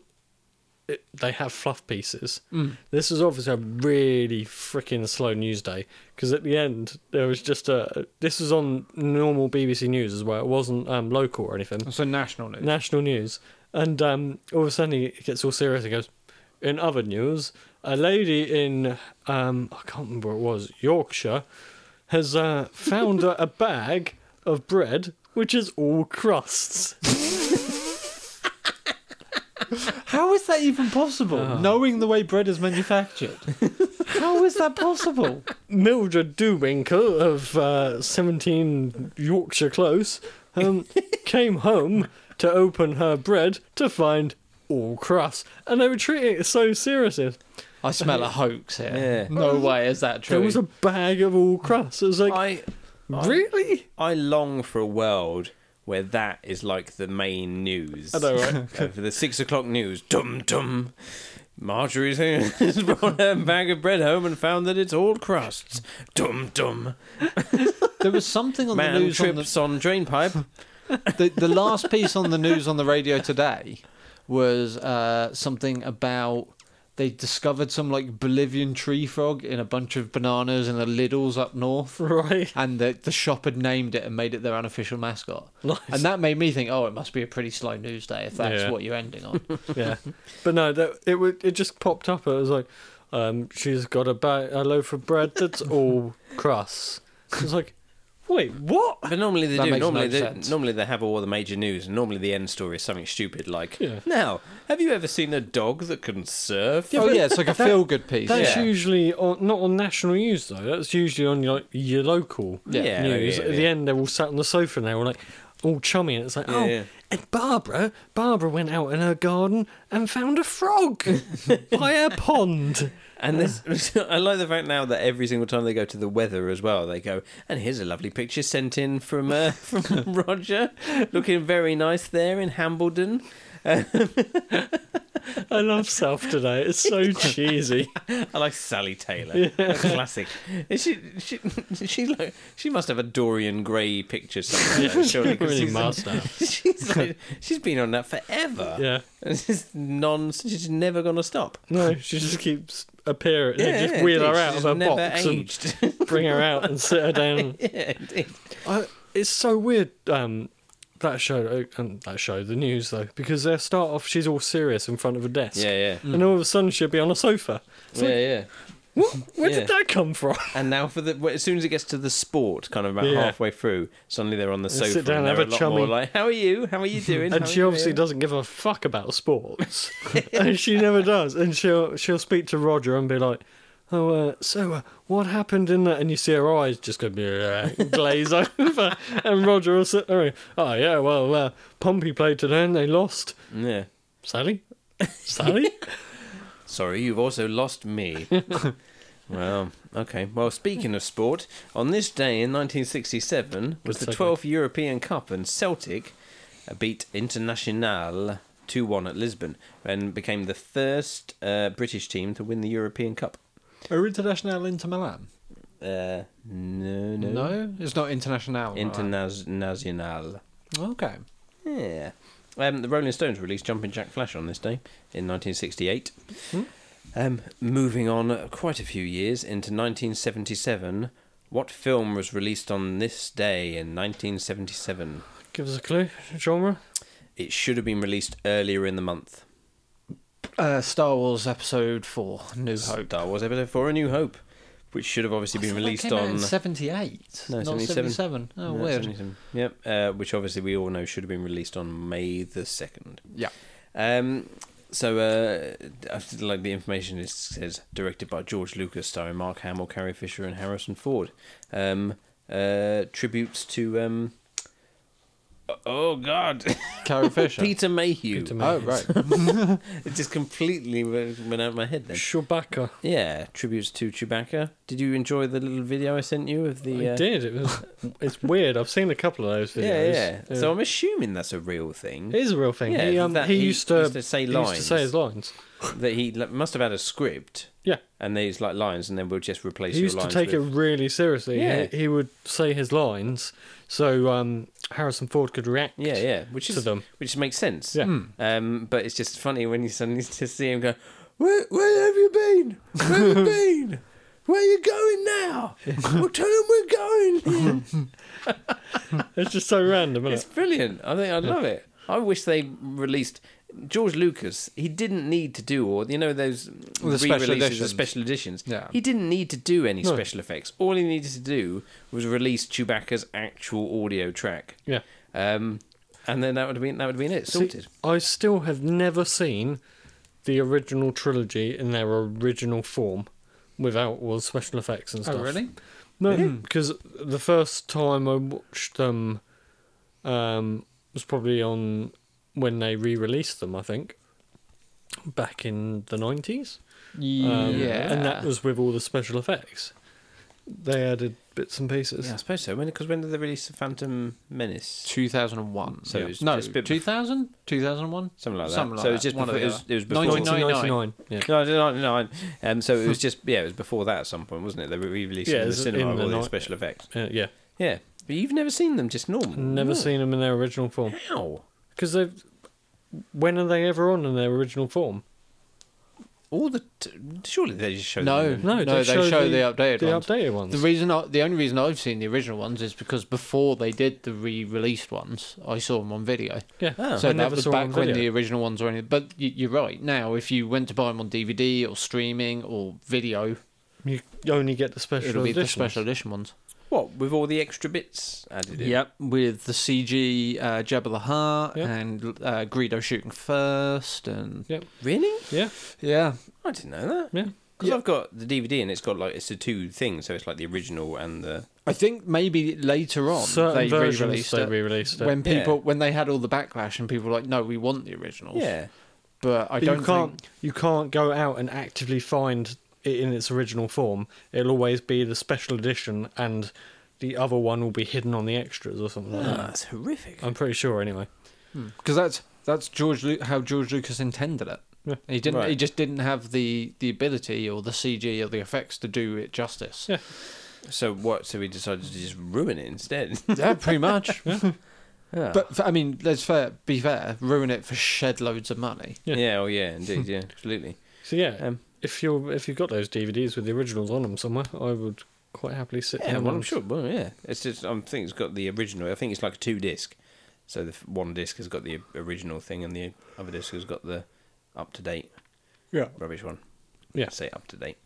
[SPEAKER 2] it, they have fluff pieces. This is obviously a really freaking slow news day because at the end there was just a. This was on normal BBC News as well. It wasn't um, local or anything
[SPEAKER 3] so national news.
[SPEAKER 2] national news. And um, all of a sudden, he gets all serious and goes, In other news, a lady in, um, I can't remember what it was, Yorkshire, has uh, found a, a bag of bread which is all crusts.
[SPEAKER 3] How is that even possible? Knowing the way bread is manufactured, how is that possible?
[SPEAKER 2] Mildred Dewinker of uh, 17 Yorkshire Close um, came home to open her bread to find all crusts. And they were treating it so seriously.
[SPEAKER 3] I smell a hoax here.
[SPEAKER 1] Yeah.
[SPEAKER 3] No way is that true.
[SPEAKER 2] There was a bag of all crusts. It was like,
[SPEAKER 1] I
[SPEAKER 2] really?
[SPEAKER 1] I long for a world where that is like the main news.
[SPEAKER 2] I know, right?
[SPEAKER 1] Uh, for the six o'clock news, dum dum. Marjorie's has brought her bag of bread home and found that it's all crusts. Dum dum.
[SPEAKER 3] there was something on the
[SPEAKER 1] Man
[SPEAKER 3] news on the
[SPEAKER 1] trips on, drain pipe.
[SPEAKER 3] the, the last piece on the news on the radio today was uh, something about they discovered some like Bolivian tree frog in a bunch of bananas in the Lidl's up north.
[SPEAKER 2] Right.
[SPEAKER 3] And the, the shop had named it and made it their unofficial mascot.
[SPEAKER 2] Nice.
[SPEAKER 3] And that made me think, oh, it must be a pretty slow news day if that's
[SPEAKER 2] Yeah.
[SPEAKER 3] what you're ending on.
[SPEAKER 2] yeah. But no, that, it would, it just popped up. It was like, um, she's got a, ba- a loaf of bread that's all crusts. It's like, Wait, what?
[SPEAKER 1] But normally they
[SPEAKER 3] That
[SPEAKER 1] do.
[SPEAKER 3] makes
[SPEAKER 1] Normally,
[SPEAKER 3] no
[SPEAKER 1] they,
[SPEAKER 3] sense.
[SPEAKER 1] normally they have all the major news. and Normally the end story is something stupid like,
[SPEAKER 2] Yeah.
[SPEAKER 1] "Now, have you ever seen a dog that can surf?"
[SPEAKER 3] oh yeah, it's like a feel good piece.
[SPEAKER 2] That's
[SPEAKER 1] Yeah.
[SPEAKER 2] usually on, not on national news though. That's usually on your, your local
[SPEAKER 1] Yeah. Yeah,
[SPEAKER 2] news.
[SPEAKER 1] yeah,
[SPEAKER 2] At the
[SPEAKER 1] yeah.
[SPEAKER 2] end, they're all sat on the sofa and they were like all chummy, and it's like, oh,
[SPEAKER 1] yeah.
[SPEAKER 2] and Barbara, Barbara went out in her garden and found a frog by a pond.
[SPEAKER 1] And this, I like the fact now that every single time they go to the weather as well, they go, and here's a lovely picture sent in from uh, from Roger, looking very nice there in Hambledon.
[SPEAKER 2] I love South today. It's so cheesy.
[SPEAKER 1] I like Sally Taylor, a classic. Is She, she, she's like, she must have a Dorian Gray picture somewhere. surely, 'cause
[SPEAKER 2] really
[SPEAKER 1] she's-
[SPEAKER 2] must have.
[SPEAKER 1] She's, like, she's been on that forever.
[SPEAKER 2] Yeah.
[SPEAKER 1] And it's just non. She's never going to stop.
[SPEAKER 2] No, she just keeps appearing. and they just
[SPEAKER 1] Yeah,
[SPEAKER 2] wheel
[SPEAKER 1] indeed,
[SPEAKER 2] her out
[SPEAKER 1] she's
[SPEAKER 2] of her
[SPEAKER 1] never
[SPEAKER 2] box
[SPEAKER 1] aged.
[SPEAKER 2] and bring her out and sit her down.
[SPEAKER 1] yeah, indeed.
[SPEAKER 2] I, it's so weird um, that show uh, and that show the news though because they start off she's all serious in front of a desk
[SPEAKER 1] Yeah, yeah.
[SPEAKER 2] and all of a sudden she'll be on a sofa. It's
[SPEAKER 1] Yeah,
[SPEAKER 2] like,
[SPEAKER 1] yeah.
[SPEAKER 2] what? Where
[SPEAKER 1] Yeah.
[SPEAKER 2] did that come from?
[SPEAKER 1] And now for the well, as soon as it gets to the sport, kind of about
[SPEAKER 2] Yeah.
[SPEAKER 1] halfway through, suddenly they're on the
[SPEAKER 2] They
[SPEAKER 1] sofa.
[SPEAKER 2] sit down
[SPEAKER 1] and
[SPEAKER 2] and have
[SPEAKER 1] they're
[SPEAKER 2] a
[SPEAKER 1] lot
[SPEAKER 2] chummy.
[SPEAKER 1] more like, "How are you? How are you doing?"
[SPEAKER 2] And
[SPEAKER 1] How
[SPEAKER 2] she
[SPEAKER 1] are you
[SPEAKER 2] obviously
[SPEAKER 1] doing?"
[SPEAKER 2] doesn't give a fuck about sports, and she never does. And she'll she'll speak to Roger and be like, "Oh, uh, so uh, what happened in that?" And you see her eyes just go bleh, glaze over, and Roger will sit there. and, Oh yeah, well, uh, Pompey played today and they lost.
[SPEAKER 1] Yeah.
[SPEAKER 2] Sally, Sally.
[SPEAKER 1] Sorry, you've also lost me. well, okay. Well, speaking of sport, on this day in 1967 was
[SPEAKER 2] Good
[SPEAKER 1] the
[SPEAKER 2] segue.
[SPEAKER 1] 12th European Cup, and Celtic beat Internacional 2 1 at Lisbon and became the first uh, British team to win the European Cup.
[SPEAKER 3] Are international into Milan?
[SPEAKER 1] Uh, no, no.
[SPEAKER 3] No, it's not international.
[SPEAKER 1] Internacional.
[SPEAKER 3] Okay.
[SPEAKER 1] Yeah. Um, the Rolling Stones released Jumpin' Jack Flash on this day in 1968. Um, moving on quite a few years into 1977, what film was released on this day in 1977?
[SPEAKER 2] Give us a clue. Genre.
[SPEAKER 1] It should have been released earlier in the month.
[SPEAKER 3] Uh, Star Wars Episode Four: New Hope.
[SPEAKER 1] Star Wars Episode 4 A New Hope, which should have obviously been released on.
[SPEAKER 3] seventy-eight.
[SPEAKER 1] No,
[SPEAKER 3] not
[SPEAKER 1] 77.
[SPEAKER 3] seventy-seven. Oh,
[SPEAKER 1] No,
[SPEAKER 3] weird.
[SPEAKER 1] 77. Yep, uh, which obviously we all know should have been released on May the 2nd.
[SPEAKER 3] Yeah.
[SPEAKER 1] Um, so, uh, I feel like the information is, says, directed by George Lucas, starring Mark Hamill, Carrie Fisher, and Harrison Ford. Um, uh, tributes to um, oh god,
[SPEAKER 3] Carrie Fisher.
[SPEAKER 1] Peter Mayhew.
[SPEAKER 2] Peter
[SPEAKER 3] Oh right.
[SPEAKER 1] it just completely went went out of my head then.
[SPEAKER 2] Chewbacca.
[SPEAKER 1] Yeah, tributes to Chewbacca. Did you enjoy the little video I sent you of the?
[SPEAKER 2] I
[SPEAKER 1] uh,
[SPEAKER 2] did. It was. It's weird. I've seen a couple of those videos.
[SPEAKER 1] Yeah, yeah.
[SPEAKER 2] Yeah.
[SPEAKER 1] So I'm assuming that's a real thing.
[SPEAKER 2] it is a real thing.
[SPEAKER 1] Yeah,
[SPEAKER 2] he, um,
[SPEAKER 1] that
[SPEAKER 2] he,
[SPEAKER 1] he
[SPEAKER 2] used to,
[SPEAKER 1] used to say
[SPEAKER 2] he used
[SPEAKER 1] lines.
[SPEAKER 2] to say his lines.
[SPEAKER 1] that he like, must have had a script
[SPEAKER 2] Yeah.
[SPEAKER 1] and these like lines, and then we'll just replace.
[SPEAKER 2] he
[SPEAKER 1] your
[SPEAKER 2] used to
[SPEAKER 1] lines
[SPEAKER 2] take it
[SPEAKER 1] with...
[SPEAKER 2] really seriously.
[SPEAKER 1] Yeah.
[SPEAKER 2] He, he would say his lines so um, Harrison Ford could react.
[SPEAKER 1] Yeah, yeah, which
[SPEAKER 2] to
[SPEAKER 1] is
[SPEAKER 2] them.
[SPEAKER 1] which makes sense.
[SPEAKER 2] Yeah.
[SPEAKER 1] Um, but it's just funny when you suddenly just see him go, "Where, where have you been? Where have you been? Where are you going now? Well, tell him we're going."
[SPEAKER 2] It's just so random,
[SPEAKER 1] it's
[SPEAKER 2] isn't
[SPEAKER 1] brilliant. I think I love it. I wish they released George Lucas. He didn't need to do all you know those
[SPEAKER 3] the special
[SPEAKER 1] re-releases, the
[SPEAKER 3] editions.
[SPEAKER 1] special editions.
[SPEAKER 3] Yeah.
[SPEAKER 1] He didn't need to do any
[SPEAKER 2] No.
[SPEAKER 1] special effects. All he needed to do was release Chewbacca's actual audio track.
[SPEAKER 2] it? Yeah.
[SPEAKER 1] Um, and then that would have been that would have been it.
[SPEAKER 2] See,
[SPEAKER 1] Sorted.
[SPEAKER 2] I still have never seen the original trilogy in their original form without all the special effects
[SPEAKER 1] Oh,
[SPEAKER 3] Oh,
[SPEAKER 2] and stuff. No, because the first time I watched them um, was probably on when they re-released them. I think back in the nineties.
[SPEAKER 1] Um,
[SPEAKER 3] Yeah.
[SPEAKER 2] Um, and that was with all the special effects. They added bits and pieces.
[SPEAKER 1] Yeah, I suppose so. When because when did they release the Phantom Menace?
[SPEAKER 3] 2001.
[SPEAKER 1] So it was
[SPEAKER 3] no,
[SPEAKER 1] just a bit bef-
[SPEAKER 3] 2000, 2001.
[SPEAKER 1] Something like that.
[SPEAKER 3] Something like
[SPEAKER 1] so it was
[SPEAKER 3] that,
[SPEAKER 1] just
[SPEAKER 3] one or
[SPEAKER 1] before, it
[SPEAKER 3] the
[SPEAKER 1] was,
[SPEAKER 3] other.
[SPEAKER 1] it was before.
[SPEAKER 3] 99.
[SPEAKER 2] 1999. Yeah.
[SPEAKER 1] No, no, no, no. Um, so it was just yeah, it was before that at some point, wasn't it? They were re-released in
[SPEAKER 2] Yeah,
[SPEAKER 1] the
[SPEAKER 2] it's
[SPEAKER 1] cinema
[SPEAKER 2] in
[SPEAKER 1] with
[SPEAKER 2] the
[SPEAKER 1] all these
[SPEAKER 2] night-
[SPEAKER 1] special effects.
[SPEAKER 2] Uh, yeah.
[SPEAKER 1] Yeah, but you've never seen them just normal.
[SPEAKER 2] Never
[SPEAKER 3] Hmm.
[SPEAKER 2] seen them in their original form
[SPEAKER 1] How?
[SPEAKER 2] because they've. When are they ever on in their original form?
[SPEAKER 1] All the t- surely they just show
[SPEAKER 3] No,
[SPEAKER 1] them.
[SPEAKER 2] No,
[SPEAKER 3] no,
[SPEAKER 2] they
[SPEAKER 3] they
[SPEAKER 2] show
[SPEAKER 3] show,
[SPEAKER 2] the-
[SPEAKER 3] the, updated
[SPEAKER 2] The
[SPEAKER 3] ones.
[SPEAKER 2] updated ones.
[SPEAKER 3] the reason, I, the only reason I've seen the original ones is because before they did the re-released ones, I saw them on video.
[SPEAKER 2] yeah.
[SPEAKER 1] Oh.
[SPEAKER 3] so
[SPEAKER 2] I
[SPEAKER 3] Ah. that
[SPEAKER 2] never
[SPEAKER 3] was
[SPEAKER 2] saw
[SPEAKER 3] back
[SPEAKER 2] them on
[SPEAKER 3] when the
[SPEAKER 2] video.
[SPEAKER 3] original ones were. Only, but you, you're right. Now, if you went to buy them on DVD or streaming or video,
[SPEAKER 2] You only get the special
[SPEAKER 3] it'll be the
[SPEAKER 2] editions.
[SPEAKER 3] special edition ones.
[SPEAKER 1] What with all the extra bits added in?
[SPEAKER 3] Yep, with the CG uh, Jabba the Hutt
[SPEAKER 2] Yep.
[SPEAKER 3] and uh, Greedo shooting first, and
[SPEAKER 1] Really?
[SPEAKER 2] Yeah.
[SPEAKER 3] yeah,
[SPEAKER 1] I didn't know that.
[SPEAKER 2] Yeah.
[SPEAKER 1] Because
[SPEAKER 3] Yeah.
[SPEAKER 1] I've got the DVD and it's got like it's the two things, so it's like the original and the
[SPEAKER 3] I think maybe later on
[SPEAKER 2] Certain
[SPEAKER 3] they
[SPEAKER 2] versions
[SPEAKER 3] re-released
[SPEAKER 2] they
[SPEAKER 3] it.
[SPEAKER 2] re-released it.
[SPEAKER 3] when
[SPEAKER 1] Yeah.
[SPEAKER 3] people when they had all the backlash and people were like, no, we want the originals.
[SPEAKER 1] yeah.
[SPEAKER 3] but I
[SPEAKER 2] But
[SPEAKER 3] don't
[SPEAKER 2] you can't
[SPEAKER 3] think
[SPEAKER 2] you can't go out and actively find it in its original form. It'll always be the special edition, and the other one will be hidden on the extras or something like
[SPEAKER 1] Ah,
[SPEAKER 2] that.
[SPEAKER 1] that's horrific.
[SPEAKER 2] I'm pretty sure, anyway.
[SPEAKER 3] because Hmm. that's that's George Lu- how George Lucas intended it.
[SPEAKER 2] Yeah.
[SPEAKER 3] He didn't. He
[SPEAKER 1] Right.
[SPEAKER 3] just didn't have the the ability or the CG or the effects to do it justice.
[SPEAKER 2] Yeah.
[SPEAKER 1] So what? So we decided to just ruin it instead.
[SPEAKER 3] Yeah, pretty much.
[SPEAKER 1] Ah.
[SPEAKER 3] But f- I mean, let's fair, be fair. Ruin it for shed loads of money.
[SPEAKER 1] yeah.
[SPEAKER 2] Yeah.
[SPEAKER 1] Oh yeah. Indeed. Yeah. Absolutely.
[SPEAKER 2] So yeah,
[SPEAKER 1] Um,
[SPEAKER 2] if you are if you've got those DVDs with the originals on them somewhere, I would quite happily sit
[SPEAKER 1] Yeah.
[SPEAKER 2] down.
[SPEAKER 1] Well, I'm
[SPEAKER 2] and-
[SPEAKER 1] sure. Well, yeah. It's just I think it's got the original. I think it's like a two disc. So the f- one disc has got the original thing, and the other disc has got the up to date
[SPEAKER 3] Yeah.
[SPEAKER 1] rubbish one.
[SPEAKER 2] Yeah.
[SPEAKER 1] Say up to date.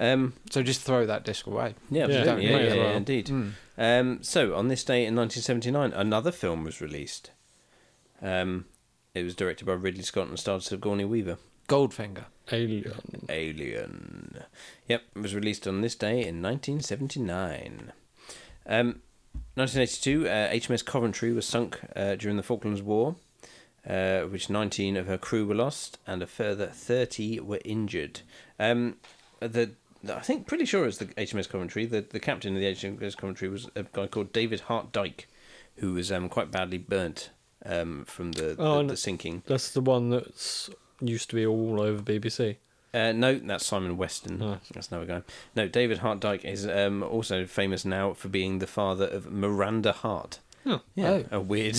[SPEAKER 1] Um.
[SPEAKER 3] So just throw that disc away.
[SPEAKER 1] Yeah.
[SPEAKER 2] Yeah,
[SPEAKER 1] Absolutely. Yeah.
[SPEAKER 2] may
[SPEAKER 1] Yeah.
[SPEAKER 2] as
[SPEAKER 1] yeah,
[SPEAKER 2] well. Hmm.
[SPEAKER 1] indeed. Um, so, on this day in 1979, another film was released. Um, it was directed by Ridley Scott and starred Sigourney Weaver.
[SPEAKER 3] Goldfinger.
[SPEAKER 2] Alien.
[SPEAKER 1] Alien. Yep, it was released on this day in 1979. Um, 1982, uh, HMS Coventry was sunk uh, during the Falklands War, uh, which 19 of her crew were lost and a further 30 were injured. Um, the I think pretty sure it's the HMS Coventry. The the captain of the HMS Coventry was a guy called David Hart Dyke, who was um, quite badly burnt um, from the,
[SPEAKER 2] Oh,
[SPEAKER 1] the,
[SPEAKER 2] and-
[SPEAKER 1] the sinking.
[SPEAKER 2] That's the one that's used to be all over BBC.
[SPEAKER 1] Uh, no, that's Simon Weston.
[SPEAKER 2] Oh.
[SPEAKER 1] That's another guy. No, David Hart Dyke is um, also famous now for being the father of Miranda Hart.
[SPEAKER 2] Oh.
[SPEAKER 1] Yeah,
[SPEAKER 3] Oh.
[SPEAKER 1] a weird,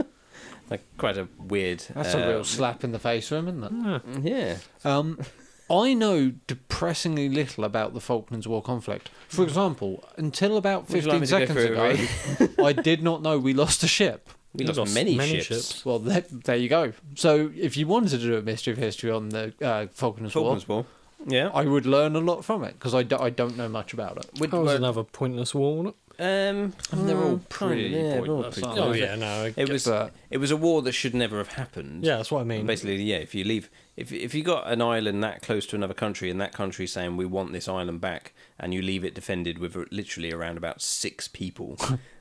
[SPEAKER 1] like quite a weird.
[SPEAKER 3] That's
[SPEAKER 1] uh,
[SPEAKER 3] a real slap in the face for him, isn't it?
[SPEAKER 2] Ah,
[SPEAKER 1] Yeah,
[SPEAKER 3] Um, I know depressingly little about the Falklands War conflict. For example, until about
[SPEAKER 1] Would you like
[SPEAKER 3] 15
[SPEAKER 1] me to go
[SPEAKER 3] seconds
[SPEAKER 1] through it,
[SPEAKER 3] ago, I did not know we lost a ship.
[SPEAKER 1] we
[SPEAKER 2] You
[SPEAKER 1] lost,
[SPEAKER 2] lost
[SPEAKER 1] many,
[SPEAKER 2] many
[SPEAKER 1] ships.
[SPEAKER 2] ships.
[SPEAKER 3] Well, that, there you go. So, if you wanted to do a mystery of history on the uh, Falklands,
[SPEAKER 1] Falklands War. Yeah.
[SPEAKER 3] War, I would learn a lot from it because I, do, I don't know much about it.
[SPEAKER 1] Would-
[SPEAKER 2] that was
[SPEAKER 1] would-
[SPEAKER 2] Oh, another pointless war. wasn't
[SPEAKER 1] um,
[SPEAKER 3] And they're all
[SPEAKER 1] mm,
[SPEAKER 3] pretty
[SPEAKER 1] yeah, they're all
[SPEAKER 3] pointless,
[SPEAKER 2] it?
[SPEAKER 1] pretty-
[SPEAKER 3] aren't they?
[SPEAKER 2] Oh yeah, no. I-
[SPEAKER 1] It was
[SPEAKER 3] But-
[SPEAKER 1] it was a war that should never have happened.
[SPEAKER 2] Yeah, that's what I mean.
[SPEAKER 1] Basically, yeah. If you leave, if if you got an island that close to another country, and that country saying we want this island back, and you leave it defended with literally around about six people,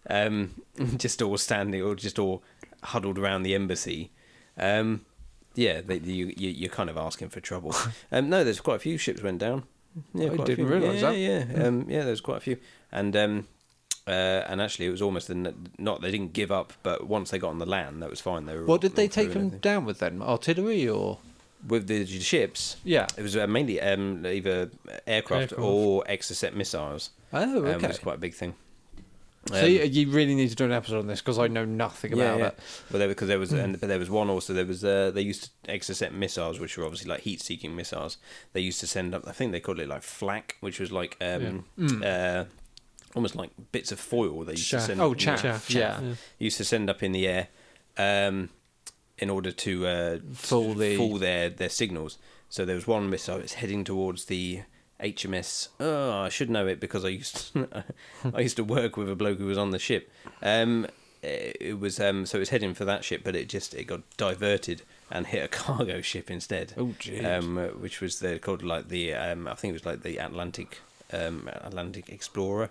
[SPEAKER 1] um, just all standing or just all huddled around the embassy, um, yeah, they, you, you you're kind of asking for trouble. Um, no, there's quite a few ships went down. Yeah,
[SPEAKER 3] I
[SPEAKER 1] quite a
[SPEAKER 3] didn't
[SPEAKER 1] few.
[SPEAKER 3] realise
[SPEAKER 1] yeah,
[SPEAKER 3] that. Hmm.
[SPEAKER 1] Yeah, um, yeah, there's quite a few, and um, uh, and actually, it was almost the n- not they didn't give up, but once they got on the land, that was fine. They were all-
[SPEAKER 3] What did they
[SPEAKER 1] all through and
[SPEAKER 3] take them
[SPEAKER 1] everything.
[SPEAKER 3] down with then? Artillery or.
[SPEAKER 1] with the ships?
[SPEAKER 3] Yeah.
[SPEAKER 1] It was uh, mainly um, either aircraft,
[SPEAKER 2] Aircraft.
[SPEAKER 1] or Exocet missiles.
[SPEAKER 3] Oh,
[SPEAKER 1] um,
[SPEAKER 3] okay.
[SPEAKER 1] it was quite a big thing. Um,
[SPEAKER 3] so, you, you really need to do an episode on this because I know nothing about Hmm. it.
[SPEAKER 1] Well, there, because there was, and, but there was one also. There was uh, they used to Exocet missiles, which were obviously like heat-seeking missiles. They used to send up. I think they called it like flak, which was like um, uh, almost like bits of foil. They used to
[SPEAKER 2] Chaff.
[SPEAKER 1] send.
[SPEAKER 3] Oh, Hmm. chaff.
[SPEAKER 2] Chaff,
[SPEAKER 3] Yeah.
[SPEAKER 2] yeah.
[SPEAKER 1] used to send up in the air um, in order to uh,
[SPEAKER 3] Fool the-
[SPEAKER 1] fool their, their signals. So there was one missile. It's heading towards the HMS. Oh, I should know it because I used to, I used to work with a bloke who was on the ship. Um, it it was um, so it was heading for that ship, but it just it got diverted and hit a cargo ship instead.
[SPEAKER 3] Oh, jeez.
[SPEAKER 1] Um, uh, which was the, called like the um, I think it was like the Atlantic um, Atlantic Explorer,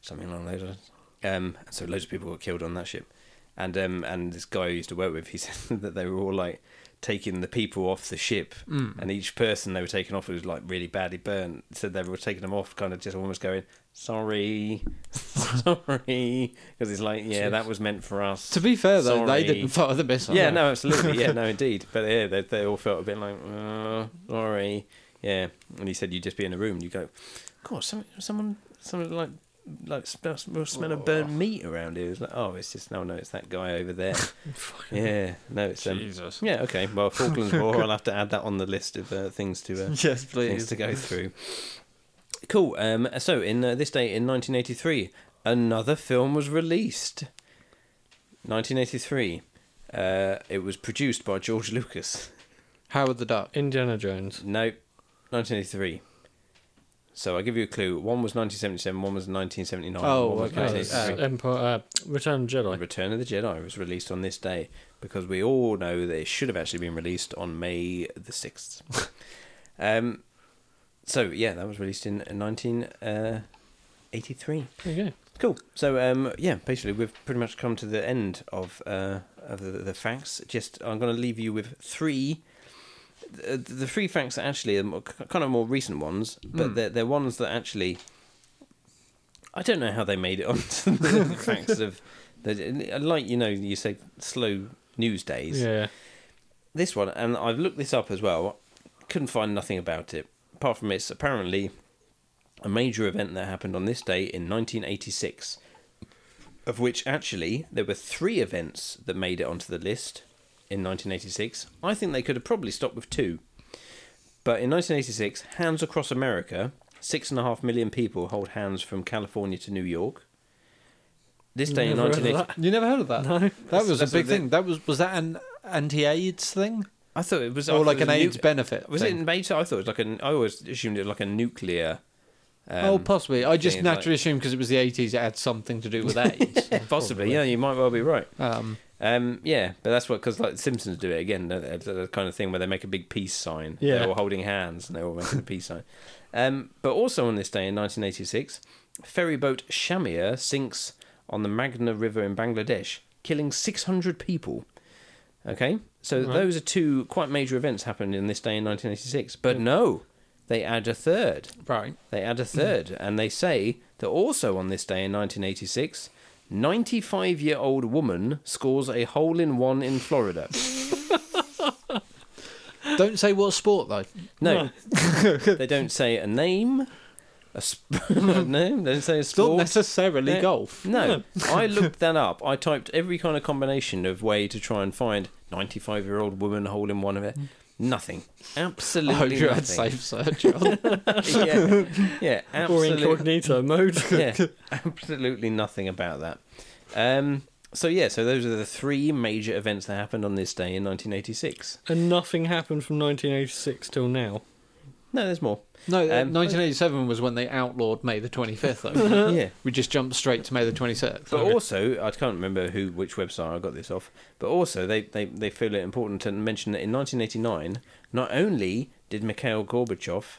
[SPEAKER 1] something along those lines. Um, so loads of people got killed on that ship, and um, and this guy I used to work with, he said that they were all like taking the people off the ship, and each person they were taking off was like really badly burnt. Said they were taking them off, kind of just almost going sorry, sorry, because it's like yeah, that was meant for us.
[SPEAKER 3] To be fair, though,
[SPEAKER 1] Sorry.
[SPEAKER 3] they didn't fire the missile.
[SPEAKER 1] Yeah, no, absolutely. Yeah, no, indeed. But yeah, they, they all felt a bit like, uh, sorry. Yeah. And he said, you'd just be in a room and you go, God, some, someone, someone like, like smell, smell smell of burnt meat around here. It's like, oh, it's just, no, no, it's that guy over there. yeah. No, it's, um,
[SPEAKER 3] Jesus.
[SPEAKER 1] yeah, okay. Well, Falklands War, I'll have to add that on the list of uh, things to, uh,
[SPEAKER 3] Yes,
[SPEAKER 1] things
[SPEAKER 3] please.
[SPEAKER 1] to go through. Cool. Um, so, in uh, this day in 1983, another film was released. 1983. Uh, it was produced by George Lucas.
[SPEAKER 3] Howard the Duck.
[SPEAKER 2] Indiana Jones.
[SPEAKER 1] No, 1983. So I'll give you a clue. One was 1977, one was 1979.
[SPEAKER 3] Oh,
[SPEAKER 1] one was
[SPEAKER 3] okay.
[SPEAKER 2] Oh,
[SPEAKER 3] Right.
[SPEAKER 2] it's
[SPEAKER 1] 1983.
[SPEAKER 2] Empire, uh, Return of the Jedi.
[SPEAKER 1] Return of the Jedi was released on this day because we all know that it should have actually been released on May the 6th. um, so, yeah, that was released in uh, 1983.
[SPEAKER 2] There you go.
[SPEAKER 1] Cool. So, um, yeah, basically, we've pretty much come to the end of uh, of the, the facts. Just, I'm going to leave you with three. The, the three facts are actually are more- kind of more recent ones, but they're, they're ones that actually. I don't know how they made it onto the facts of. The, like, you know, you say slow news days
[SPEAKER 2] Yeah.
[SPEAKER 1] this one, and I've looked this up as well, couldn't find nothing about it. Apart from it's apparently a major event that happened on this day in 1986, of which actually there were three events that made it onto the list in 1986. I think they could have probably stopped with two. But in 1986, Hands Across America, six and a half million people hold hands from California to New York. This day in
[SPEAKER 2] Never heard of
[SPEAKER 1] 1986.
[SPEAKER 3] You never heard of that?
[SPEAKER 2] No.
[SPEAKER 3] That was a
[SPEAKER 1] That's
[SPEAKER 3] big
[SPEAKER 1] what they-
[SPEAKER 3] thing. That was was that an anti-AIDS thing
[SPEAKER 1] I thought it was I
[SPEAKER 3] or
[SPEAKER 1] thought
[SPEAKER 3] Oh, like
[SPEAKER 1] it was
[SPEAKER 3] an
[SPEAKER 1] a
[SPEAKER 3] AIDS
[SPEAKER 1] nu-
[SPEAKER 3] benefit?
[SPEAKER 1] Was it
[SPEAKER 3] thing?
[SPEAKER 1] in beta? I thought it was like an. I always assumed it was like a nuclear. Um,
[SPEAKER 3] oh, possibly. I just
[SPEAKER 1] thing, like-
[SPEAKER 3] naturally assumed because it was the eighties, it had something to do with AIDS.
[SPEAKER 1] possibly. Yeah, you might well be right.
[SPEAKER 2] Uh,
[SPEAKER 3] Um,
[SPEAKER 1] Um, yeah, but that's what because like the Simpsons do it again. don't they? It's the kind of thing where they make a big peace sign.
[SPEAKER 2] Yeah.
[SPEAKER 1] they're all holding hands and they're all making a peace sign. Um, but also on this day in 1986, ferryboat Shamir sinks on the Magna River in Bangladesh, killing 600 people. Okay, so
[SPEAKER 2] Right.
[SPEAKER 1] those are two quite major events happened in this day in 1986. But no, they add a third.
[SPEAKER 3] right.
[SPEAKER 1] They add a third, and they say that also on this day in 1986, 95 year old woman scores a hole in one in Florida.
[SPEAKER 3] Don't say what sport though.
[SPEAKER 1] No, they don't say a name. A sp- no, they don't say a
[SPEAKER 3] It's not
[SPEAKER 1] sport.
[SPEAKER 3] necessarily
[SPEAKER 1] Yeah.
[SPEAKER 3] golf.
[SPEAKER 1] no, I looked that up. I typed every kind of combination of way to try and find 95 year old woman hole in one of it. Nothing.
[SPEAKER 3] I
[SPEAKER 1] Absolutely
[SPEAKER 3] hope you had
[SPEAKER 1] nothing.
[SPEAKER 3] safe search. on.
[SPEAKER 1] yeah, yeah,
[SPEAKER 2] Or
[SPEAKER 1] absolutely.
[SPEAKER 2] incognito mode.
[SPEAKER 1] yeah, absolutely nothing about that. Um, so yeah, so those are the three major events that happened on this day in 1986.
[SPEAKER 2] And nothing happened from 1986 till now.
[SPEAKER 1] No, there's more.
[SPEAKER 3] No, uh,
[SPEAKER 1] Um,
[SPEAKER 3] 1987 was when they outlawed May the 25th. Though.
[SPEAKER 1] yeah,
[SPEAKER 3] we just jumped straight to May the 26th.
[SPEAKER 1] but also I can't remember who which website I got this off. But also they they, they feel it important to mention that in 1989, not only did Mikhail Gorbachev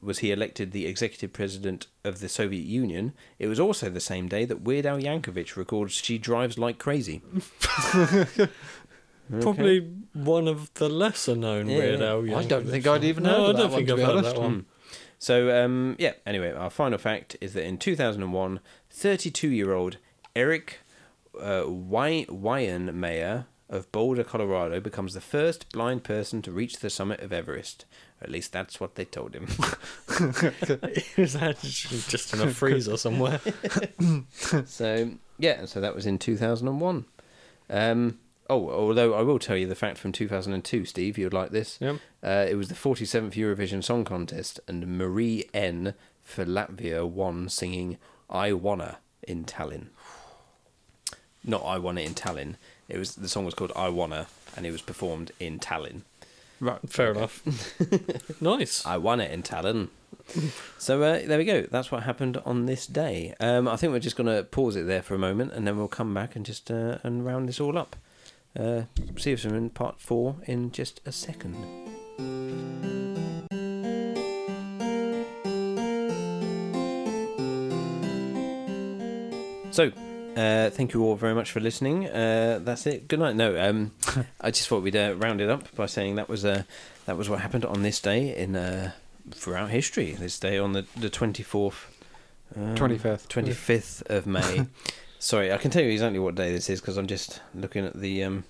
[SPEAKER 1] was he elected the executive president of the Soviet Union, it was also the same day that Weird Al Yankovic records "She Drives Like Crazy."
[SPEAKER 2] Probably one of the lesser known
[SPEAKER 1] Yeah, Hmm.
[SPEAKER 2] Weird
[SPEAKER 1] yeah.
[SPEAKER 2] Al
[SPEAKER 3] I
[SPEAKER 2] Yankovic
[SPEAKER 3] don't think I'd even
[SPEAKER 2] No,
[SPEAKER 3] heard
[SPEAKER 2] I
[SPEAKER 3] of that
[SPEAKER 2] don't
[SPEAKER 3] one,
[SPEAKER 2] think
[SPEAKER 3] to
[SPEAKER 2] I've
[SPEAKER 3] be
[SPEAKER 2] heard
[SPEAKER 3] honest.
[SPEAKER 2] that one.
[SPEAKER 1] So, um, yeah, anyway, our final fact is that in 2001, 32 year old Eric uh, Wy- Wyenmayer of Boulder, Colorado, becomes the first blind person to reach the summit of Everest. At least that's what they told him.
[SPEAKER 2] It was actually just in a freezer somewhere.
[SPEAKER 1] so, yeah, so that was in 2001. Um, oh, although I will tell you the fact from 2002, Steve, you'd like this.
[SPEAKER 2] Yep.
[SPEAKER 1] Uh, it was the 47th Eurovision Song Contest, and Marie N for Latvia won singing I Wanna in Tallinn. Not I Wanna in Tallinn. It was the song was called I Wanna, and it was performed in Tallinn.
[SPEAKER 2] Right. Fair enough. nice.
[SPEAKER 1] I won it in Talon. So uh, there we go. That's what happened on this day. Um, I think we're just going to pause it there for a moment, and then we'll come back and just uh, and round this all up. Uh, see us in part four in just a second. So, uh, thank you all very much for listening. Uh, that's it. Good night. No, um, I just thought we'd uh, round it up by saying that was uh, that was what happened on this day in uh, throughout history. This day on the the twenty fourth,
[SPEAKER 3] 25th.
[SPEAKER 1] twenty fifth of May. Sorry, I can tell you exactly what day this is because I'm just looking at the um,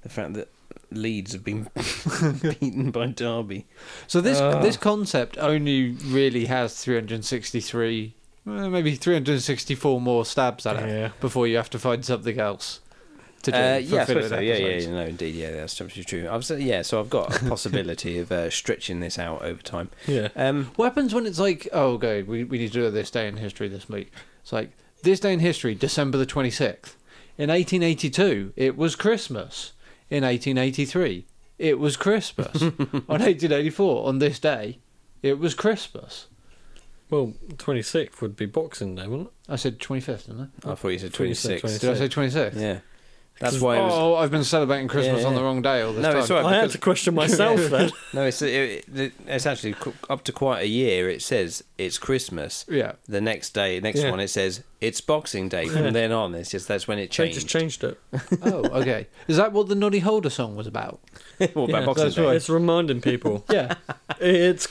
[SPEAKER 1] the fact that Leeds have been beaten by Derby.
[SPEAKER 3] So this
[SPEAKER 1] Ah.
[SPEAKER 2] Ugh.
[SPEAKER 3] this concept only really has 363, well, maybe 364 more stabs at it
[SPEAKER 2] Yeah.
[SPEAKER 3] before you have to find something else to do.
[SPEAKER 1] Uh,
[SPEAKER 3] for
[SPEAKER 1] yeah, I
[SPEAKER 3] filler
[SPEAKER 1] suppose so. yeah, yeah,
[SPEAKER 3] episodes.
[SPEAKER 1] yeah, no, indeed, yeah, that's absolutely true. I've, said- yeah, so I've got a possibility of uh, stretching this out over time.
[SPEAKER 2] Yeah.
[SPEAKER 1] Um,
[SPEAKER 3] What happens when it's like, oh, okay, we, we need to do this day in history this week? It's like, this day in history, December the 26th. In 1882, it was Christmas. In 1883, it was Christmas. on 1884, on this day, it was Christmas.
[SPEAKER 2] Well, 26th would be Boxing Day, wouldn't
[SPEAKER 3] I said 25th, didn't I?
[SPEAKER 1] I thought you said
[SPEAKER 2] Thought you said
[SPEAKER 1] 26.
[SPEAKER 3] Did I say 26th?
[SPEAKER 1] Yeah. That's why it was.
[SPEAKER 3] Oh, I've been celebrating Christmas
[SPEAKER 1] Yeah,
[SPEAKER 3] on the
[SPEAKER 1] yeah.
[SPEAKER 3] wrong day all this
[SPEAKER 1] No,
[SPEAKER 3] time.
[SPEAKER 1] it's all
[SPEAKER 2] it?
[SPEAKER 1] right.
[SPEAKER 2] I had
[SPEAKER 1] Oh, because-
[SPEAKER 2] to question Oh, myself then.
[SPEAKER 1] No, it's, it, it, it's actually qu- up to quite a year. It says it's Christmas.
[SPEAKER 3] Yeah.
[SPEAKER 1] The next day, next
[SPEAKER 2] Yeah.
[SPEAKER 1] one, it says it's Boxing Day. From
[SPEAKER 2] Yeah.
[SPEAKER 1] then on, it's just that's when it
[SPEAKER 2] They
[SPEAKER 1] changed.
[SPEAKER 2] just changed it.
[SPEAKER 3] Oh, okay. Is that what the Noddy Holder song was about?
[SPEAKER 1] All about
[SPEAKER 2] Yeah,
[SPEAKER 1] Boxing
[SPEAKER 3] that's
[SPEAKER 1] Day.
[SPEAKER 3] right.
[SPEAKER 2] It's reminding people.
[SPEAKER 3] Yeah.
[SPEAKER 2] it's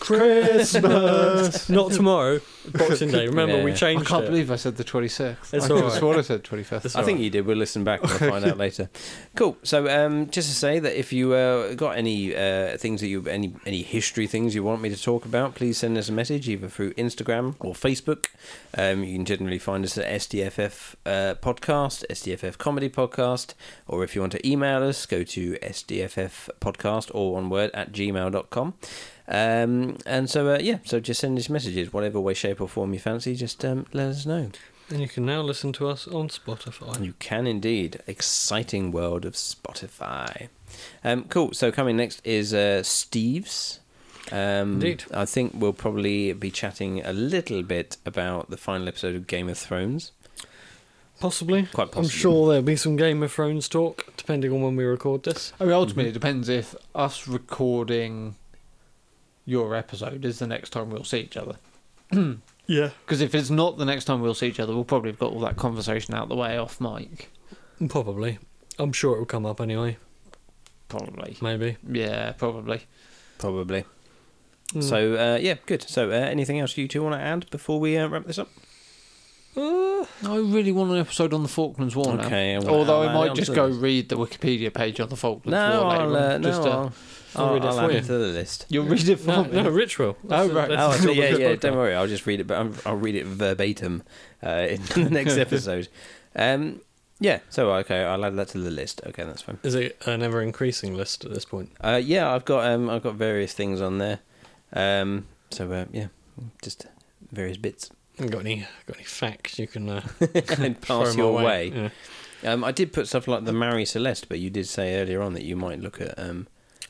[SPEAKER 2] Christmas. Not tomorrow, Boxing Day. Remember, we
[SPEAKER 1] Yeah.
[SPEAKER 2] changed
[SPEAKER 3] I can't
[SPEAKER 2] it.
[SPEAKER 3] believe I said the 26th.
[SPEAKER 2] It's
[SPEAKER 3] I could
[SPEAKER 2] all
[SPEAKER 3] have
[SPEAKER 2] right.
[SPEAKER 3] sworn I said 25th.
[SPEAKER 2] It's
[SPEAKER 1] I think
[SPEAKER 2] alright.
[SPEAKER 1] you did. We'll listen back and we'll find out later. Cool. So, um, just to say that if you uh, got any uh, things that you any any history things you want me to talk about, please send us a message either through Instagram or Facebook. Um, you can generally find us at SDFF uh, podcast, SDFF comedy podcast, or if you want to email us, go to SDFF podcast or one word at gmail.com. Um, and so, uh, yeah, so just send us messages, whatever way, shape, or form you fancy, just um, let us know.
[SPEAKER 2] And you can now listen to us on Spotify.
[SPEAKER 1] You can indeed. Exciting world of Spotify. Um, cool. So coming next is uh, Steve's. Um,
[SPEAKER 2] Indeed.
[SPEAKER 1] I think we'll probably be chatting a little bit about the final episode of Game of Thrones.
[SPEAKER 2] Possibly.
[SPEAKER 1] Quite possibly.
[SPEAKER 2] I'm sure there'll be some Game of Thrones talk, depending on when we record this.
[SPEAKER 3] I mean, ultimately, it depends if us recording your episode is the next time we'll see each other.
[SPEAKER 2] Yeah.
[SPEAKER 3] Because if it's not the next time we'll see each other, we'll probably have got all that conversation out the way off mic.
[SPEAKER 2] Probably. I'm sure it'll come up anyway.
[SPEAKER 3] Probably.
[SPEAKER 2] Maybe.
[SPEAKER 3] Yeah, probably.
[SPEAKER 1] Probably.
[SPEAKER 2] Mm.
[SPEAKER 1] So uh, yeah, good. So uh, anything else you two want to add before we uh, wrap this up?
[SPEAKER 2] Uh,
[SPEAKER 3] I really want an episode on the Falklands War now.
[SPEAKER 1] Okay, I want-
[SPEAKER 3] Although I
[SPEAKER 1] I'll add
[SPEAKER 3] might
[SPEAKER 1] on
[SPEAKER 3] just
[SPEAKER 1] to
[SPEAKER 3] go
[SPEAKER 1] this.
[SPEAKER 3] read the Wikipedia page on the Falklands
[SPEAKER 1] No,
[SPEAKER 3] War later
[SPEAKER 1] I'll,
[SPEAKER 3] on,
[SPEAKER 1] uh, no,
[SPEAKER 3] just, uh,
[SPEAKER 1] I'll,
[SPEAKER 2] I'll
[SPEAKER 1] I'll,
[SPEAKER 2] read it
[SPEAKER 1] I'll
[SPEAKER 2] for
[SPEAKER 1] add
[SPEAKER 2] you.
[SPEAKER 1] it to the list.
[SPEAKER 3] You'll read it for
[SPEAKER 2] no,
[SPEAKER 3] me.
[SPEAKER 2] no, ritual.
[SPEAKER 3] Oh, right.
[SPEAKER 1] Oh,
[SPEAKER 2] the
[SPEAKER 1] so yeah,
[SPEAKER 2] topic
[SPEAKER 1] yeah.
[SPEAKER 2] of the
[SPEAKER 1] Don't
[SPEAKER 2] podcast.
[SPEAKER 1] worry, I'll just read it, but I'm, I'll read it verbatim uh, in the next episode. Um, yeah. So okay, I'll add that to the list. Okay, that's fine.
[SPEAKER 2] Is it an ever increasing list at this point?
[SPEAKER 1] Uh, yeah, I've got um, I've got various things on there. Um, so uh, yeah, just various bits.
[SPEAKER 2] Haven't Got any got any facts you can uh,
[SPEAKER 1] and pass
[SPEAKER 2] throw
[SPEAKER 1] your
[SPEAKER 2] my
[SPEAKER 1] way.
[SPEAKER 2] Yeah.
[SPEAKER 1] Um, I did put stuff like the Mary Celeste, but you did say earlier on that you might look at um,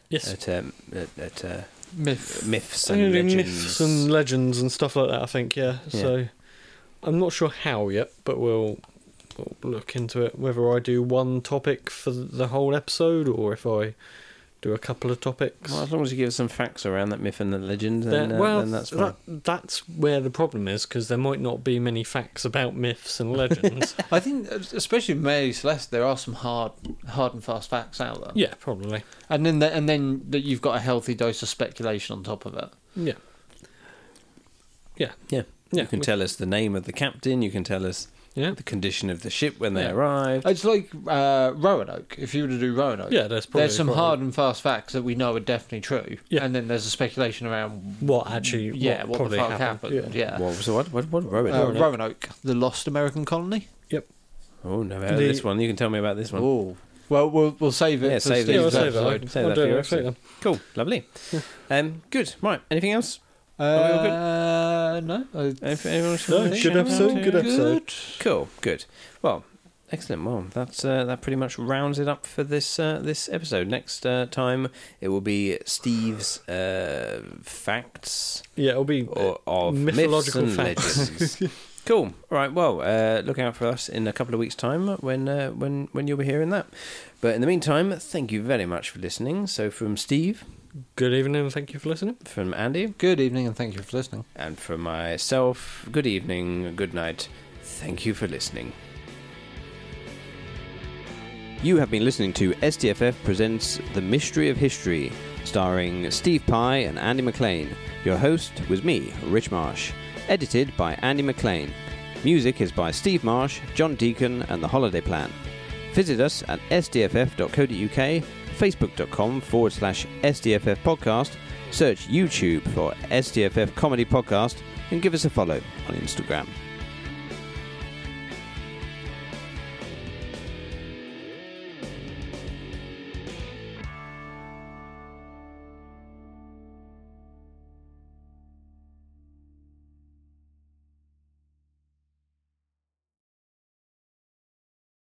[SPEAKER 2] Yes.
[SPEAKER 1] at um, at, at uh,
[SPEAKER 3] Myth.
[SPEAKER 1] myths
[SPEAKER 2] I'm
[SPEAKER 1] and
[SPEAKER 2] gonna do
[SPEAKER 1] legends.
[SPEAKER 2] myths and legends and stuff like that. I think, yeah.
[SPEAKER 1] Yeah.
[SPEAKER 2] So, I'm not sure how yet, but we'll, we'll look into it. Whether I do one topic for the whole episode or if I do a couple of topics.
[SPEAKER 1] Well, as long as you give us some facts around that myth and the legend, then,
[SPEAKER 2] There-
[SPEAKER 1] uh,
[SPEAKER 2] well,
[SPEAKER 1] then that's fine.
[SPEAKER 2] that, that's where the problem is because there might not be many facts about myths and legends.
[SPEAKER 3] I think, especially Mary Celeste, there are some hard, hard and fast facts out there.
[SPEAKER 2] yeah, probably.
[SPEAKER 3] And then, the, and then that you've got a healthy dose of speculation on top of it.
[SPEAKER 2] Yeah. Yeah.
[SPEAKER 1] Yeah.
[SPEAKER 2] Yeah.
[SPEAKER 1] you can
[SPEAKER 2] we-
[SPEAKER 1] tell us the name of the captain. You can tell us
[SPEAKER 2] Yeah. Oh,
[SPEAKER 1] the condition of the ship when they
[SPEAKER 3] Yeah.
[SPEAKER 1] arrived.
[SPEAKER 3] It's like uh, Roanoke. If you were to do Roanoke,
[SPEAKER 2] Yeah, there's probably
[SPEAKER 3] there's some
[SPEAKER 2] quite a-
[SPEAKER 3] hard and fast facts that we know are definitely true.
[SPEAKER 2] Yeah.
[SPEAKER 3] And then there's a speculation around
[SPEAKER 2] What actually?
[SPEAKER 3] yeah, what,
[SPEAKER 2] probably
[SPEAKER 3] the fuck happened.
[SPEAKER 2] Yeah.
[SPEAKER 3] Yeah.
[SPEAKER 1] What was what? What? What?
[SPEAKER 3] Uh,
[SPEAKER 1] Rowan?
[SPEAKER 3] Roanoke. the lost American colony.
[SPEAKER 1] oh no! uh,
[SPEAKER 2] the-
[SPEAKER 1] this one. You can tell me about this one.
[SPEAKER 3] Oh, well, we'll we'll save it.
[SPEAKER 1] Yeah,
[SPEAKER 3] for
[SPEAKER 1] save it.
[SPEAKER 2] Yeah, I'll
[SPEAKER 3] Steve's
[SPEAKER 2] save
[SPEAKER 3] episode.
[SPEAKER 2] that.
[SPEAKER 1] Save
[SPEAKER 2] I'll
[SPEAKER 1] that
[SPEAKER 2] do
[SPEAKER 1] for
[SPEAKER 2] it.
[SPEAKER 1] your
[SPEAKER 2] I'll save
[SPEAKER 1] episode.
[SPEAKER 2] that.
[SPEAKER 1] Cool. Lovely. um. Good. Right. Anything else? we all good?
[SPEAKER 3] Uh, no, I
[SPEAKER 1] If anyone else
[SPEAKER 2] No,
[SPEAKER 1] wants to
[SPEAKER 2] good
[SPEAKER 1] shout
[SPEAKER 2] episode,
[SPEAKER 1] out?
[SPEAKER 2] good episode.
[SPEAKER 1] Cool. Good. Well. Excellent. Well, that's uh, that. Pretty much rounds it up for this uh, this episode. Next uh, time, it will be Steve's uh, facts.
[SPEAKER 2] Yeah, it'll be
[SPEAKER 1] or of
[SPEAKER 2] uh, mythological
[SPEAKER 1] myths and
[SPEAKER 2] facts.
[SPEAKER 1] legends. cool. All right. Well, uh, look out for us in a couple of weeks' time when uh, when when you'll be hearing that. But in the meantime, thank you very much for listening. So from Steve,
[SPEAKER 2] Good evening. and Thank you for listening.
[SPEAKER 1] from Andy,
[SPEAKER 3] Good evening, and thank you for listening.
[SPEAKER 1] and from myself, good evening, good night. Thank you for listening. You have been listening to SDFF Presents The Mystery of History, starring Steve Pye and Andy McLean. Your host was me, Rich Marsh. Edited by Andy McLean. Music is by Steve Marsh, John Deacon, and The Holiday Plan. Visit us at sdff.co.uk, facebook.com forward slash SDFF podcast, search YouTube for SDFF Comedy Podcast, and give us a follow on Instagram.